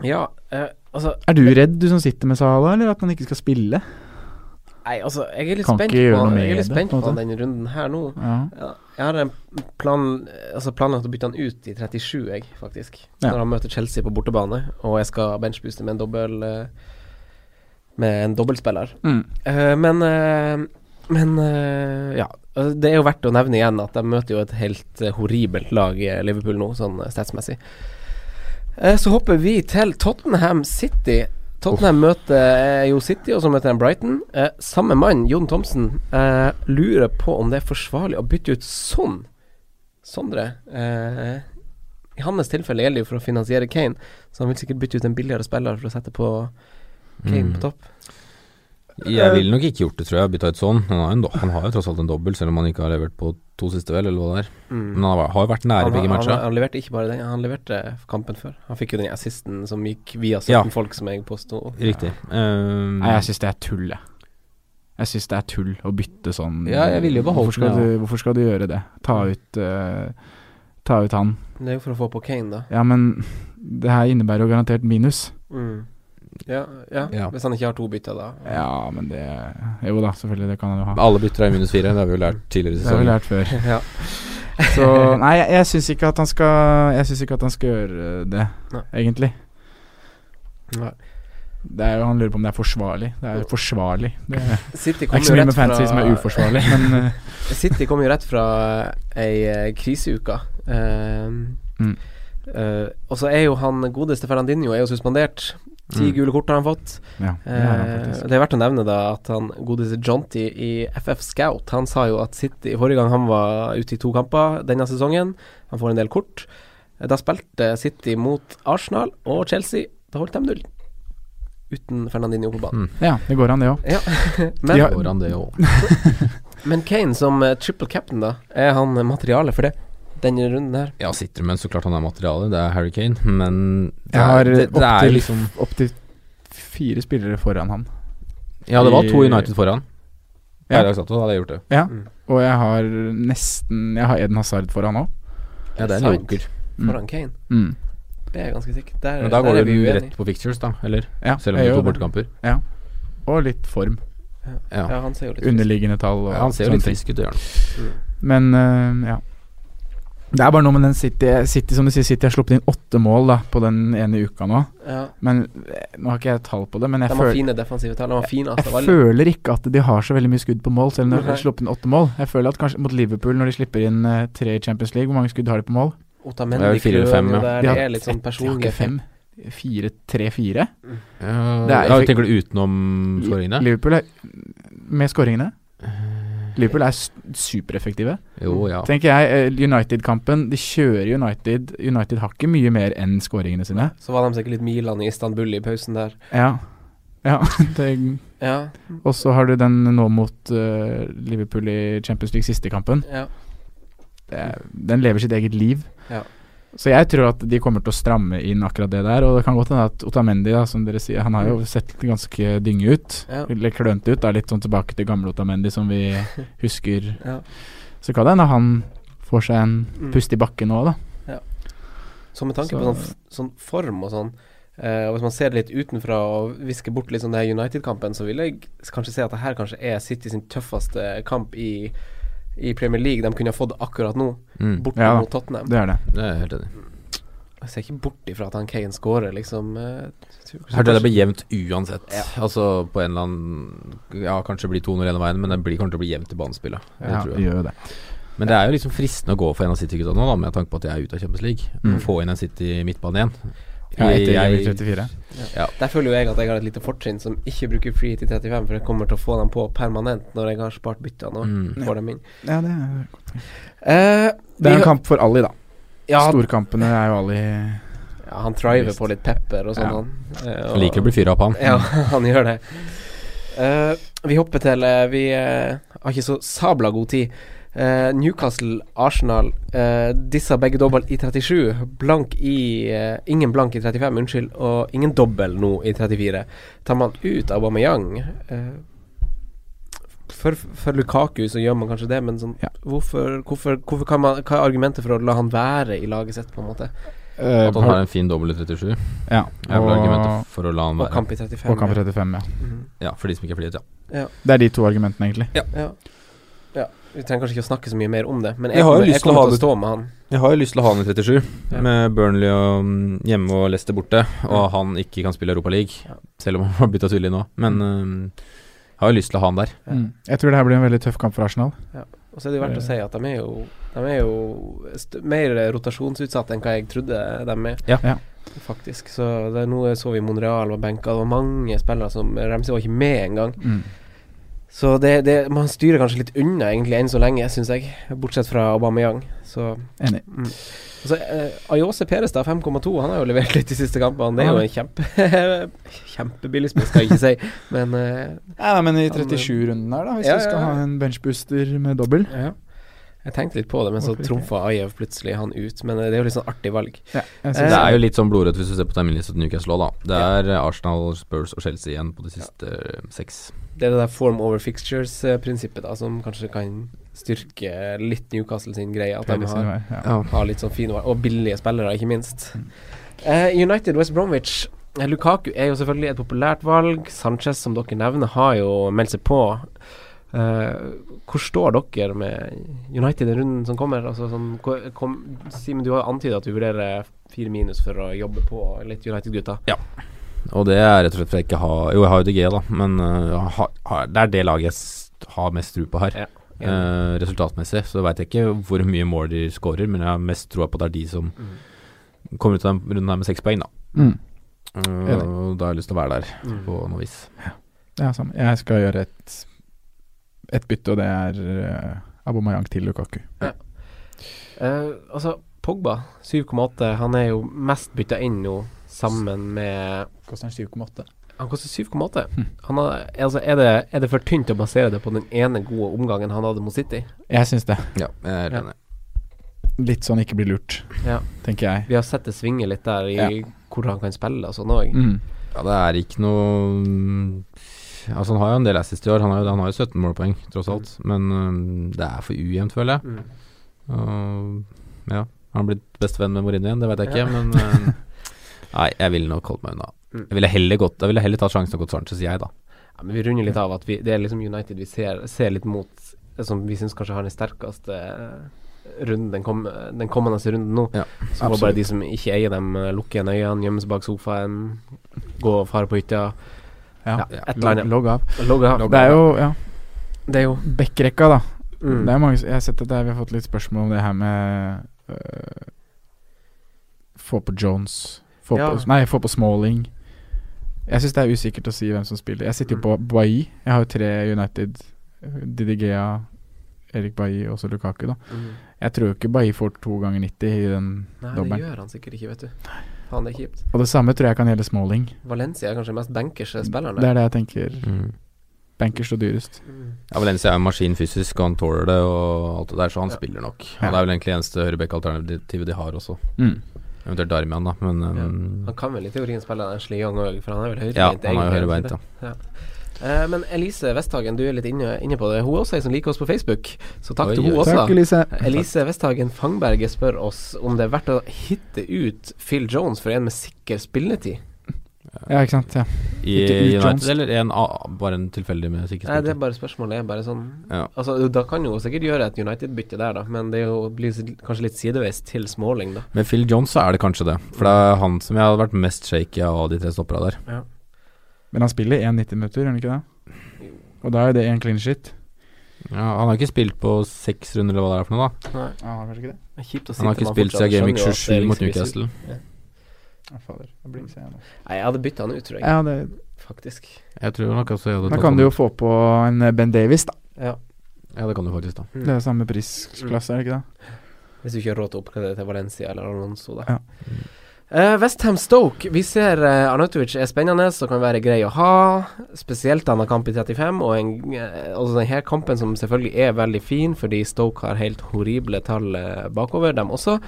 [SPEAKER 4] ja, eh, altså
[SPEAKER 5] er du redd, du som sitter med Salah, eller at han ikke skal spille?
[SPEAKER 4] Nei, altså, jeg er litt
[SPEAKER 5] Kan
[SPEAKER 4] spent
[SPEAKER 5] ikke gjøre
[SPEAKER 4] på,
[SPEAKER 5] noe
[SPEAKER 4] jeg er
[SPEAKER 5] med
[SPEAKER 4] litt
[SPEAKER 5] det,
[SPEAKER 4] spent
[SPEAKER 5] på en
[SPEAKER 4] på denne runden her nå.
[SPEAKER 5] Ja.
[SPEAKER 4] Ja, jeg har en plan Altså planlagt å bytte han ut i 37, jeg, faktisk.
[SPEAKER 5] Ja.
[SPEAKER 4] Når han møter Chelsea på bortebane, og jeg skal benchbooste med en dobbel eh, Med en dobbeltspiller.
[SPEAKER 5] Mm.
[SPEAKER 4] Eh, men eh, Men eh, ja. Eh, Det er jo verdt å nevne igjen at de møter jo et helt eh, horribelt lag, eh, Liverpool, nå, sånn eh, statsmessig. Eh, Så hopper vi til Tottenham City. Tottenham møter eh, jo City, og så møter de Brighton. Eh, Samme mann, Jon Thomsen, eh, lurer på om det er forsvarlig å bytte ut sånn. Sondre. eh, I hans tilfelle gjelder det jo for å finansiere Kane, så han vil sikkert bytte ut en billigere spiller for å sette på Kane
[SPEAKER 1] Mm.
[SPEAKER 4] på topp.
[SPEAKER 1] Jeg ville nok ikke gjort det, tror jeg, bytta ut sånn. Han har, en do han har jo tross alt en dobbel, selv om han ikke har levert på to siste, vel, eller hva det er.
[SPEAKER 4] Mm.
[SPEAKER 1] Men han har- har jo vært nære
[SPEAKER 4] han,
[SPEAKER 1] begge
[SPEAKER 4] han,
[SPEAKER 1] matcha.
[SPEAKER 4] han, leverte ikke bare den, han leverte kampen før. Han fikk jo den assisten som gikk via 17
[SPEAKER 1] Ja.
[SPEAKER 4] folk, som jeg påsto.
[SPEAKER 1] Riktig. Um,
[SPEAKER 5] Nei, jeg syns det er tull, jeg. Jeg syns det er tull å bytte sånn.
[SPEAKER 1] Ja, jeg ville jo beholdt
[SPEAKER 5] hvorfor skal,
[SPEAKER 1] den,
[SPEAKER 5] du, hvorfor skal du gjøre det? Ta ut eh, Ta ut han.
[SPEAKER 4] Det er jo for å få på Kane, da.
[SPEAKER 5] Ja, men det her innebærer jo garantert minus.
[SPEAKER 4] Mm. Ja, ja,
[SPEAKER 1] Ja.
[SPEAKER 4] hvis han ikke har to bytter, da.
[SPEAKER 5] Ja, men det Jo da, selvfølgelig, det kan han jo ha.
[SPEAKER 1] alle bytter er minus fire, det har vi jo lært tidligere i
[SPEAKER 5] Det har vi
[SPEAKER 1] sesongen.
[SPEAKER 5] lært før.
[SPEAKER 4] ja.
[SPEAKER 5] Så Nei, jeg, jeg syns ikke at han skal Jeg syns ikke at han skal gjøre det,
[SPEAKER 4] Nei.
[SPEAKER 5] egentlig.
[SPEAKER 4] Nei.
[SPEAKER 5] Det er jo, han lurer på om det er forsvarlig. Det er jo forsvarlig. Det er,
[SPEAKER 4] City
[SPEAKER 5] det er
[SPEAKER 4] kom
[SPEAKER 5] ikke så
[SPEAKER 4] jo
[SPEAKER 5] mye
[SPEAKER 4] rett
[SPEAKER 5] med fantasy som er
[SPEAKER 4] fra
[SPEAKER 5] uforsvarlig, men eh,
[SPEAKER 4] City kom jo rett fra ei eh, kriseuke. Ehm,
[SPEAKER 5] Mm.
[SPEAKER 4] eh, og så er jo han godeste Ferrandinho er jo suspendert. Ti
[SPEAKER 1] Mm.
[SPEAKER 4] gule kort har han fått.
[SPEAKER 5] ja. Det er han
[SPEAKER 4] Eh,
[SPEAKER 5] faktisk.
[SPEAKER 4] det er verdt å nevne da at han godeste Jonty i FF Scout Han sa jo at City Forrige gang han var ute i to kamper denne sesongen, han får en del kort. Eh, Da spilte City mot Arsenal og Chelsea. Da holdt de null. Uten Fernandinho på banen.
[SPEAKER 5] Ja, det går an, det òg.
[SPEAKER 4] Ja. Men,
[SPEAKER 5] Ja.
[SPEAKER 1] Går han det òg?
[SPEAKER 4] men Kane som eh, triple captain, da, er han eh, materialet for det? Denne runden her.
[SPEAKER 1] Ja, sitter med så klart han er materiale, det er Harry Kane, men det
[SPEAKER 5] Jeg har
[SPEAKER 1] er, det, det er jo
[SPEAKER 5] opptil
[SPEAKER 1] liksom
[SPEAKER 5] Opptil fire spillere foran han.
[SPEAKER 1] Ja, det var to
[SPEAKER 5] i-
[SPEAKER 1] United foran.
[SPEAKER 5] Ja.
[SPEAKER 1] Ja. Hadde jeg satt det, hadde jeg gjort det.
[SPEAKER 5] Og jeg har nesten Jeg har Eden Hazard foran òg.
[SPEAKER 1] Ja, det er en
[SPEAKER 4] Sant.
[SPEAKER 1] joker.
[SPEAKER 5] Mm.
[SPEAKER 4] Foran Kane.
[SPEAKER 5] Mm.
[SPEAKER 4] Det er jeg ganske sikkert. Der,
[SPEAKER 1] Men da
[SPEAKER 4] der
[SPEAKER 1] går
[SPEAKER 4] er
[SPEAKER 1] du
[SPEAKER 4] vi uenige.
[SPEAKER 1] rett på fixtures, da, eller?
[SPEAKER 5] Ja,
[SPEAKER 1] Selv om
[SPEAKER 5] jeg
[SPEAKER 1] det er to
[SPEAKER 5] gjør
[SPEAKER 1] bortekamper.
[SPEAKER 5] Og litt form.
[SPEAKER 1] Ja.
[SPEAKER 4] Ja, han ser jo litt Mm.
[SPEAKER 5] Underliggende tall og
[SPEAKER 1] Ja, han ser jo litt
[SPEAKER 5] sånne ting.
[SPEAKER 1] frisk ut, det gjør han.
[SPEAKER 5] Men eh, ja. Det er bare noe med den City, City Som du sier, City har sluppet inn åtte mål da på den ene uka nå.
[SPEAKER 4] Ja,
[SPEAKER 5] Men eh, Nå har ikke jeg tall på det, men jeg,
[SPEAKER 4] De har
[SPEAKER 5] føl
[SPEAKER 4] fine defensive tall. De har
[SPEAKER 1] altså.
[SPEAKER 4] finest
[SPEAKER 5] jeg
[SPEAKER 4] av alle.
[SPEAKER 5] føler ikke at de har så veldig mye skudd på mål, selv om de
[SPEAKER 4] Nei.
[SPEAKER 5] har sluppet inn åtte mål. Jeg føler at kanskje mot Liverpool, når de slipper inn eh, tre i Champions League, hvor mange skudd har de på mål?
[SPEAKER 4] Otamendi
[SPEAKER 1] Det er jo fire eller fem,
[SPEAKER 4] Kløen,
[SPEAKER 1] ja.
[SPEAKER 4] og der
[SPEAKER 5] De har
[SPEAKER 4] det er litt sånn
[SPEAKER 5] De har
[SPEAKER 4] personlig
[SPEAKER 5] ikke fem. Fire, tre-fire. Det
[SPEAKER 1] Ja,
[SPEAKER 5] er
[SPEAKER 1] ja,
[SPEAKER 5] effekt-
[SPEAKER 1] tenker du utenom skåringene?
[SPEAKER 5] Liverpool er Med skåringene. Liverpool er s- supereffektive.
[SPEAKER 1] Jo, ja.
[SPEAKER 5] Tenker jeg eh, United-kampen De kjører United. United har ikke mye mer enn skåringene sine.
[SPEAKER 4] Så var de sikkert litt Milan i Istanbul i pausen der.
[SPEAKER 5] Ja. ja det,
[SPEAKER 4] Ja,
[SPEAKER 5] og så har du den nå mot eh, Liverpool i Champions League siste kampen.
[SPEAKER 4] ja.
[SPEAKER 5] Det, er- den lever sitt eget liv.
[SPEAKER 4] Ja.
[SPEAKER 5] Så jeg tror at de kommer til å stramme inn akkurat det der. Og det kan godt hende at Otamendi, da, som dere sier, han har jo sett ganske dynge ut.
[SPEAKER 4] Ja.
[SPEAKER 5] Eller klønete ut. Da, litt sånn tilbake til gamle Otamendi som vi husker.
[SPEAKER 4] Ja.
[SPEAKER 5] Så kan det hende han får seg en
[SPEAKER 4] Mm.
[SPEAKER 5] pust i bakken nå, da.
[SPEAKER 4] Så med tanke
[SPEAKER 5] Så-
[SPEAKER 4] på sånn, f- sånn form og sånn, eh, og hvis man ser det litt utenfra og visker bort litt sånn det her United-kampen, så vil jeg s- kanskje se at det her kanskje er City sin tøffeste kamp i, i Premier League de kunne ha fått akkurat nå,
[SPEAKER 1] Mm,
[SPEAKER 4] borte
[SPEAKER 5] Ja da.
[SPEAKER 4] mot Tottenham.
[SPEAKER 5] Det er det.
[SPEAKER 1] det er jeg helt enig. i.
[SPEAKER 4] Jeg ser ikke bort ifra at han Kane scorer, liksom. eh, tror kanskje-
[SPEAKER 1] Jeg Hørte det blir jevnt uansett.
[SPEAKER 4] Ja.
[SPEAKER 1] Altså på en eller annen Ja, kanskje det blir 2-0 ene veien, men det blir, kommer til å bli jevnt i banespillet. Det
[SPEAKER 5] Ja,
[SPEAKER 1] tror jeg.
[SPEAKER 5] det gjør jo det.
[SPEAKER 1] Men det er jo liksom fristende å gå for en av City-gutta nå, da, med tanke på at jeg er ute av Champions League.
[SPEAKER 5] Mm.
[SPEAKER 1] Og få inn en City midtbane igjen.
[SPEAKER 5] Ja, etter
[SPEAKER 1] Jeg-
[SPEAKER 5] 34.
[SPEAKER 4] Der føler jo jeg at jeg har et lite fortrinn som ikke bruker free hit i 35, for jeg kommer til å få dem på permanent når jeg har spart byttene og
[SPEAKER 1] Mm.
[SPEAKER 4] får dem inn.
[SPEAKER 5] Ja, det er
[SPEAKER 4] Eh,
[SPEAKER 5] Det
[SPEAKER 4] vi
[SPEAKER 5] er en
[SPEAKER 4] hø-
[SPEAKER 5] kamp for Ali, da.
[SPEAKER 4] Ja,
[SPEAKER 5] Storkampene er jo Ali
[SPEAKER 4] Ja, han thriver på litt pepper og sånn,
[SPEAKER 5] Ja.
[SPEAKER 4] han. Eh,
[SPEAKER 1] Han
[SPEAKER 4] og-
[SPEAKER 1] liker å bli fyra opp, han.
[SPEAKER 4] Ja, han gjør det. Eh, vi hopper til eh, Vi eh, har ikke så sabla god tid. Eh, Newcastle, Arsenal uh, dissa begge dobbel i 37. Blank i eh, Ingen blank i 35, unnskyld, og ingen dobbel nå i 34. Tar man ut Aubameyang eh, for, for Lukaku så gjør man kanskje det, men sånn,
[SPEAKER 5] Ja.
[SPEAKER 4] hvorfor, hvorfor, hvorfor kan man, hva er argumentet for å la han være i laget sitt, på en måte?
[SPEAKER 5] Eh,
[SPEAKER 1] At han har en fin dobbel i 37.
[SPEAKER 5] ja,
[SPEAKER 1] Jeg vil argumentet
[SPEAKER 5] og,
[SPEAKER 1] for å la han
[SPEAKER 4] Og
[SPEAKER 1] være.
[SPEAKER 4] kamp i 35.
[SPEAKER 5] og kamp 35, ja.
[SPEAKER 4] Mhm.
[SPEAKER 1] Ja, for de som ikke er flyet, ja.
[SPEAKER 5] Det er de to argumentene, egentlig.
[SPEAKER 4] Ja. ja. Vi trenger kanskje ikke å snakke så mye mer om det, men
[SPEAKER 1] Jeg
[SPEAKER 4] jeg,
[SPEAKER 1] har jo
[SPEAKER 4] kommer,
[SPEAKER 1] lyst
[SPEAKER 4] jeg
[SPEAKER 1] til å
[SPEAKER 4] kommer
[SPEAKER 1] ha
[SPEAKER 4] til å
[SPEAKER 1] det-
[SPEAKER 4] stå med han.
[SPEAKER 1] Jeg har jo lyst til å ha han i 37,
[SPEAKER 4] Ja.
[SPEAKER 1] med Burnley og mm, hjemme og Leicester borte, og
[SPEAKER 4] Ja.
[SPEAKER 1] han ikke kan spille Europa League,
[SPEAKER 4] Ja.
[SPEAKER 1] selv om han har bytta tydelig nå. Men mm, jeg har jo lyst til å ha han der.
[SPEAKER 4] Ja.
[SPEAKER 5] Mm. Jeg tror det her blir en veldig tøff kamp for Arsenal.
[SPEAKER 4] Og så er det jo verdt å si at de er jo, de er jo st mer rotasjonsutsatt enn hva jeg trodde de er,
[SPEAKER 1] Ja.
[SPEAKER 5] Ja.
[SPEAKER 4] faktisk. Så det, nå så vi Monreal var benka, det var mange spillere som Ramsey var ikke med engang.
[SPEAKER 5] Mm.
[SPEAKER 4] Så det, det, man styrer kanskje litt unna egentlig enn så lenge, syns jeg, bortsett fra Aubameyang. Så
[SPEAKER 5] Enig.
[SPEAKER 4] mm. Og så eh, Ayose Perestad 5,2, han har jo levert litt de siste kampene. Det er
[SPEAKER 5] Han
[SPEAKER 4] jo en
[SPEAKER 5] har
[SPEAKER 4] kjempe kjempebillig spiss, skal jeg ikke si, men eh,
[SPEAKER 5] Ja, nei, men i
[SPEAKER 4] Han,
[SPEAKER 5] 37-runden her, da, hvis
[SPEAKER 4] ja,
[SPEAKER 5] du skal
[SPEAKER 4] ja, ja.
[SPEAKER 5] ha en benchbooster med dobbel
[SPEAKER 4] Ja. Jeg tenkte litt på det, men så
[SPEAKER 5] Hvorfor ikke?
[SPEAKER 4] trumfa Ajev plutselig han ut. Men det er jo litt sånn artig valg.
[SPEAKER 5] ja, jeg synes
[SPEAKER 4] Eh,
[SPEAKER 1] Det er jo litt sånn blodrødt hvis du ser på terminlista til Newcastle òg, da. Det er eh, Arsenal, Spurs og Chelsea igjen på de siste eh, seks.
[SPEAKER 4] Det er det der form over fixtures-prinsippet da som kanskje kan styrke litt Newcastle sin greie. At de
[SPEAKER 5] Pedersen
[SPEAKER 4] har,
[SPEAKER 5] var- ja.
[SPEAKER 4] har litt sånn fine valg, og billige spillere, ikke minst. Eh, United West Bromwich. Eh, Lukaku er jo selvfølgelig et populært valg. Sanchez, som dere nevner, har jo meldt seg på. Eh, hvor står dere med United i runden som kommer? Altså, sånn, hvor- kom, Simen, du har jo antydet at du vurderer fire minus for å jobbe på litt United-gutta.
[SPEAKER 1] Og det er rett og slett for jeg ikke har Jo, jeg har jo DG, da, men eh, jeg har, har, det er det laget jeg s- har mest tro på her.
[SPEAKER 4] Ja.
[SPEAKER 1] Eh, resultatmessig så veit jeg ikke hvor mye mål de scorer, men jeg har mest troa på at det er de som
[SPEAKER 4] Mm.
[SPEAKER 1] kommer ut av den runden her med seks poeng, da.
[SPEAKER 5] Mm.
[SPEAKER 1] Eh,
[SPEAKER 5] Enig.
[SPEAKER 1] og da har jeg lyst til å være der
[SPEAKER 4] Mm.
[SPEAKER 1] på noe vis.
[SPEAKER 5] Ja, samme. Jeg skal gjøre et, et bytte, og det er uh, Abomayang til Lukaku.
[SPEAKER 4] Eh, altså, Pogba, 7,8, han er jo mest bytta inn nå sammen med
[SPEAKER 5] Koster han 7,8?
[SPEAKER 4] Han koster 7,8. Han har- Altså, er, det- er det for tynt å basere det på den ene gode omgangen han hadde mot City?
[SPEAKER 5] Jeg syns det.
[SPEAKER 1] Ja, jeg er
[SPEAKER 4] Ja.
[SPEAKER 1] enig.
[SPEAKER 5] Litt sånn ikke bli lurt,
[SPEAKER 4] Ja.
[SPEAKER 5] tenker jeg.
[SPEAKER 4] Vi har sett det svinge litt der i
[SPEAKER 5] Ja.
[SPEAKER 4] hvor han kan spille og sånn òg.
[SPEAKER 5] Mm.
[SPEAKER 1] Ja, det er ikke noe mm, Altså, han har jo en del assist i år. Han har jo, han har jo 17 målpoeng, tross alt. Men mm, det er for ujevnt, føler jeg.
[SPEAKER 4] Mm.
[SPEAKER 1] Og ja. Har han blitt bestevenn med Mourinho igjen? Det vet jeg
[SPEAKER 4] Ja.
[SPEAKER 1] ikke, men mm, Nei, jeg ville nok holdt meg unna.
[SPEAKER 4] Mm.
[SPEAKER 1] Jeg ville heller, gått, jeg ville heller tatt sjansen og gått Sanchez, jeg, da.
[SPEAKER 4] Ja, men vi runder litt av at vi, det er liksom United vi ser, ser litt mot, eh, som vi syns kanskje har den sterkeste eh, runden, den, kom, den kommende runden nå.
[SPEAKER 1] Ja,
[SPEAKER 4] så må
[SPEAKER 5] absolutt.
[SPEAKER 4] bare de som ikke eier dem, eh, lukke igjen øynene, gjemme seg bak sofaen, gå og fare på hytta.
[SPEAKER 5] Ja.
[SPEAKER 4] Ja, et eller
[SPEAKER 5] Logg,
[SPEAKER 4] annet.
[SPEAKER 5] logg av.
[SPEAKER 4] Logge av.
[SPEAKER 5] Det er jo ja,
[SPEAKER 4] Det er jo
[SPEAKER 5] backrekka, da.
[SPEAKER 4] mm.
[SPEAKER 5] Det er mange, jeg har sett at det, er- vi har fått litt spørsmål om det her med øh, Få på Jones få
[SPEAKER 4] Ja.
[SPEAKER 5] på, Nei, få på Smalling. Jeg syns det er usikkert å si hvem som spiller. Jeg
[SPEAKER 4] Mm.
[SPEAKER 5] sitter jo på Bailly. Jeg har jo tre United. Didigea, Erik Bailly og så Lukaku, da.
[SPEAKER 4] Mm.
[SPEAKER 5] Jeg tror jo ikke Bailly får to ganger 90 i den
[SPEAKER 4] Nei, det
[SPEAKER 5] dobbelen.
[SPEAKER 4] gjør han sikkert ikke, vet du. Faen, det er kjipt.
[SPEAKER 5] Og det samme tror jeg kan gjelde Smalling.
[SPEAKER 4] Valencia er kanskje den mest benkerske spilleren.
[SPEAKER 5] Det er det jeg tenker.
[SPEAKER 1] Mm.
[SPEAKER 5] Bankers og dyrest.
[SPEAKER 4] Mm.
[SPEAKER 1] Ja, Valencia er en maskin fysisk, og han tåler det og alt det der, så han
[SPEAKER 4] Ja.
[SPEAKER 1] spiller nok.
[SPEAKER 5] Ja.
[SPEAKER 1] Og det er vel egentlig eneste høyrebekk-alternativet de har også.
[SPEAKER 5] Mm.
[SPEAKER 1] Eventuelt Darmian, da, men um,
[SPEAKER 4] Han kan vel i teorien spille Ashley Young òg, for han er vel høyrebeint?
[SPEAKER 1] Ja, han har jo
[SPEAKER 4] egentlig,
[SPEAKER 1] høyrebeint,
[SPEAKER 4] ikke
[SPEAKER 1] da.
[SPEAKER 4] det? Eh, men Elise Westhagen, du er litt inne, inne på det. Hun er også ei som liker oss på Facebook, så takk
[SPEAKER 1] Oi,
[SPEAKER 4] til hun
[SPEAKER 1] oi.
[SPEAKER 4] også.
[SPEAKER 5] Takk, Elise.
[SPEAKER 4] Elise Westhagen Fangberget spør oss om det er verdt å hitte ut Phil Jones for en med sikker spilletid.
[SPEAKER 5] Ja, ikke sant. Ja.
[SPEAKER 1] I
[SPEAKER 5] Ikke Ut
[SPEAKER 1] United,
[SPEAKER 5] Johnson.
[SPEAKER 1] eller en, A- bare en tilfeldig med
[SPEAKER 4] Nei, det
[SPEAKER 1] sikkerhetsspiller?
[SPEAKER 4] er bare spørsmålet. er bare sånn
[SPEAKER 1] Ja.
[SPEAKER 4] Altså, Da kan jo hun sikkert gjøre et United-bytte der, da, men det er jo, blir kanskje litt sideveis til Smalling, da.
[SPEAKER 1] Med Phil Jones så er det kanskje det. For det er han som jeg hadde vært mest shaky av de tre stoppera der.
[SPEAKER 5] Men han spiller 1,90 minutter, gjør han ikke det? Og da er det én clean shit.
[SPEAKER 1] Ja, han har ikke spilt på seks runder eller hva det er for noe, da.
[SPEAKER 4] Nei.
[SPEAKER 5] Ah, kanskje ikke det?
[SPEAKER 4] Det er Kjipt å sitte
[SPEAKER 1] Han har
[SPEAKER 4] med
[SPEAKER 1] ikke spilt
[SPEAKER 4] fortsatt,
[SPEAKER 1] siden Game Week
[SPEAKER 4] jeg
[SPEAKER 1] 27
[SPEAKER 4] skjønner jo at
[SPEAKER 1] mot
[SPEAKER 4] det er liksom
[SPEAKER 1] Newcastle.
[SPEAKER 5] Ja, fader. Jeg blir ikke så gjerne.
[SPEAKER 4] ikke- Nei, jeg hadde bytta han ut, tror jeg,
[SPEAKER 5] Ja, det,
[SPEAKER 4] faktisk.
[SPEAKER 1] Jeg tror nok også jeg hadde
[SPEAKER 5] da
[SPEAKER 1] tatt
[SPEAKER 5] kan
[SPEAKER 1] han.
[SPEAKER 5] du jo få på en eh, Ben Davis, da.
[SPEAKER 4] Ja.
[SPEAKER 1] Ja, det kan du faktisk, da.
[SPEAKER 4] Hm.
[SPEAKER 5] Det er samme prisklasse, er det ikke det?
[SPEAKER 4] Hvis du ikke har råd til å oppgradere til Valencia eller Alonso, da.
[SPEAKER 5] Ja.
[SPEAKER 4] Uh, Westham Stoke. Vi ser eh, Arnautovic er spennende og kan være grei å ha. Spesielt da han har kamp i 35, og en, eh, altså denne kampen som selvfølgelig er veldig fin, fordi Stoke har helt horrible tall eh, bakover, dem også.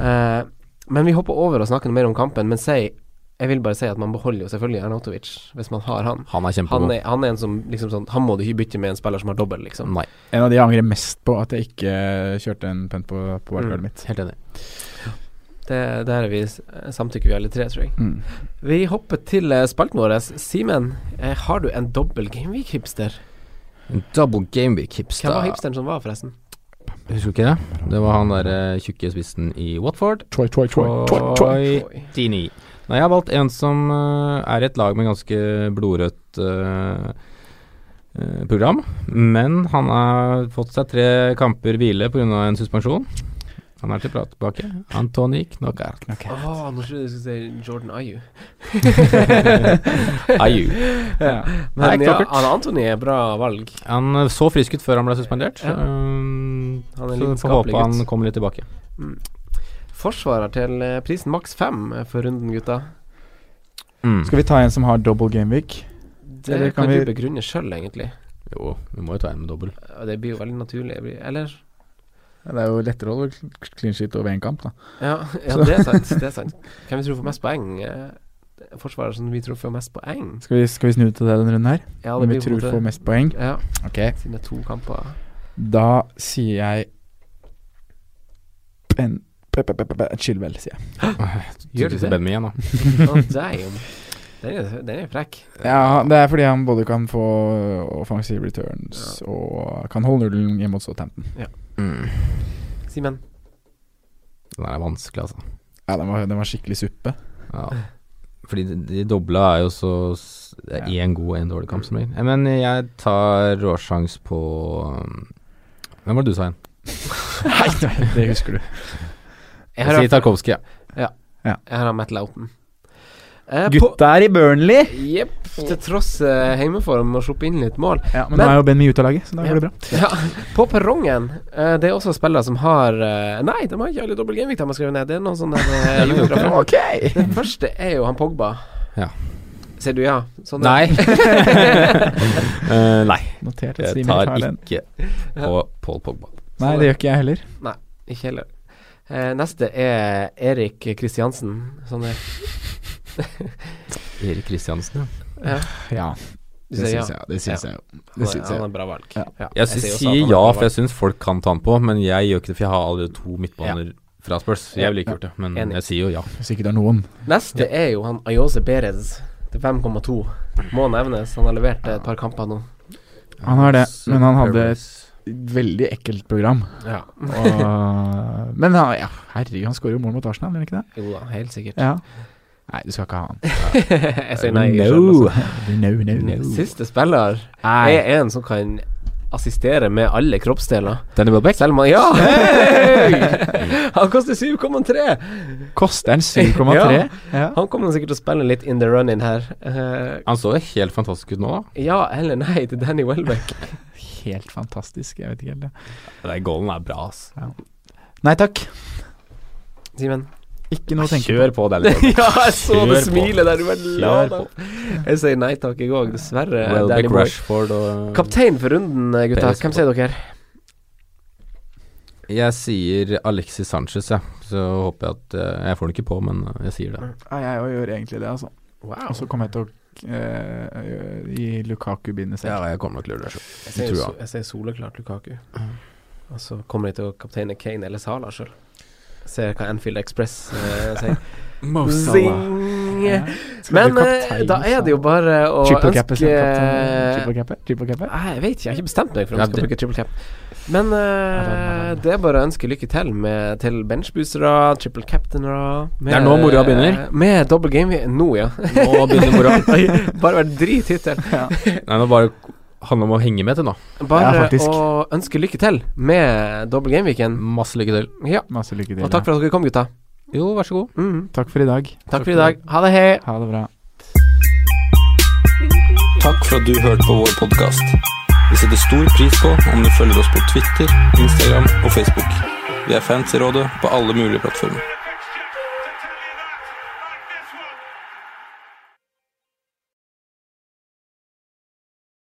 [SPEAKER 4] Eh, men vi hopper over og snakker noe mer om kampen, men si Jeg vil bare si at man beholder jo selvfølgelig Arnautovic hvis man har han.
[SPEAKER 1] Han er
[SPEAKER 4] Han
[SPEAKER 1] kjempegod.
[SPEAKER 4] er, han er en som liksom sånn Han må du ikke bytte med en spiller som har dobbel, liksom.
[SPEAKER 1] Nei,
[SPEAKER 5] En av de jeg angrer mest på at jeg ikke eh, kjørte en penn på, på wildcardet mitt.
[SPEAKER 1] helt enig.
[SPEAKER 4] Det, der er vi s- samtykker vi alle tre, tror jeg.
[SPEAKER 5] Mm.
[SPEAKER 4] Vi hopper til eh, spalten vår. Simen, eh, har du en dobbel Gameweek-hipster?
[SPEAKER 1] Double game week
[SPEAKER 4] Hvem var
[SPEAKER 1] hipster.
[SPEAKER 4] hipsteren som var, forresten?
[SPEAKER 1] Husker du ikke det? Det var han derre tjukke spissen i Watford.
[SPEAKER 5] Troy, Troy, Troy, Troy, Troy.
[SPEAKER 1] Troy Dini. Nei, jeg har valgt en som eh, er i et lag med ganske blodrødt eh, eh, program. Men han har fått seg tre kamper hvile pga. en suspensjon. Han er til prat tilbake. Antoni Knockart.
[SPEAKER 4] Åh, nå trodde jeg du skulle si Jordan Ayu.
[SPEAKER 1] Ayu.
[SPEAKER 4] Men
[SPEAKER 1] Nei,
[SPEAKER 4] ja,
[SPEAKER 1] Kloppert.
[SPEAKER 4] han Antony er bra valg.
[SPEAKER 1] Han eh, så frisk ut før han ble suspendert.
[SPEAKER 4] Ja.
[SPEAKER 1] Um, så får
[SPEAKER 4] Han er lidenskapelig
[SPEAKER 1] håpe han
[SPEAKER 4] gutt.
[SPEAKER 1] kommer litt tilbake.
[SPEAKER 4] Forsvarer til eh, prisen maks fem eh, for runden, gutta.
[SPEAKER 1] Mm.
[SPEAKER 5] Skal vi ta en som har double gameweek?
[SPEAKER 4] Det
[SPEAKER 5] Eller
[SPEAKER 4] kan,
[SPEAKER 5] kan
[SPEAKER 4] du
[SPEAKER 5] vi-
[SPEAKER 4] begrunne sjøl, egentlig.
[SPEAKER 1] Jo, vi må jo ta en med dobbel.
[SPEAKER 4] Og Det blir jo veldig naturlig. Det blir- Eller?
[SPEAKER 5] Det er jo lettere å holde cl- clean sheet over én kamp, da.
[SPEAKER 4] Ja, ja det er sant. Det er sant. Hvem vi tror får mest poeng? eh, Forsvarer som vi tror får mest poeng?
[SPEAKER 5] Skal vi, skal vi snu til det denne runden her?
[SPEAKER 4] Ja,
[SPEAKER 5] Hvem vi
[SPEAKER 4] på en
[SPEAKER 5] tror
[SPEAKER 4] måte-
[SPEAKER 5] får mest poeng?
[SPEAKER 4] Ja,
[SPEAKER 5] Ok.
[SPEAKER 4] siden det er to kamper.
[SPEAKER 5] Da sier jeg ben, pe, pe, pe, pe, pe- Chilwell, sier jeg.
[SPEAKER 4] Gjør du
[SPEAKER 1] Tydeligvis
[SPEAKER 4] det?
[SPEAKER 1] Benny igjen, da.
[SPEAKER 4] Oh, damn. Den er, den er frekk.
[SPEAKER 5] Ja, Det er fordi han både kan få offensive returns og kan holde nullen hjemme mot Southampton.
[SPEAKER 4] Simen.
[SPEAKER 1] Den er vanskelig, altså.
[SPEAKER 5] Ja, den var, den var skikkelig suppe.
[SPEAKER 1] Ja. Fordi de, de dobla er jo så s- Det er
[SPEAKER 5] Ja.
[SPEAKER 1] én god og én dårlig kamp som regel. Eh, Men jeg tar råsjans på um, Hvem var det du sa igjen?
[SPEAKER 5] Nei, nei, det husker du.
[SPEAKER 4] Jeg
[SPEAKER 1] Jeg
[SPEAKER 4] har,
[SPEAKER 1] sier Tarkovskij. Ja.
[SPEAKER 4] jeg har Matt Loughton. Eh, på-
[SPEAKER 5] Gutta er i Burnley!
[SPEAKER 4] Jepp. Til tross eh, hjemmeform og slippe inn litt mål.
[SPEAKER 5] Ja, Men
[SPEAKER 4] Men-
[SPEAKER 5] nå er jo Ben med ute av laget, så da
[SPEAKER 4] Ja.
[SPEAKER 5] går det bra.
[SPEAKER 4] Ja, på perrongen. eh, det er også spillere som har eh, Nei, de har ikke alle dobbel genvik, de har skrevet ned. Det er noen sånne eh,
[SPEAKER 1] jo ikke.
[SPEAKER 4] jokere.
[SPEAKER 5] Ok!
[SPEAKER 4] Den første er jo han Pogba.
[SPEAKER 1] Ja.
[SPEAKER 4] Ser du ja? Sånn
[SPEAKER 1] Nei. Eh, nei.
[SPEAKER 5] Notert at
[SPEAKER 1] Jeg
[SPEAKER 5] Simen
[SPEAKER 1] tar
[SPEAKER 5] tar den.
[SPEAKER 1] ikke på Paul Pogba.
[SPEAKER 5] Nei, det gjør ikke jeg heller.
[SPEAKER 4] Ikke heller. Eh, neste er Erik Kristiansen. Sånn er
[SPEAKER 1] Erik Kristiansen, ja.
[SPEAKER 5] Ja,
[SPEAKER 4] Du sier ja.
[SPEAKER 5] jeg. Det
[SPEAKER 4] synes
[SPEAKER 5] jeg jo.
[SPEAKER 4] Han er- han er bra valg.
[SPEAKER 5] Ja.
[SPEAKER 1] Jeg
[SPEAKER 4] sier
[SPEAKER 1] syns-
[SPEAKER 4] også at
[SPEAKER 1] sier
[SPEAKER 4] han er
[SPEAKER 1] ja,
[SPEAKER 4] bra
[SPEAKER 1] for jeg
[SPEAKER 4] valg.
[SPEAKER 1] syns folk kan ta den på, men jeg gjør ikke det, for jeg har allerede to midtbaner fra Spurs. Så jeg ville ikke gjort det, men
[SPEAKER 4] Enig.
[SPEAKER 1] jeg sier jo ja.
[SPEAKER 5] Hvis ikke det er noen.
[SPEAKER 4] Neste er jo han Ayose Perez til 5,2. Må nevnes. Han har levert eh, et par kamper nå.
[SPEAKER 5] Han har det,
[SPEAKER 1] Så
[SPEAKER 5] men han hadde et
[SPEAKER 1] Perez.
[SPEAKER 5] veldig ekkelt program.
[SPEAKER 4] Ja.
[SPEAKER 5] Og, men han, ja, herregud, han skårer jo mål mot Arsenal, gjør han ikke det?
[SPEAKER 4] Jo da, helt sikkert.
[SPEAKER 5] Ja. Nei, du skal ikke ha han.
[SPEAKER 4] jeg sier nei. jeg selv
[SPEAKER 1] No.
[SPEAKER 4] også.
[SPEAKER 5] No, no, no.
[SPEAKER 4] Siste spiller
[SPEAKER 5] Nei.
[SPEAKER 4] er en som kan assistere med alle kroppsdeler.
[SPEAKER 1] Danny Welbeck.
[SPEAKER 4] Selv om han Ja! han koster 7,3!
[SPEAKER 5] Koster han
[SPEAKER 4] Eh,
[SPEAKER 5] 7,3?
[SPEAKER 4] Ja.
[SPEAKER 5] Ja.
[SPEAKER 4] Han kommer sikkert til å spille litt in the run-in her. Eh,
[SPEAKER 1] Han så helt fantastisk ut nå, da.
[SPEAKER 4] ja eller nei til Danny Welbeck.
[SPEAKER 5] Helt fantastisk. Jeg vet ikke helt det.
[SPEAKER 1] Den goalen er bra, ass.
[SPEAKER 5] Nei takk.
[SPEAKER 4] Simen?
[SPEAKER 5] Ikke noe å tenke
[SPEAKER 1] Kjør på, Danny Welbeck.
[SPEAKER 4] ja, jeg så det
[SPEAKER 1] Kjør på.
[SPEAKER 4] smilet der. Du var
[SPEAKER 1] Kjør
[SPEAKER 4] lada. Jeg sier nei takk, jeg òg, dessverre. Danny
[SPEAKER 1] Welbeck,
[SPEAKER 4] Boy.
[SPEAKER 1] Rashford og
[SPEAKER 4] Kaptein for runden, eh, gutta.
[SPEAKER 1] Perez.
[SPEAKER 4] Hvem sier dere?
[SPEAKER 1] Jeg sier Alexis Sanchez, ja. Så håper jeg at eh, Jeg får den ikke på, men eh, jeg sier det.
[SPEAKER 5] på. Ja, jeg gjør egentlig det, altså. Og så kommer jeg til å eh, gi Lukaku bindet selv.
[SPEAKER 1] jeg kommer nok til å gjøre det sjøl.
[SPEAKER 4] Jeg sier,
[SPEAKER 1] tror
[SPEAKER 4] so- jeg sier soleklart Lukaku. Og så kommer jeg til å kapteine Kane eller Sala sjøl. Ser hva Anfield Express eh, sier. Zing!
[SPEAKER 5] Oh, Ja. Skal
[SPEAKER 4] Men
[SPEAKER 5] du
[SPEAKER 4] eh,
[SPEAKER 5] kaptein,
[SPEAKER 4] da er det jo
[SPEAKER 5] sa-
[SPEAKER 4] bare å
[SPEAKER 5] Triple cap,
[SPEAKER 4] ønske
[SPEAKER 5] sa kaptein. Triple cap, triple cap.
[SPEAKER 4] Nei, Jeg vet ikke, jeg har ikke bestemt meg for
[SPEAKER 1] Ja,
[SPEAKER 4] om jeg skal
[SPEAKER 1] det-
[SPEAKER 4] bruke triple cap. Men eh, det er bare å ønske lykke til med, til benchboostere, triple captainere med- eh,
[SPEAKER 1] Det er nå moroa begynner.
[SPEAKER 4] Med double game nå, ja.
[SPEAKER 1] Nå begynner moroa.
[SPEAKER 4] bare vært drithittil.
[SPEAKER 1] Nei, nå bare handler det om å henge med til nå.
[SPEAKER 4] Bare
[SPEAKER 5] faktisk.
[SPEAKER 4] å ønske lykke til med double game-weekend.
[SPEAKER 1] Masse lykke til.
[SPEAKER 4] Ja.
[SPEAKER 5] Masse lykke til.
[SPEAKER 4] Og takk
[SPEAKER 5] ja.
[SPEAKER 4] for at dere kom, gutta.
[SPEAKER 1] Jo, vær så god.
[SPEAKER 4] Mm.
[SPEAKER 5] takk for i dag.
[SPEAKER 4] Takk for i dag. Ha det, hei.
[SPEAKER 5] Ha det bra.
[SPEAKER 2] Takk for at du hørte på vår podkast. Vi setter stor pris på om du følger oss på Twitter, Instagram og Facebook. Vi er fans i rådet på alle mulige plattformer.